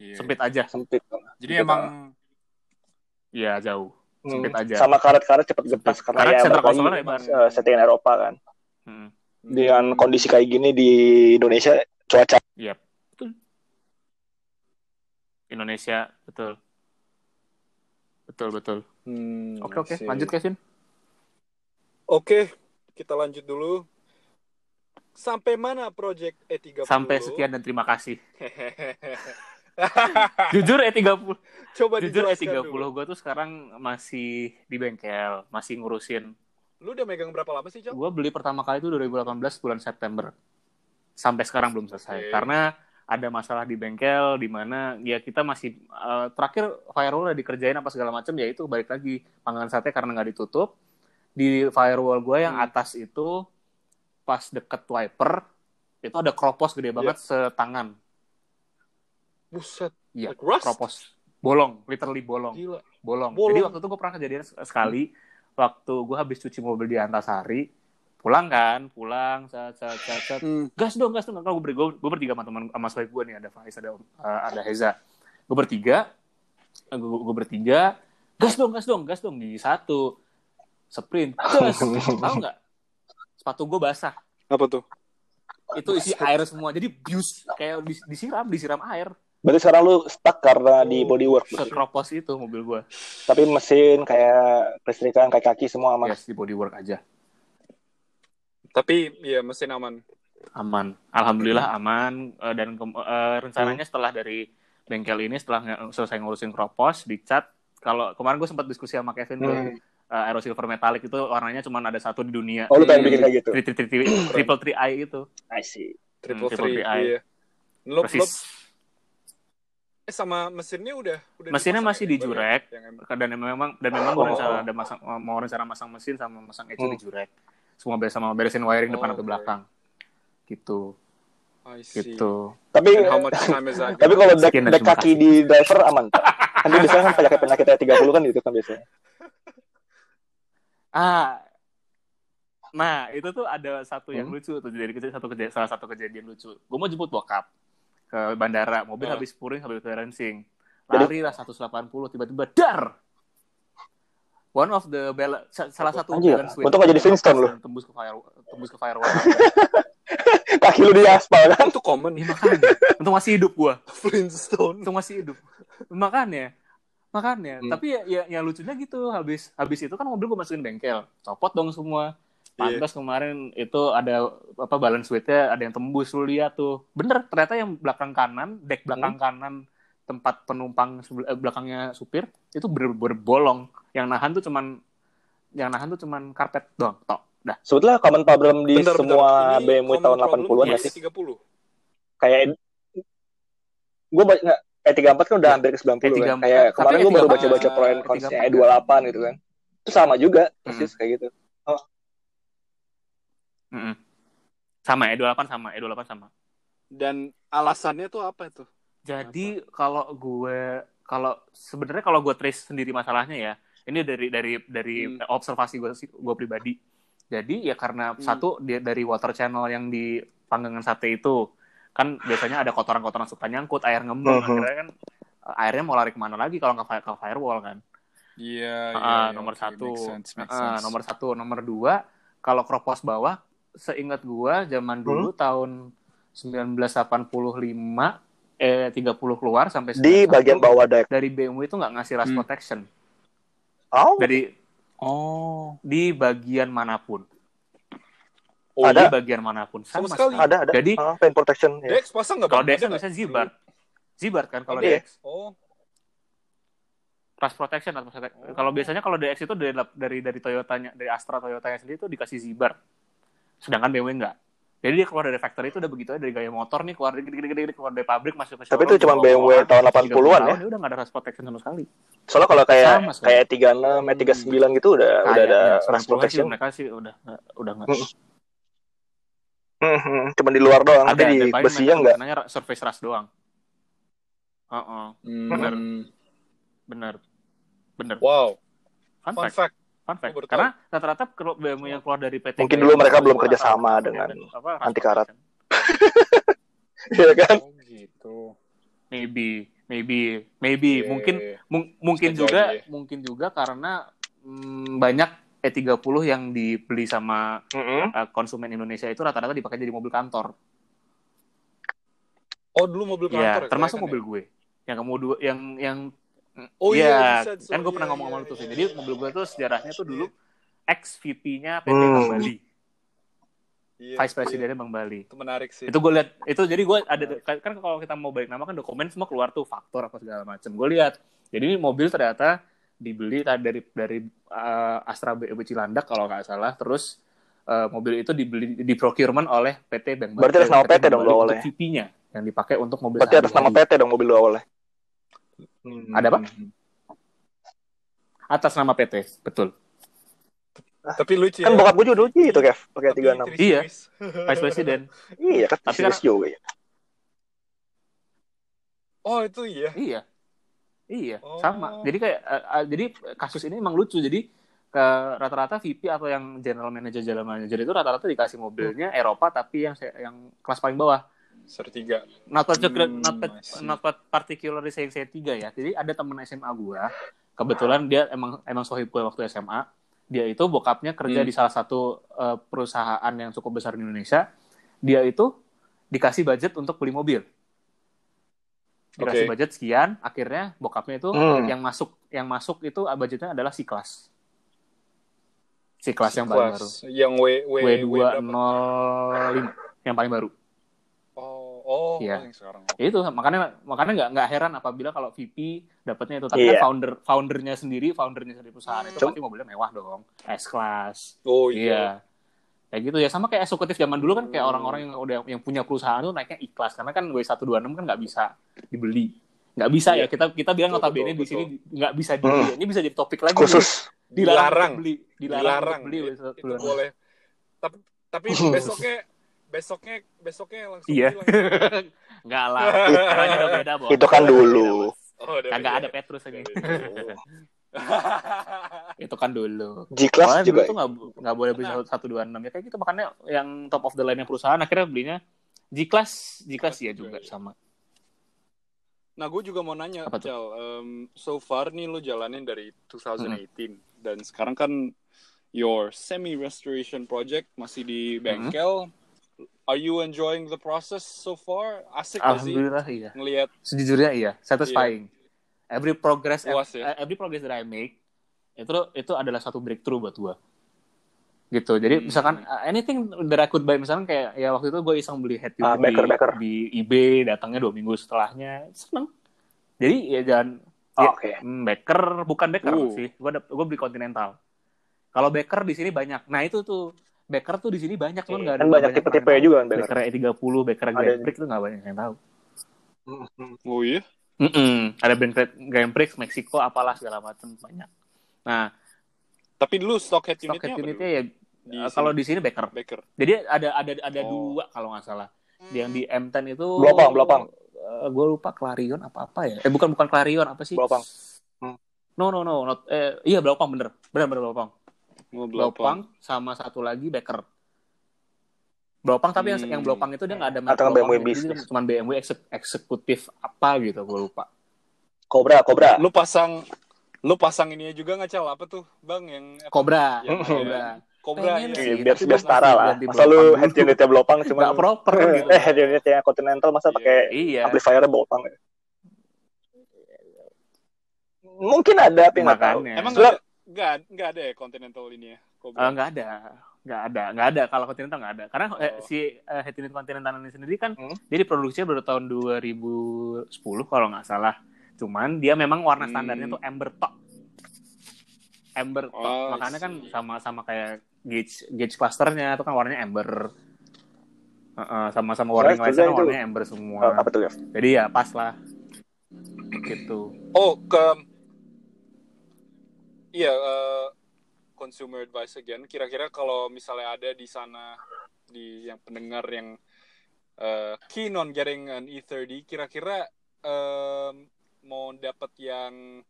S1: Iya.
S3: sempit aja.
S5: Sempit.
S1: Jadi
S5: Sempit,
S1: emang
S3: Iya, jauh. Sempit aja.
S5: Hmm. Sama karet-karet cepet
S3: Sempit.
S5: getas karena
S3: Karet
S5: ya
S3: center
S5: balik lagi,
S3: konsolnya lebar.
S5: eh, settingan Eropa kan.
S3: Heeh.
S5: Dengan kondisi kayak gini di Indonesia cuaca
S3: Yap. Betul. Indonesia, betul. Betul, betul.
S1: Hmm,
S3: Oke, oke.
S1: I see.
S3: Lanjut, Kevin.
S1: Oke, kita lanjut dulu. Sampai mana project E E30?
S3: Sampai
S1: lo?
S3: sekian dan terima kasih. Jujur E30,
S1: <laughs> Coba
S3: jujur eh, E
S1: dijelaskan
S3: E30
S1: dulu.
S3: gue tuh sekarang masih di bengkel, masih ngurusin.
S1: Lu udah megang berapa lama sih, Cok?
S3: Gue beli pertama kali itu 2018 bulan September. Sampai sekarang belum
S1: Oke.
S3: selesai. Karena ada masalah di bengkel di mana ya kita masih eh, terakhir firewall dikerjain apa segala macam ya itu balik lagi panggangan sate karena nggak ditutup di firewall gue yang
S1: Hmm.
S3: atas itu pas deket wiper itu
S1: Iya.
S3: ada kropos gede banget setangan
S1: Buset.
S3: Iya,
S1: Like rust?
S3: kropos bolong literally bolong
S1: Gila.
S3: bolong.
S5: Bolong.
S3: Jadi waktu itu gue pernah kejadian se- sekali waktu gue habis cuci mobil di Antasari, pulang kan, pulang, set, set, set, set. gas dong, gas dong. Kalau gue, ber- gue bertiga sama teman sama sebaik gue nih ada Faiz, ada Om- eh, ada Heza. Gue bertiga, eh, gue, gue bertiga, gas dong, gas dong, gas dong di satu sprint, gas, tahu nggak? Sepatu gue basah,
S1: Apa tuh?
S3: itu isi air semua, jadi bius kayak dis- disiram, disiram air,
S5: Berarti sekarang lu stuck karena di bodywork.
S3: sekropos itu mobil gue,
S5: Tapi mesin kayak listrikan kayak kaki semua aman.
S3: yes di bodywork aja.
S1: Tapi ya mesin aman.
S3: aman alhamdulillah aman Eh, dan ke- eh, rencananya setelah dari bengkel ini setelah nge- selesai ngurusin kropos dicat kalau kemarin gue sempat diskusi sama Kevin
S5: Hmm.
S3: tuh eh, aero silver metallic itu warnanya cuma ada satu di dunia
S5: Oh lu
S1: Hmm.
S5: pengen bikin kayak gitu.
S3: Tri- tri- tri- tri- triple three Iya. i itu
S5: I see.
S1: Triple
S3: Hmm,
S1: three.
S3: triple three,
S1: Iya. Lo, lo
S3: persis
S1: eh, sama mesinnya udah, udah
S3: Mesinnya
S1: dipasang
S3: masih
S1: ya?
S3: di
S1: Gua liat
S3: jurek.
S1: yang em-
S3: dan memang dan memang gue
S5: Oh.
S3: rencana ada masang mau rencana masang mesin sama masang ECU
S5: Hmm.
S3: di jurek semua beres sama beresin wiring
S1: Oh,
S3: depan atau
S1: oke.
S3: belakang gitu
S1: oh, I see.
S3: gitu
S5: Tapi
S1: And how much time is that?
S5: tapi kalau dek,
S3: Sekian dan
S5: dek
S3: terima
S5: kaki
S3: kasih.
S5: di driver aman. Pak. Kan dia biasanya kan penyakit penyakitnya 30 kan gitu kan biasanya.
S3: Ah, nah itu tuh ada satu yang
S5: Hmm?
S3: lucu tuh dari kejadian satu kejadian salah satu kejadian lucu. Gue mau jemput bokap ke bandara, mobil
S1: Ah.
S3: habis puring habis clearancing,
S5: Hmm. Jadi-
S3: lari lah 180 tiba-tiba dar. One of the bala- sa- salah satu
S5: Anjir,
S3: balance
S5: untung nggak jadi Flintstone lu.
S3: Tembus ke fire tembus ke firewall.
S5: <laughs> Kaki lu di aspal kan.
S1: Itu common ya.
S5: <laughs>
S3: Ih, makanya. Untung masih hidup gua.
S1: Flintstone.
S3: Untung masih hidup. Makanya makanya
S1: Hmm.
S3: tapi ya, ya yang lucunya gitu habis habis itu kan mobil gue masukin bengkel copot dong semua
S1: Iya.
S3: Pantas kemarin itu ada apa balance weight-nya ada yang tembus lu lihat tuh. Bener ternyata yang belakang kanan, dek belakang
S1: Hmm.
S3: kanan tempat penumpang sebel- eh, belakangnya supir itu bener berbolong. Yang nahan tuh cuman yang nahan tuh cuman karpet doang tok. Dah.
S5: Sebetulnya common problem di
S1: Bentar, bentar.
S5: semua
S1: Iya, Ini
S5: BMW
S1: common
S5: tahun
S1: problem ya,
S5: 80-an
S1: di
S5: nggak sih?
S1: E30.
S5: Kayak gue baca nggak E34 kan
S3: Iya.
S5: udah hampir ke 90 kan.
S3: E34,
S5: Kayak
S3: tapi
S5: kemarin gue baru
S3: E34,
S5: baca-baca pro and cons-nya E28 gitu kan. Itu sama juga
S3: Hmm.
S5: persis kayak gitu.
S3: Mm-mm. Sama E28 sama E28 sama.
S1: Dan alasannya tuh apa itu?
S3: Jadi kalau gue kalau sebenarnya kalau gue trace sendiri masalahnya ya, ini dari dari dari
S1: Hmm.
S3: observasi gue sih- gue pribadi. Jadi ya karena
S1: Hmm.
S3: satu dia dari water channel yang di panggangan sate itu kan biasanya ada kotoran-kotoran suka nyangkut air ngembang
S5: Uh-huh.
S4: Mhm.
S3: akhirnya kan eh, airnya mau lari kemana lagi kalau nggak fi- ke firewall kan.
S1: Iya,
S3: Ah, nomor satu, Ah, nomor satu, nomor dua. Kalau kropos bawah, seingat gua zaman
S5: Hmm?
S3: dulu tahun 1985 eh 30 keluar sampai
S5: Di
S3: 91,
S5: bagian bawah dek.
S3: dari BMW itu nggak ngasih rust
S1: Hmm.
S3: protection.
S5: Oh,
S3: Jadi
S1: Oh.
S3: di bagian manapun,
S1: Oh,
S3: di
S5: Ada.
S3: bagian manapun sama,
S1: Sama sekali.
S3: sekali.
S5: ada ada.
S3: Jadi-
S5: Ah, paint protection ya.
S1: Dex pasang nggak?
S3: Kalau
S1: Bang?
S3: Dex
S1: Ada
S3: biasanya
S1: nggak?
S3: Zibart, Zibart kan kalau
S5: Iya.
S3: Dex
S1: Oh,
S3: rust protection atau protection. Kalau biasanya kalau DX itu dari dari dari Toyotanya, dari Astra Toyotanya sendiri itu dikasih Zibart. Sedangkan BMW enggak. Jadi dia keluar dari factory itu udah begitu aja dari gaya motor nih keluar gede-gede keluar dari pabrik masuk ke
S5: Tapi
S3: showroom,
S5: itu cuma
S3: dibawa
S5: BMW
S3: orang,
S5: tahun
S3: 30
S5: 80-an ya?
S3: tahun, Dia udah nggak ada rust protection sama sekali.
S5: Soalnya kalau kayak
S3: Sama, Hmm. sama.
S5: kayak 36, eh, 39 gitu udah udah ada
S3: Kayaknya,
S5: rust
S3: 90-an sih
S5: protection.
S3: mereka sih udah nggak- udah nggak.
S5: Hmm, hmm, cuma di luar doang,
S3: Ada,
S5: tapi di ya
S3: dan paling mereka
S5: besinya
S3: cuma
S5: enggak. <laughs>
S3: kenanya surface rust doang. Heeh,
S1: hmm.
S3: Bener. bener. Bener.
S1: Wow,
S3: Fun
S1: fun
S3: fact.
S1: fact.
S3: Fun fact.
S1: Gua baru tahu.
S3: Karena rata-rata kalau BMW yang keluar dari PT
S5: Mungkin
S3: Gaya
S5: dulu mereka
S3: itu
S5: belum
S3: rata-rata
S5: kerjasama
S3: rasa
S5: dengan
S3: dan apa, rasa
S5: anti karat.
S3: protection.
S5: Iya kan?
S1: Oh gitu.
S3: Maybe, maybe, maybe.
S1: Iya,
S3: Mungkin,
S1: iya, iya.
S3: mung- mungkin
S1: Bisa
S3: juga,
S1: jadi.
S3: mungkin juga karena mm, banyak E30 yang dibeli sama
S5: Mm-mm.
S3: uh, konsumen Indonesia itu rata-rata dipakai jadi mobil kantor.
S1: Oh dulu mobil kan kantor.
S3: Iya, termasuk
S1: kayaknya.
S3: mobil gue. Yang kemudian, yang, yang,
S1: Oh iya,
S3: Iya,
S1: bisa, so-
S3: kan gue pernah
S1: iya,
S3: ngomong sama
S1: iya,
S3: lu tuh.
S1: iya,
S3: Jadi
S1: iya.
S3: mobil gue tuh sejarahnya tuh dulu ex VP-nya PT
S5: Hmm.
S3: Bank Bali,
S1: Iya,
S3: Vice
S1: iya.
S3: Presidennya Bank Bali.
S1: Itu menarik sih.
S3: itu gue lihat itu jadi gue ada
S1: Iya.
S3: kan kan kalau kita mau balik nama kan dokumen semua keluar tuh faktor apa segala macam gue lihat jadi ini mobil ternyata dibeli tadi dari dari eh, Astra BEB Cilandak kalau nggak salah terus eh, mobil itu dibeli di procurement oleh PT Bank
S5: Berarti atas nama PT dong lu awalnya?
S3: nya yang dipakai untuk mobil
S5: Berarti atas nama
S3: sehari-hari.
S5: PT dong mobil lu awalnya.
S3: ada apa? atas nama PT betul
S1: Tapi lucu
S5: Kan
S1: ya.
S5: bokap gue juga dulu gitu, Kev. Pakai
S1: Tapi
S5: 36.
S1: Chris
S3: Iya.
S1: Lewis.
S3: Vice President
S5: Iya, kan
S3: Tapi
S5: serius juga ya.
S1: Oh itu iya.
S3: iya Iya,
S1: Oh.
S3: sama. Jadi kayak eh, eh, jadi kasus ini emang lucu. Jadi eh, rata-rata VP atau yang general manager general manager itu rata-rata dikasih mobilnya Eropa tapi yang se- yang kelas paling bawah.
S1: Sertiga.
S3: Not particular,
S1: Hmm,
S3: not,
S1: I
S3: pat-
S1: see.
S3: not pat- particularly saya saya tiga ya. Jadi ada teman SMA gua, kebetulan dia emang emang sohib gue waktu SMA. Dia itu bokapnya kerja
S1: Hmm.
S3: di salah satu eh, perusahaan yang cukup besar di Indonesia. Dia itu dikasih budget untuk beli mobil. Dikasih
S1: Oke.
S3: budget sekian, akhirnya bokapnya itu
S5: Hmm.
S3: yang masuk yang masuk itu ah, budgetnya adalah si kelas. Si kelas yang paling baru.
S1: Kelas yang W W W berapa?
S3: W205 yang paling baru.
S1: Oh, oh,
S3: Iya.
S1: oh, yang sekarang.
S3: Ya itu makanya makanya nggak nggak heran apabila kalau VP dapatnya itu tapi
S5: Iya.
S3: kan founder foundernya sendiri foundernya sendiri perusahaan itu
S5: Cuma-
S3: pasti mobilnya mewah dong S class
S1: Oh iya. Hmm.
S3: iya kayak gitu ya sama kayak eksekutif zaman dulu kan kayak orang-orang yang udah yang punya perusahaan tuh naiknya ikhlas karena kan W126 kan nggak bisa dibeli nggak bisa
S1: Iya.
S3: ya kita kita bilang
S1: Betul,
S3: notabene
S1: betul, Hmm.
S3: di sini nggak bisa dibeli ini bisa jadi topik lagi
S5: khusus
S3: nih.
S1: Dilarang.
S3: untuk beli dilarang,
S1: Dilarang. Iya.
S3: untuk beli
S1: Itu
S3: W126.
S1: boleh. Tapi
S3: <laughs>
S1: tapi besoknya besoknya besoknya langsung
S3: iya
S1: hilang.
S3: nggak lah caranya udah beda bos
S5: itu kan dulu
S1: Oh, udah
S3: kagak
S1: beda.
S3: ada Petrus ini
S1: Udah
S5: <laughs>
S3: itu kan dulu
S5: G
S3: Soalnya
S5: class
S3: dulu
S5: juga
S3: tuh nggak nggak boleh beli satu satu dua enam ya kayak gitu makanya yang top of the line yang perusahaan akhirnya belinya G class G class ya
S1: Iya,
S3: juga sama
S1: Nah, gue juga mau nanya,
S3: Apa tuh? Hmm.
S1: Cal. Em, so far nih lo jalanin dari 2018 dan sekarang kan your semi restoration project masih di
S3: Hmm.
S1: bengkel. Are you enjoying the process so far? Asik gak sih
S3: alhamdulillah iya
S1: ngelihat
S3: sejujurnya iya satisfying
S1: Iya.
S3: every progress eh,
S1: Puas ya?
S3: every progress that I make itu itu adalah satu breakthrough buat gua gitu jadi
S1: Hmm.
S3: misalkan uh, anything that I could buy misalkan kayak ya waktu itu gue iseng beli head unit
S5: Ah,
S3: di,
S5: backer, backer.
S3: di eBay datangnya dua minggu setelahnya seneng jadi ya jangan
S5: Oh,
S3: ya,
S5: oke.
S3: hmm, backer bukan backer
S1: Uh.
S3: sih gue gue beli continental kalau backer di sini banyak nah itu tuh backer tuh di sini banyak cuman nggak ada
S5: kan banyak tipe-tipe
S3: orang yang
S5: juga kan
S3: tahu. E
S5: Becker.
S3: backer E30 backer
S5: Ada-
S3: Grand Prix tuh nggak banyak yang tahu
S5: Hmm,
S1: Oh iya.
S3: Mm-mm. Ada brand Grand Prix Meksiko apalah segala macam banyak. Nah,
S1: Tapi dulu stock head
S3: stock
S1: unitnya
S3: head
S1: apa
S3: unitnya
S1: dulu?
S3: ya
S1: Di
S3: eh,
S1: sini.
S3: kalau di sini backer.
S1: Baker.
S3: Jadi ada ada ada
S1: Oh.
S3: dua kalau nggak salah. Yang di M10 itu
S5: Blopang, Blopang.
S3: gue lupa Clarion apa apa ya. Eh bukan bukan Clarion apa sih?
S5: Blopang.
S3: No no no, not- eh, iya Blopang bener. Bener bener Blopang.
S1: Mau
S3: Blopang sama satu lagi backer. Blopang tapi yang
S1: Hmm.
S3: yang Blopang itu dia nggak ada
S5: Atau
S3: merek
S5: BMW
S3: Blopang, jadi
S5: bisnis.
S3: Cuman BMW ekse- eksekutif apa gitu gue lupa.
S5: Cobra Cobra
S3: Iya,
S1: Lu pasang lu pasang ininya juga nggak Cal? Apa tuh, Bang? Yang <laughs>
S3: Cobra.
S1: Yang-
S3: Cobra.
S1: Cobra ya.
S3: Pengen sih.
S5: Iya, biar
S3: tapi
S5: biar
S3: lu
S5: setara
S3: masih
S5: lah
S3: ganti
S5: masa
S3: blopang
S5: lu head
S3: dulu.
S5: unitnya blopang
S3: Nggak
S5: cuma
S3: proper gitu.
S5: eh head unitnya continental masa
S1: Iya.
S5: pakai
S3: Iya.
S5: amplifiernya blopang ya? mungkin ada tapi nggak tahu
S3: Makanya.
S1: Emang
S5: Lu-
S1: nggak ada, nggak nggak ada ya Continental ini ya?
S5: Ah,
S3: Eh,
S1: Cobra.
S3: nggak ada, nggak ada, nggak ada. Kalau kontinental nggak ada, karena eh,
S1: Oh.
S3: si eh, head unit kontinental ini sendiri kan
S5: Hmm.
S3: dia diproduksinya baru tahun 2010 kalau nggak salah. Cuman dia memang warna
S1: Hmm.
S3: standarnya tuh amber top, amber top.
S1: Oh, I
S3: Makanya kan
S1: see.
S3: sama-sama kayak gauge gauge clusternya itu kan warnanya amber. Heeh, sama-sama
S5: Soalnya
S3: warning lightsnya kan
S5: itu-
S3: warnanya amber semua.
S1: Oh,
S5: apa tuh ya
S3: Jadi ya pas lah, gitu.
S1: Oh, ke Iya, eh, consumer advice again. Kira-kira kalau misalnya ada di sana di yang pendengar yang eh, keen on getting an E30, kira-kira em, mau dapat yang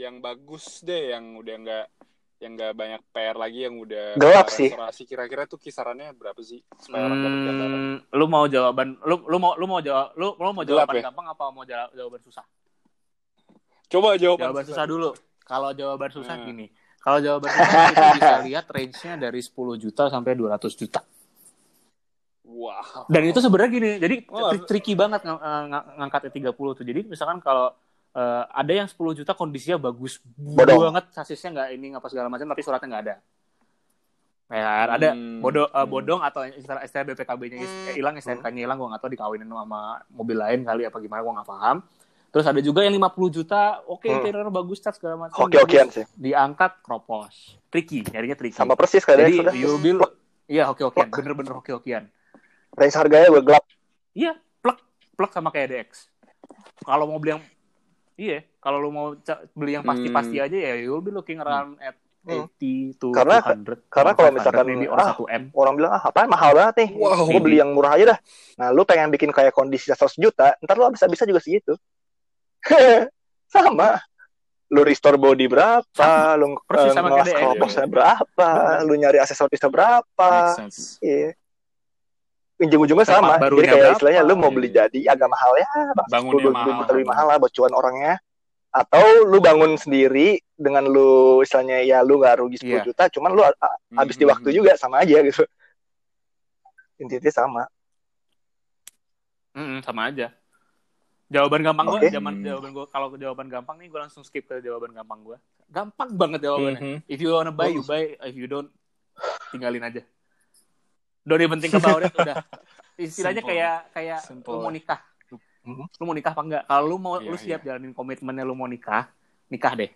S1: yang bagus deh, yang udah nggak yang nggak banyak PR lagi, yang udah
S5: Gelap sih.
S1: restorasi. Kira-kira tuh kisarannya berapa sih? Supaya Nah, orang dapat gambaran.
S3: Hmm, lu mau jawaban, lu lu mau lu mau jawab, lu lu mau
S1: Gelap
S3: jawaban
S1: ya?
S3: gampang apa mau jala- jawaban susah?
S1: Coba jawaban,
S3: Jawaban susah dulu. Kalau jawaban susah
S1: Hmm.
S3: gini. Kalau jawaban susah kita bisa lihat range-nya dari 10 juta sampai 200 juta.
S1: Wow.
S3: Dan itu sebenarnya gini, jadi
S1: Oh,
S3: tri- tricky banget ng- eh, ng- ngangkat E30 tuh. Jadi misalkan kalau eh, ada yang 10 juta kondisinya bagus
S5: Bodong.
S3: banget, sasisnya nggak ini apa segala macam, tapi suratnya nggak ada. Ya, kan? ada
S1: Hmm.
S3: bodo- eh,
S1: Hmm.
S3: bodong atau STR STR BPKB-nya is- eh, hilang, STNK-nya hilang, gue nggak tahu dikawinin sama mobil lain kali apa gimana, gue nggak paham. Terus ada juga yang 50 juta, oke
S5: Hmm.
S3: interior bagus, cat segala macam.
S5: hoki-hokian sih
S3: diangkat kropos. Tricky, nyarinya tricky.
S5: sama persis
S3: Jadi
S5: kali ya sudah
S3: you will iya hoki-hokian, bener-bener hoki-hokian.
S5: range harganya gue gelap
S3: Iya, plug plug sama kayak DX. Kalau mau beli yang iya, kalau lu mau ca- beli yang pasti-pasti aja ya you will be looking around at
S5: Hmm.
S3: 80 to
S5: Karena-
S3: 200.
S5: karena kalau
S3: 500,
S5: misalkan,
S3: maybe or
S5: ah,
S3: 1M.
S5: orang bilang ah apa mahal banget nih
S1: Wow.
S5: gue beli yang murah aja dah nah lu pengen bikin kayak kondisi 100 juta ntar lu bisa bisa juga segitu <laughs> sama lu restore body berapa lu
S3: Persis
S5: eh,
S3: sama
S5: ngelas
S3: kayak
S5: kelopaknya berapa lu nyari aksesorisnya berapa
S2: Make sense.
S5: iya ujung-ujungnya
S3: Tempat
S5: sama
S3: barunya
S5: jadi kayak
S3: berapa?
S5: istilahnya lu mau beli
S3: Iya.
S5: jadi agak mahal ya
S1: bangunnya
S5: sepuluh
S1: mahal.
S5: ribu lebih mahal lah buat cuan orangnya atau lu bangun sendiri dengan lu istilahnya ya lu nggak rugi 10
S3: Iya.
S5: juta cuman lu a- a- habis di
S1: Mhm.
S3: Hmm.
S5: waktu juga sama aja gitu intinya sama
S3: Mm-mm, sama aja. Jawaban gampang gue,
S5: Oke.
S3: zaman
S1: Hmm.
S3: jawaban gue kalau jawaban gampang nih gue langsung skip ke jawaban gampang gue. Gampang banget jawabannya.
S1: Mhm.
S3: If you wanna buy, you buy. If you don't, tinggalin aja. Don't even think about it,
S5: <laughs>
S3: udah. Istilahnya
S1: Simple.
S3: kayak kayak
S1: Simple.
S3: lu mau nikah. Lu,
S5: Mhm.
S3: lu mau nikah apa enggak? Kalau lu mau
S1: Iya,
S3: lu siap jalanin komitmennya lu mau nikah, nikah deh.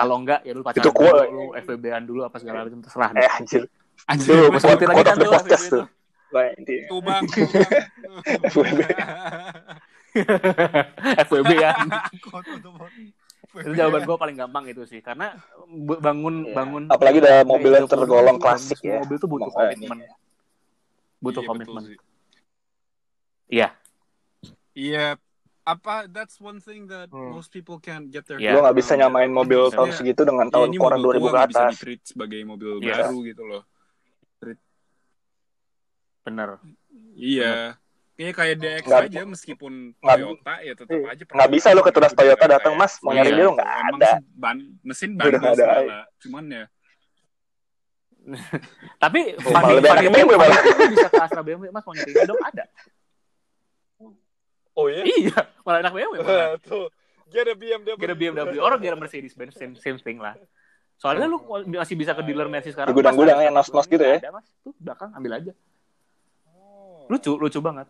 S3: Kalau enggak ya lu
S5: Nah. Itu
S3: pacaran
S5: cool.
S3: dulu, lu FBB-an dulu apa segala macam terserah deh.
S5: <laughs> eh anjir
S3: Anjir,
S5: Itu
S3: gue sebutin lagi
S5: quote
S3: kan
S5: of the
S3: tuh
S5: podcast
S3: FBB itu.
S5: tuh. Wah, intinya.
S1: Tuh gitu, bang.
S5: <laughs>
S3: FBB ya. itu
S1: Itu
S3: jawaban gue paling gampang itu sih karena b- bangun
S5: Iya.
S3: bangun
S5: Apalagi udah mobil
S3: Kayak
S5: yang
S3: jawaban
S5: tergolong
S3: itu,
S5: klasik
S3: bangun
S5: ya.
S3: mobil tuh butuh
S5: Makanya.
S3: komitmen butuh komitmen Iya.
S1: Iya. Apa that's one thing that
S5: Hmm.
S1: most people can't get their
S3: Iya.
S5: Lu nggak bisa nyamain mobil
S1: Iya.
S5: tahun segitu dengan tahun
S1: ini
S5: koran
S1: mobil
S5: 2000
S1: tua
S5: ke
S1: nggak bisa
S5: atas.
S1: di-treat sebagai mobil
S3: Iya.
S1: baru gitu loh.
S3: bener
S1: Iya. Kayaknya kayak DX
S5: Hmm. Nggak-
S1: aja meskipun
S5: nggak-
S1: Toyota ya tetap
S5: Iya.
S1: aja.
S5: Nggak bisa lu ke tunas
S1: Iya,
S5: Toyota datang, Mas, mau
S3: nyari
S5: dia lu nggak
S1: Emang
S5: ada.
S1: mesin ban- mesin
S5: Udah
S1: bandel
S5: nggak ada.
S1: segala. Cuman ya
S3: tapi
S5: Oh, malah lebih enak BMW malah.
S3: lu bisa ke Astra BMW mas mau nyari ini dong ada
S1: Oh iya.
S3: iya malah enak BMW malah.
S1: <laughs> Tuh. Get a BMW.
S3: gara BMW orang gara Mercedes Benz same, same thing lah soalnya lu masih bisa ke dealer Mercedes sekarang
S5: Di gudang-gudang
S3: Mas, ada
S5: yang nos-nos
S3: Astra
S5: gitu ya.
S3: ada mas tuh belakang ambil aja
S1: Oh,
S3: lucu lucu banget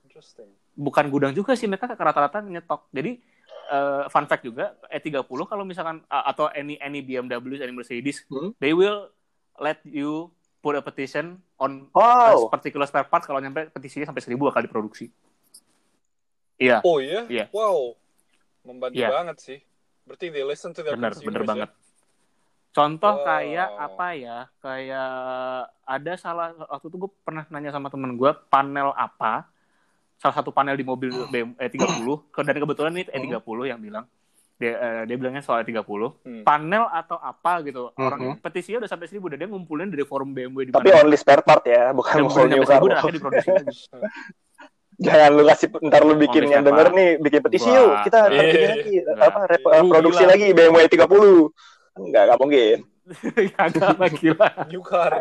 S1: Interesting.
S3: bukan gudang juga sih mereka rata-rata nyetok. Jadi eh, fun fact juga E30 kalau misalkan a- atau any any BMW any Mercedes
S5: Hmm.
S3: they will let you put a petition on a
S1: Oh.
S5: Wow.
S3: particular spare parts kalau nyampe petisinya sampai 1000 bakal diproduksi. Iya,
S1: Oh iya?
S3: Iya.
S1: Wow. Membantu
S3: Iya.
S1: banget sih. Berarti they listen to their
S3: bener
S1: consumers
S3: bener
S1: ya?
S3: banget. Contoh
S1: Wow.
S3: kayak apa ya? Kayak ada salah waktu itu gue pernah nanya sama temen gue panel apa? Salah satu panel di mobil
S1: <clears throat>
S3: BM- E30 ke- dan kebetulan ini E30 yang bilang dia, eh, dia bilangnya soal E30
S1: Oh. Hmm.
S3: panel atau apa gitu orang
S5: Mhm.
S3: petisinya udah sampai seribu udah dia ngumpulin dari forum BMW di
S5: Tapi
S3: mana
S5: only spare part ya, bukan
S3: dia
S5: whole
S3: ngumpulin sampai
S5: new car.
S3: seribu dan akhirnya diproduksi <laughs> lagi.
S5: Jangan lu kasih ntar lu bikin
S3: Only
S5: yang
S3: spare
S5: denger
S3: part.
S5: nih, bikin petisi
S3: Wah.
S5: yuk. Kita
S1: Iya,
S5: ntar bikin
S1: iya,
S5: lagi
S3: Nggak.
S5: apa rep-
S1: Lu
S5: produksi
S1: gila.
S5: lagi BMW 30. Enggak, enggak mungkin.
S3: Kagak lah, Iya, gila
S1: <laughs> New car,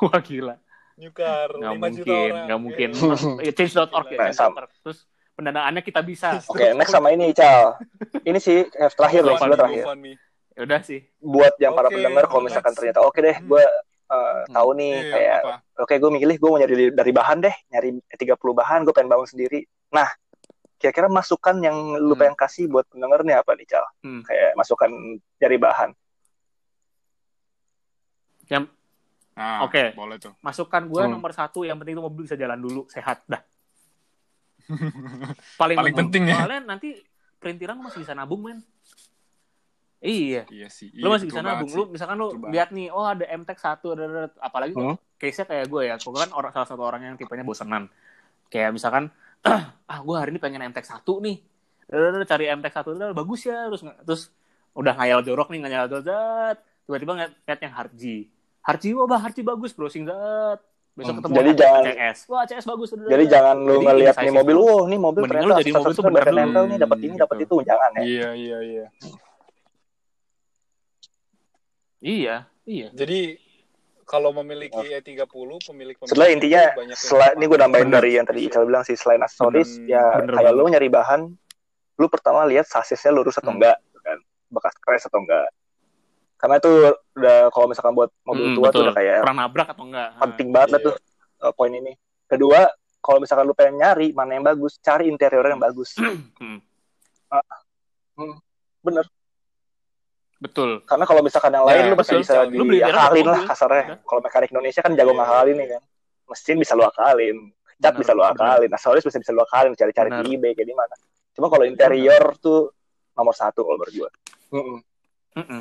S3: wah gila
S1: new car,
S3: nggak
S1: 5 juta
S3: mungkin
S1: orang.
S3: nggak mungkin
S1: Iya.
S3: Ya, change.org ya
S5: Nah, sama.
S3: change.org. terus pendanaannya kita bisa
S5: Oke, next sama ini, Cal. Ini sih eh, terakhir loh, sebelah terakhir.
S1: GoFundMe.
S3: Ya udah sih
S5: Buat yang para
S1: Oke,
S5: pendengar kalau misalkan
S1: next.
S5: ternyata oke deh, gue
S3: Hmm.
S5: tahu nih
S1: Iya,
S5: kayak
S1: apa?
S5: oke gue milih gue mau nyari dari bahan deh nyari 30 bahan gue pengen bangun sendiri nah kira-kira masukan yang lu
S3: Hmm.
S5: pengen kasih buat pendengar nih apa nih Cal
S3: Hmm.
S5: kayak masukan dari bahan
S1: Nah,
S3: Oke.
S1: Boleh tuh.
S3: masukan gue
S5: Hmm.
S3: nomor satu yang penting itu mobil bisa jalan dulu sehat dah paling,
S1: Paling penting ya.
S3: soalnya nanti perintilan lu masih bisa nabung men iya
S1: <laughs> Iya sih.
S3: lu
S1: iya,
S3: masih
S1: betul
S3: bisa
S1: banget
S3: nabung
S1: sih.
S3: lu misalkan lu
S1: Betul banget.
S3: lihat nih oh ada MTech satu ada, ada- ada. apalagi
S5: Hmm.
S3: case nya kayak gue ya gue kan orang salah satu orang yang tipenya bosenan kayak misalkan <clears throat> ah gue hari ini pengen MTech satu nih Ada- ada- ada, cari MTech satu ada, ada, bagus ya terus nge- terus udah ngayal jorok nih ngayal jorok zat. tiba-tiba ngeliat, ngeliat yang Harji Harji wah bah, Harji bagus browsing zat besok
S1: Hmm.
S3: ketemu
S5: Jadi
S3: orang
S5: jangan-
S3: CS wah CS bagus ada- ada-
S5: jadi
S3: ada.
S5: jangan lu
S3: Jadi
S5: ngelihat
S3: indecisive.
S5: nih mobil wow nih mobil
S3: Mending lu
S5: ternyata
S3: jadi mobil tuh
S5: sensor-sensor badan
S3: beneran.
S5: nempel nih dapat ini
S1: Hmm,
S5: dapat itu
S1: gitu.
S5: jangan ya
S1: Iya, iya, iya.
S3: iya iya
S1: Jadi kalau memiliki E30 pemilik pemilik
S5: Iya. setelah intinya selain ini gue nambahin
S3: Bener.
S5: dari yang tadi Ical bilang sih selain aksesoris
S1: Bener.
S5: ya
S3: Bener
S5: kayak
S3: banget.
S5: lu nyari bahan lu pertama lihat sasisnya lurus atau
S3: Hmm.
S5: enggak gitu kan bekas crash atau enggak karena itu udah kalau misalkan buat mobil
S3: Mm,
S5: tua tuh
S3: betul. Nah,
S5: udah kayak
S3: pernah nabrak atau enggak
S5: penting banget lah
S1: Iya.
S5: tuh uh, poin ini. Kedua, kalau misalkan lu pengen nyari mana yang bagus, cari interior yang bagus.
S3: Hmm,
S5: Bener.
S3: betul
S5: Karena kalau misalkan yang
S1: Ya,
S5: lain lu pasti
S1: betul.
S5: bisa
S1: Lu
S3: Iya, beli interior
S5: diakalin
S3: dapet
S5: lah
S3: mobil.
S5: kasarnya.
S3: Udah.
S5: Kalau mekanik Indonesia kan jago
S1: Iya,
S5: ngakalin ya kan. Mesin bisa lu akalin, cat
S3: Bener,
S5: bisa lu akalin, aksesoris bisa bisa lu akalin, cari-cari
S3: Bener.
S5: di eBay kayak gimana. Cuma kalau interior tuh nomor satu kalau menurut gua.
S3: Mm-mm.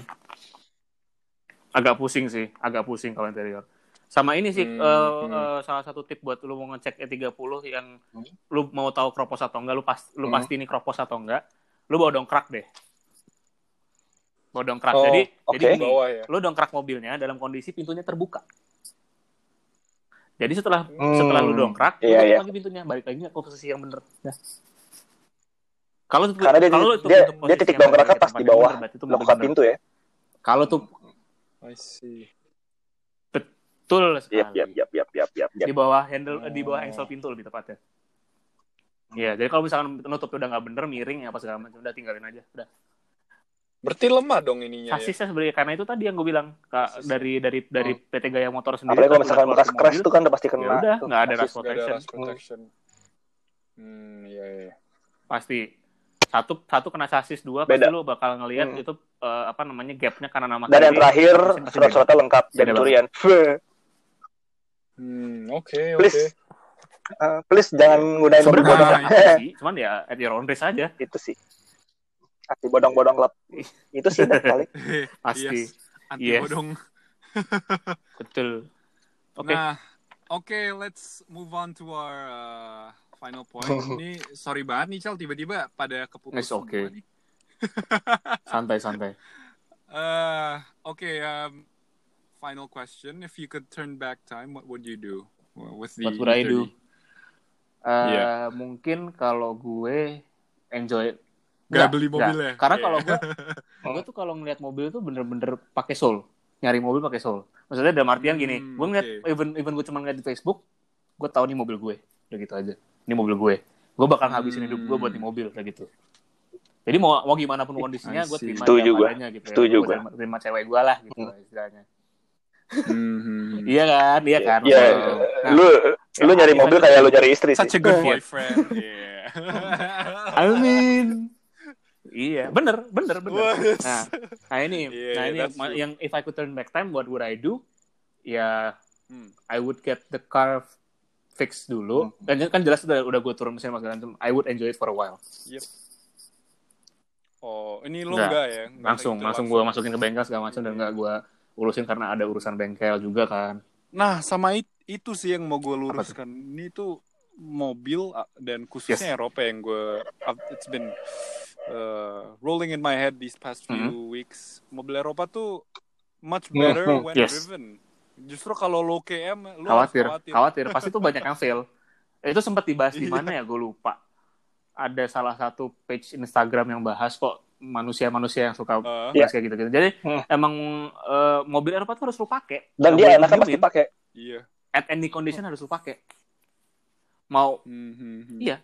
S3: Agak pusing sih, agak pusing kalau interior. Sama ini sih
S1: Hmm,
S3: eh,
S1: hmm.
S3: eh, salah satu tip buat lu mau E ngecek E30 yang lu mau tahu kropos atau enggak, lu pas lu
S5: Hmm.
S3: pasti ini kropos atau enggak. lu bawa dongkrak deh bawa dongkrak
S5: Oh,
S3: jadi
S5: oke.
S3: jadi gini
S1: bawah ya
S3: lu dongkrak mobilnya dalam kondisi pintunya terbuka jadi setelah
S5: Hmm.
S3: setelah lu dongkrak lu
S5: Iya,
S3: tutup
S5: iya.
S3: lagi pintunya balik lagi ke posisi yang bener Nah. kalau tuh
S5: Karena dia-
S3: kalau lu tuh
S5: dia-
S3: tutup
S5: dia
S3: posisi
S5: titik
S3: yang bener,
S5: dongkraknya pas
S3: tempat
S5: di
S3: yang
S5: bawah,
S3: bener, berarti itu
S5: Buka
S3: bener-bener.
S5: pintu ya.
S3: kalau tuh
S1: I see
S3: betul
S5: Yap,
S3: sekali.
S5: yap, yap, yap, yap, yap, yap.
S3: di bawah handle di bawah engsel pintu lebih tepatnya Iya, jadi kalau misalkan nutupnya udah nggak bener, miring apa segala macam, udah tinggalin aja. Udah.
S1: berarti lemah dong ininya ya
S3: Sasisnya sebenarnya karena itu tadi yang gue bilang Kak,
S1: Sasis.
S3: dari dari dari PT Gaya Motor sendiri.
S5: Apalagi kalau
S3: udah
S5: misalkan
S3: keluar
S5: bekas
S3: ke
S5: crash
S3: mobil,
S5: itu kan udah pasti
S3: ya
S5: kena.
S3: udah
S5: tuh.
S3: nggak ada
S1: Sasis
S3: rust
S1: nggak ada
S3: protection
S1: rust protection hmm iya iya
S3: pasti satu satu kena sasis dua
S5: Beda.
S3: pasti lu bakal ngelihat
S5: Hmm.
S3: itu eh, apa namanya gapnya karena nama
S5: Dan yang terakhir
S3: surat
S5: surat-suratnya lengkap dan
S3: Beda banget.
S5: curian.
S3: iya.
S1: hmm oke
S6: <laughs>
S1: oke
S5: Please. Eh, please
S3: Iya.
S5: jangan gunain mobil
S3: sebenarnya
S5: bodong.
S3: nggak ada
S5: <laughs>
S3: sih cuman ya at your own risk aja
S5: itu Gitu sih. Asli bodong-bodong lap. Itu sih kan, paling.
S3: pasti
S6: Yes. Anti
S3: Yes.
S6: bodong.
S3: betul oke
S6: Nah, oke, let's move on to our uh, final
S3: <laughs>
S6: point. Ini sorry banget nih, Cal, tiba-tiba pada keputus
S3: It's okay.
S6: semua nih.
S3: santai santai
S6: Uh, oke, um, final question. If you could turn back time, what would you do with the
S3: What would I do? Eh,
S6: Iya.
S3: mungkin kalau gue enjoy
S6: Gak
S3: Nggak,
S6: beli
S3: nggak.
S6: mobilnya.
S3: Karena
S6: Iya.
S3: kalau
S6: <laughs>
S3: gue gue tuh kalau ngeliat mobil tuh bener-bener pakai soul. Nyari mobil pakai soul. Maksudnya dalam artian gini,
S6: Hmm,
S3: gue ngeliat
S6: oke.
S3: even even gue cuma ngeliat di Facebook, gue tahu nih mobil gue. Udah gitu aja. Ini mobil gue. Gue bakal ngabisin hidup gue buat
S6: Hmm.
S3: nih mobil kayak gitu. Jadi mau mau gimana pun
S6: I
S3: kondisinya gue
S6: see.
S3: terima
S5: Setuju
S3: apa
S5: gua.
S3: adanya gitu. ya.
S5: Setuju
S3: Gua
S5: gua.
S3: terima, terima cewek gue lah gitu lah istilahnya.
S6: Hmm, hmm, hmm.
S3: Iya kan, iya kan.
S5: Iya,
S3: Betul. Nah,
S5: lu lu nyari mobil kayak lu nyari istri
S6: Such a
S5: sih.
S3: <laughs>
S6: good boyfriend. yeah.
S3: Amin. Iya, bener, bener, bener. Nah, nah ini,
S6: Iya,
S3: nah ini
S6: that's
S3: ma-
S6: true.
S3: yang if I could turn back time, what would I do? Ya,
S6: Hmm.
S3: I would get the car fixed dulu. Dan kan jelas udah, udah gue turun mesin macam macam. I would enjoy it for a while.
S1: oh ini lo
S3: Nggak.
S1: enggak ya Nggak
S6: Nah,
S3: Langsung,
S1: gitu,
S3: langsung gue masukin ke bengkel segala macam dan
S6: Iya.
S3: nggak gue urusin karena ada urusan bengkel juga kan.
S1: Nah, sama it- itu sih yang mau gue luruskan. Ini tuh mobil ah, dan khususnya Eropa yang gue I've- it's been uh, rolling in my head these past few
S3: Mm-hmm.
S1: weeks. Mobil Eropa tuh much better
S4: Mhm.
S1: when
S3: Yes.
S1: driven. Justru kalau lo KM lo harus
S3: Khawatir, khawatir. Pasti tuh banyak yang fail. Itu sempat dibahas
S6: Iya.
S3: di mana ya? Gue lupa. Ada salah satu page Instagram yang bahas kok manusia-manusia yang suka
S1: Eh,
S3: Terus Oh, kayak gitu-gitu. Jadi
S5: Hmm.
S3: emang eh, mobil Eropa tuh harus lu pakai. Nggak
S5: Dan dia
S3: boleh
S5: enaknya pasti
S3: didiemin.
S5: pakai.
S1: iya.
S3: at any condition harus lu pakai. Mau
S1: Mhm.
S3: Iya.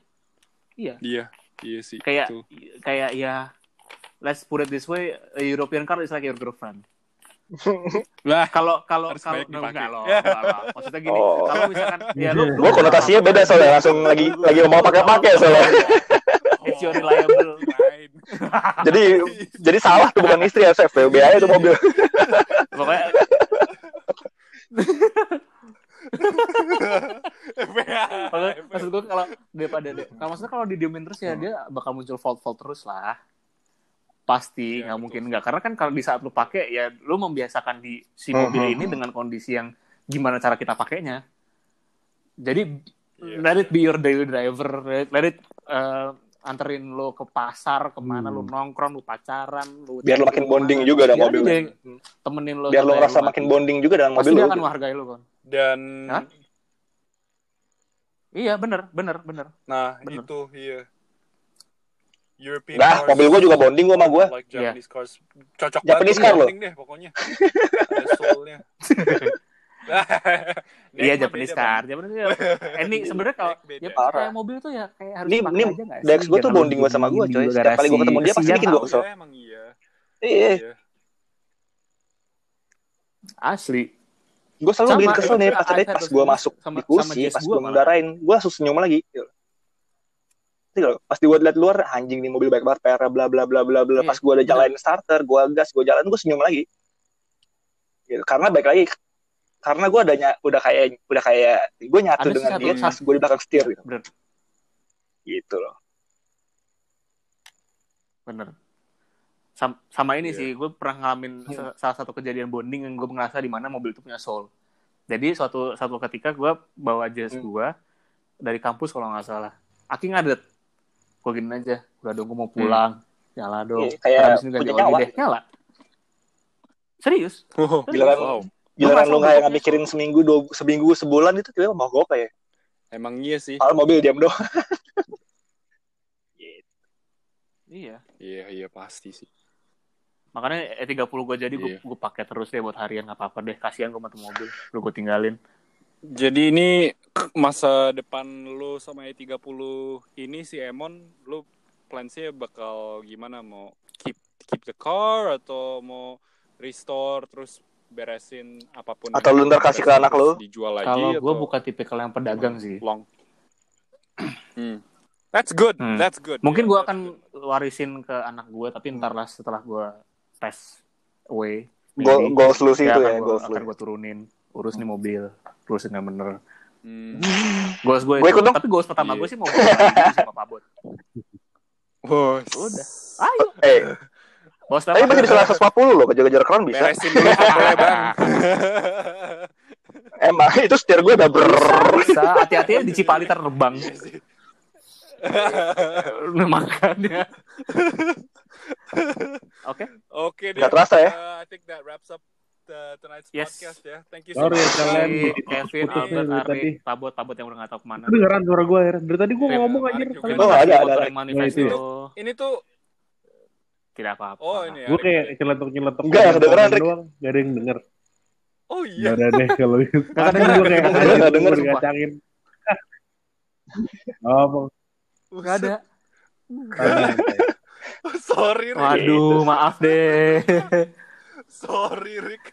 S3: Iya.
S1: Iya. Iya sih.
S3: kayak
S1: Betul.
S3: kayak ya let's put it this way, a European car is like your girlfriend. <laughs>
S1: Lah,
S3: Kalau kalau
S1: Harus
S3: kalau
S1: banyak
S3: no, enggak
S1: <laughs> dipakai.
S3: loh, enggak loh. Maksudnya gini,
S5: Oh.
S3: kalau misalkan ya lu
S5: Gua konotasinya beda soalnya langsung lagi lagi ngomong pakai-pakai soalnya.
S3: It's your reliable.
S1: <laughs> lain.
S5: jadi jadi salah tuh bukan istri harus FWB aja tuh mobil.
S3: Pokoknya pokoknya maksud gue kalau daripada kalau maksudnya kalau didiemin terus
S1: Hmm.
S3: ya dia bakal muncul fault-fault terus lah. Pasti
S1: Iya,
S3: nggak
S1: betul.
S3: mungkin nggak karena kan kalau di saat lu pakai ya lu membiasakan di si
S5: Hmm,
S3: mobil ini dengan kondisi yang gimana cara kita pakainya. Jadi
S1: Iya.
S3: let it be your daily driver, let, let it uh, anterin lo ke pasar, kemana lu nongkrong, lu pacaran, lu
S5: Hmm. Biar lu makin bonding juga
S3: dong
S5: dengan mobil.
S3: temenin lo
S5: Biar lu
S3: sampai
S5: ngerasa
S3: mati.
S5: makin bonding juga dengan
S3: ya, Pasti
S5: mobil
S3: dia
S5: lu.
S3: akan menghargai lu kan.
S1: Dan
S3: Hah? Iya bener bener bener.
S1: nah
S3: Bener.
S1: itu iya. European
S5: Nah,
S1: cars.
S5: mobil gua juga bonding gua sama gua.
S1: Like
S3: Iya.
S1: Japanese cars. Cocok
S5: Japanese
S1: banget.
S5: car loh.
S1: penting deh pokoknya. Ada
S5: <laughs>
S1: soul-nya.
S3: Iya
S1: Next
S3: Japanese
S1: mah beda, Iya,
S3: car, Japanese
S5: <laughs>
S3: car. Eh, ini sebenarnya kalau
S1: Next beda.
S3: ya,
S5: Iya, Parah.
S3: kayak mobil tuh ya kayak harus
S5: Ini-
S3: pakai
S5: ini
S3: aja nggak sih? Iya,
S5: Dex gua tuh
S3: Jangan
S5: bonding gua sama gua,
S3: di
S5: coy. Setiap kali gua ketemu dia, pasti
S3: garasi.
S5: bikin gua
S1: Bang.
S5: kesel.
S1: Iya, emang iya.
S5: Iya,
S3: <laughs>
S1: Iya.
S3: Asli.
S5: gua selalu
S3: Sama,
S5: bikin kesel nih
S3: even
S5: pas tadi
S3: I've had
S5: pas
S3: those
S5: gua
S3: moments
S5: masuk
S3: sama-
S5: di
S3: sama
S5: kursi,
S3: jazz
S5: pas
S3: gua
S5: gua
S3: malah.
S5: ngendarain, gua langsung senyum lagi. Gitu. Nanti kalau pas di gua liat luar anjing nih mobil baik banget, PR bla bla bla bla bla.
S3: Iya,
S5: Pas gua udah
S3: bener.
S5: jalanin starter, gua gas, gua jalan, gua senyum lagi. Gitu. Karena baik lagi karena gua adanya udah kayak udah kayak gua nyatu
S3: Ada sih
S5: dengan
S3: satu-
S5: dia pas gua di belakang setir gitu.
S3: Bener.
S5: Gitu loh.
S3: Bener. Sam- sama ini
S1: Iya.
S3: sih, gue pernah ngalamin
S5: Iya.
S3: sa- salah satu kejadian bonding yang gue ngerasa di mana mobil itu punya soul. Jadi suatu satu ketika gue bawa jazz
S5: Hmm.
S3: gue dari kampus kalau nggak salah, aki ngadet, gue gini aja, udah dong gue mau pulang, Nyala dong.
S5: Hmm. Iya, kayak
S3: Abis ini ganti
S5: punya
S3: oli
S5: nyawa.
S3: deh. Nyala. Serius?
S5: Giliran,
S1: Wow.
S5: giliran
S3: Masa
S5: lu nggak
S3: mobilnya?
S5: yang mikirin seminggu, dua, seminggu, sebulan itu tiba-tiba mogok ya.
S1: Emang iya sih.
S5: Padahal mobil diam doang.
S3: <laughs> Iya.
S1: Iya, iya pasti sih.
S3: Makanya eh, E30 gue jadi gue
S1: Iya.
S3: gue pakai terus deh buat harian nggak apa-apa deh. Kasihan gue mati mobil. Lu gue tinggalin.
S1: Jadi ini masa depan lu sama E30 ini si Emon lu plans-nya bakal gimana mau keep keep the car atau mau restore terus beresin apapun
S5: Atau lu ntar kasih ke anak
S1: Terus
S5: lu?
S1: dijual lagi
S3: Kalau gue
S1: atau-
S3: bukan tipikal yang pedagang sih.
S1: long. Hmm. That's good.
S3: Hmm.
S1: That's good.
S3: Mungkin
S1: Yeah,
S3: gue
S1: that's
S3: akan warisin ke anak gue, tapi
S5: Hmm.
S3: ntarlah setelah gue tes away.
S5: Goal,
S3: maybe,
S5: goals lu sih
S3: ya
S5: itu
S3: akan
S5: ya,
S3: gua-
S5: goals lu.
S3: akan gue turunin, urus nih mobil, urusin yang bener.
S1: good. Hmm.
S3: Goals gue
S5: Gua
S3: itu.
S5: ikut dong.
S3: Tapi goals pertama
S1: Iya.
S3: gue sih
S5: <laughs>
S3: mau beli mobil sama Pak Bot.
S1: Wos.
S3: Udah. Ayo.
S5: Eh,
S3: Bos
S5: tapi <laughs> masih bisa 140 loh, kejar-kejar crown bisa.
S1: <laughs> Beresin dulu hp Bang.
S5: Emang itu setir gue udah ber.
S3: Bisa, hati-hati di Cipali <laughs> terbang. Nah, Makanya. Oke.
S1: Oke deh.
S5: Nggak terasa ya?
S1: Uh, I think that wraps up the tonight's
S3: Yes.
S1: podcast ya. Thank you so
S4: Sorry,
S1: much.
S4: kalian.
S3: Iya, Kevin,
S4: Putus nih
S3: Albert,
S4: dari
S3: Ari,
S4: tadi.
S3: Pabot, Pabot yang udah nggak tahu kemana.
S4: Itu dengeran suara gue heran. Dari tadi gue
S1: Iya,
S4: ngomong
S1: menarik
S4: aja.
S1: juga.
S4: Tadi
S5: Oh, ada, ada,
S3: Motoring
S5: ada.
S3: manifesto.
S4: Iya,
S1: Ini tuh
S3: Tidak apa-apa.
S1: oh ini ya.
S4: Gue kayak nyeletuk-nyeletuk.
S5: Enggak,
S4: komen
S5: kedengeran, Rick.
S4: doang. Gak ada yang denger.
S1: Oh
S4: Gak
S1: <laughs> iya.
S4: ada deh kalau gitu.
S3: Gak
S4: Kadang
S3: kedengeran,
S4: gue kayak Oh,
S5: gak
S4: anjing,
S5: kedengeran,
S4: gua
S5: sumpah.
S4: dikacangin. <laughs> Ngomong.
S3: Gak ada.
S1: Sorry Rick.
S3: Waduh, maaf
S1: <laughs>
S3: deh.
S1: Sorry Rick.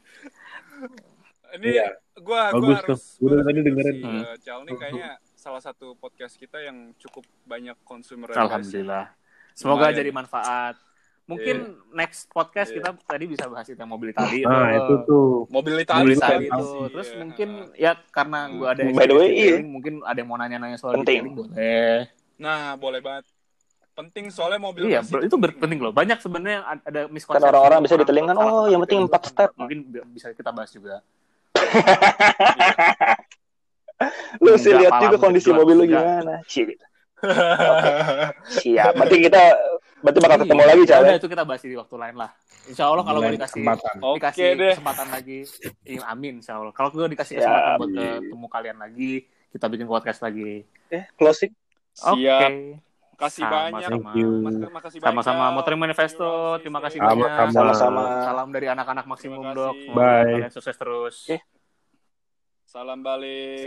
S1: Ini
S4: Iya.
S1: gua gua
S4: Bagus
S1: harus
S4: tuh.
S1: gua
S4: Gua dari tadi
S1: harus jujur
S4: dengerin.
S1: sih,
S3: Hmm.
S1: uh, Cal ini kayaknya salah satu podcast kita yang cukup banyak consumer
S3: Alhamdulillah. Semoga
S1: Lumayan.
S3: jadi manfaat. Mungkin next podcast
S1: Iya.
S3: kita tadi bisa bahas itu yang mobil Itali.
S4: Nah,
S3: itu.
S4: itu tuh.
S1: Mobilitas
S3: Mobil
S4: Itali
S3: Itali itu.
S1: Iya.
S3: Terus mungkin ya karena gue ada
S5: By the way,
S3: experience
S5: iya.
S3: detailing, mungkin ada yang mau nanya-nanya soal
S5: Penting.
S3: detailing boleh.
S1: Nah, boleh banget. Penting soalnya mobil
S3: Iya,
S1: bersih
S3: bro, itu ber- penting loh. Banyak sebenarnya yang ad- ada miskonsepsi.
S5: Kan orang-orang bisa
S3: Orang
S5: detailing kan,
S3: salah
S5: oh,
S3: satu
S5: yang penting
S3: detailing
S5: empat
S3: itu
S5: step.
S3: Mungkin bi- bisa kita bahas juga.
S5: Lu sih
S3: Enggak,
S5: lihat
S3: pala
S5: juga
S3: gua
S5: kondisi
S3: kejual
S5: mobil lu
S3: juga.
S5: gimana. Cie gitu. Oke. Siap. Berarti kita berarti bakal ketemu
S3: Iya,
S5: lagi, Cal. ya?
S3: udah, itu kita bahas di waktu lain lah. Insya Allah kalau gue
S4: Lain
S3: dikasih
S4: kesempatan.
S1: Oke
S3: dikasih
S1: deh.
S3: kesempatan lagi, iya, amin insya Allah. Kalau gue dikasih
S5: Ya,
S3: kesempatan buat ketemu kalian lagi, kita bikin podcast lagi.
S5: Eh, closing.
S3: Oke.
S1: Siap. Kasih
S3: Sama-sama.
S1: banyak.
S4: Thank you.
S1: Mas- makasih banyak.
S3: Sama-sama
S1: Cal.
S3: Motoring Manifesto.
S1: Thank you,
S3: Terima kasih
S1: Rosie.
S4: Sama-sama.
S3: banyak.
S4: Sama-sama.
S3: Salam dari anak-anak maksimum
S1: Terima
S3: dok.
S1: kasih.
S3: Semoga
S4: Bye.
S3: Kalian sukses terus.
S5: Oke.
S1: Salam balik.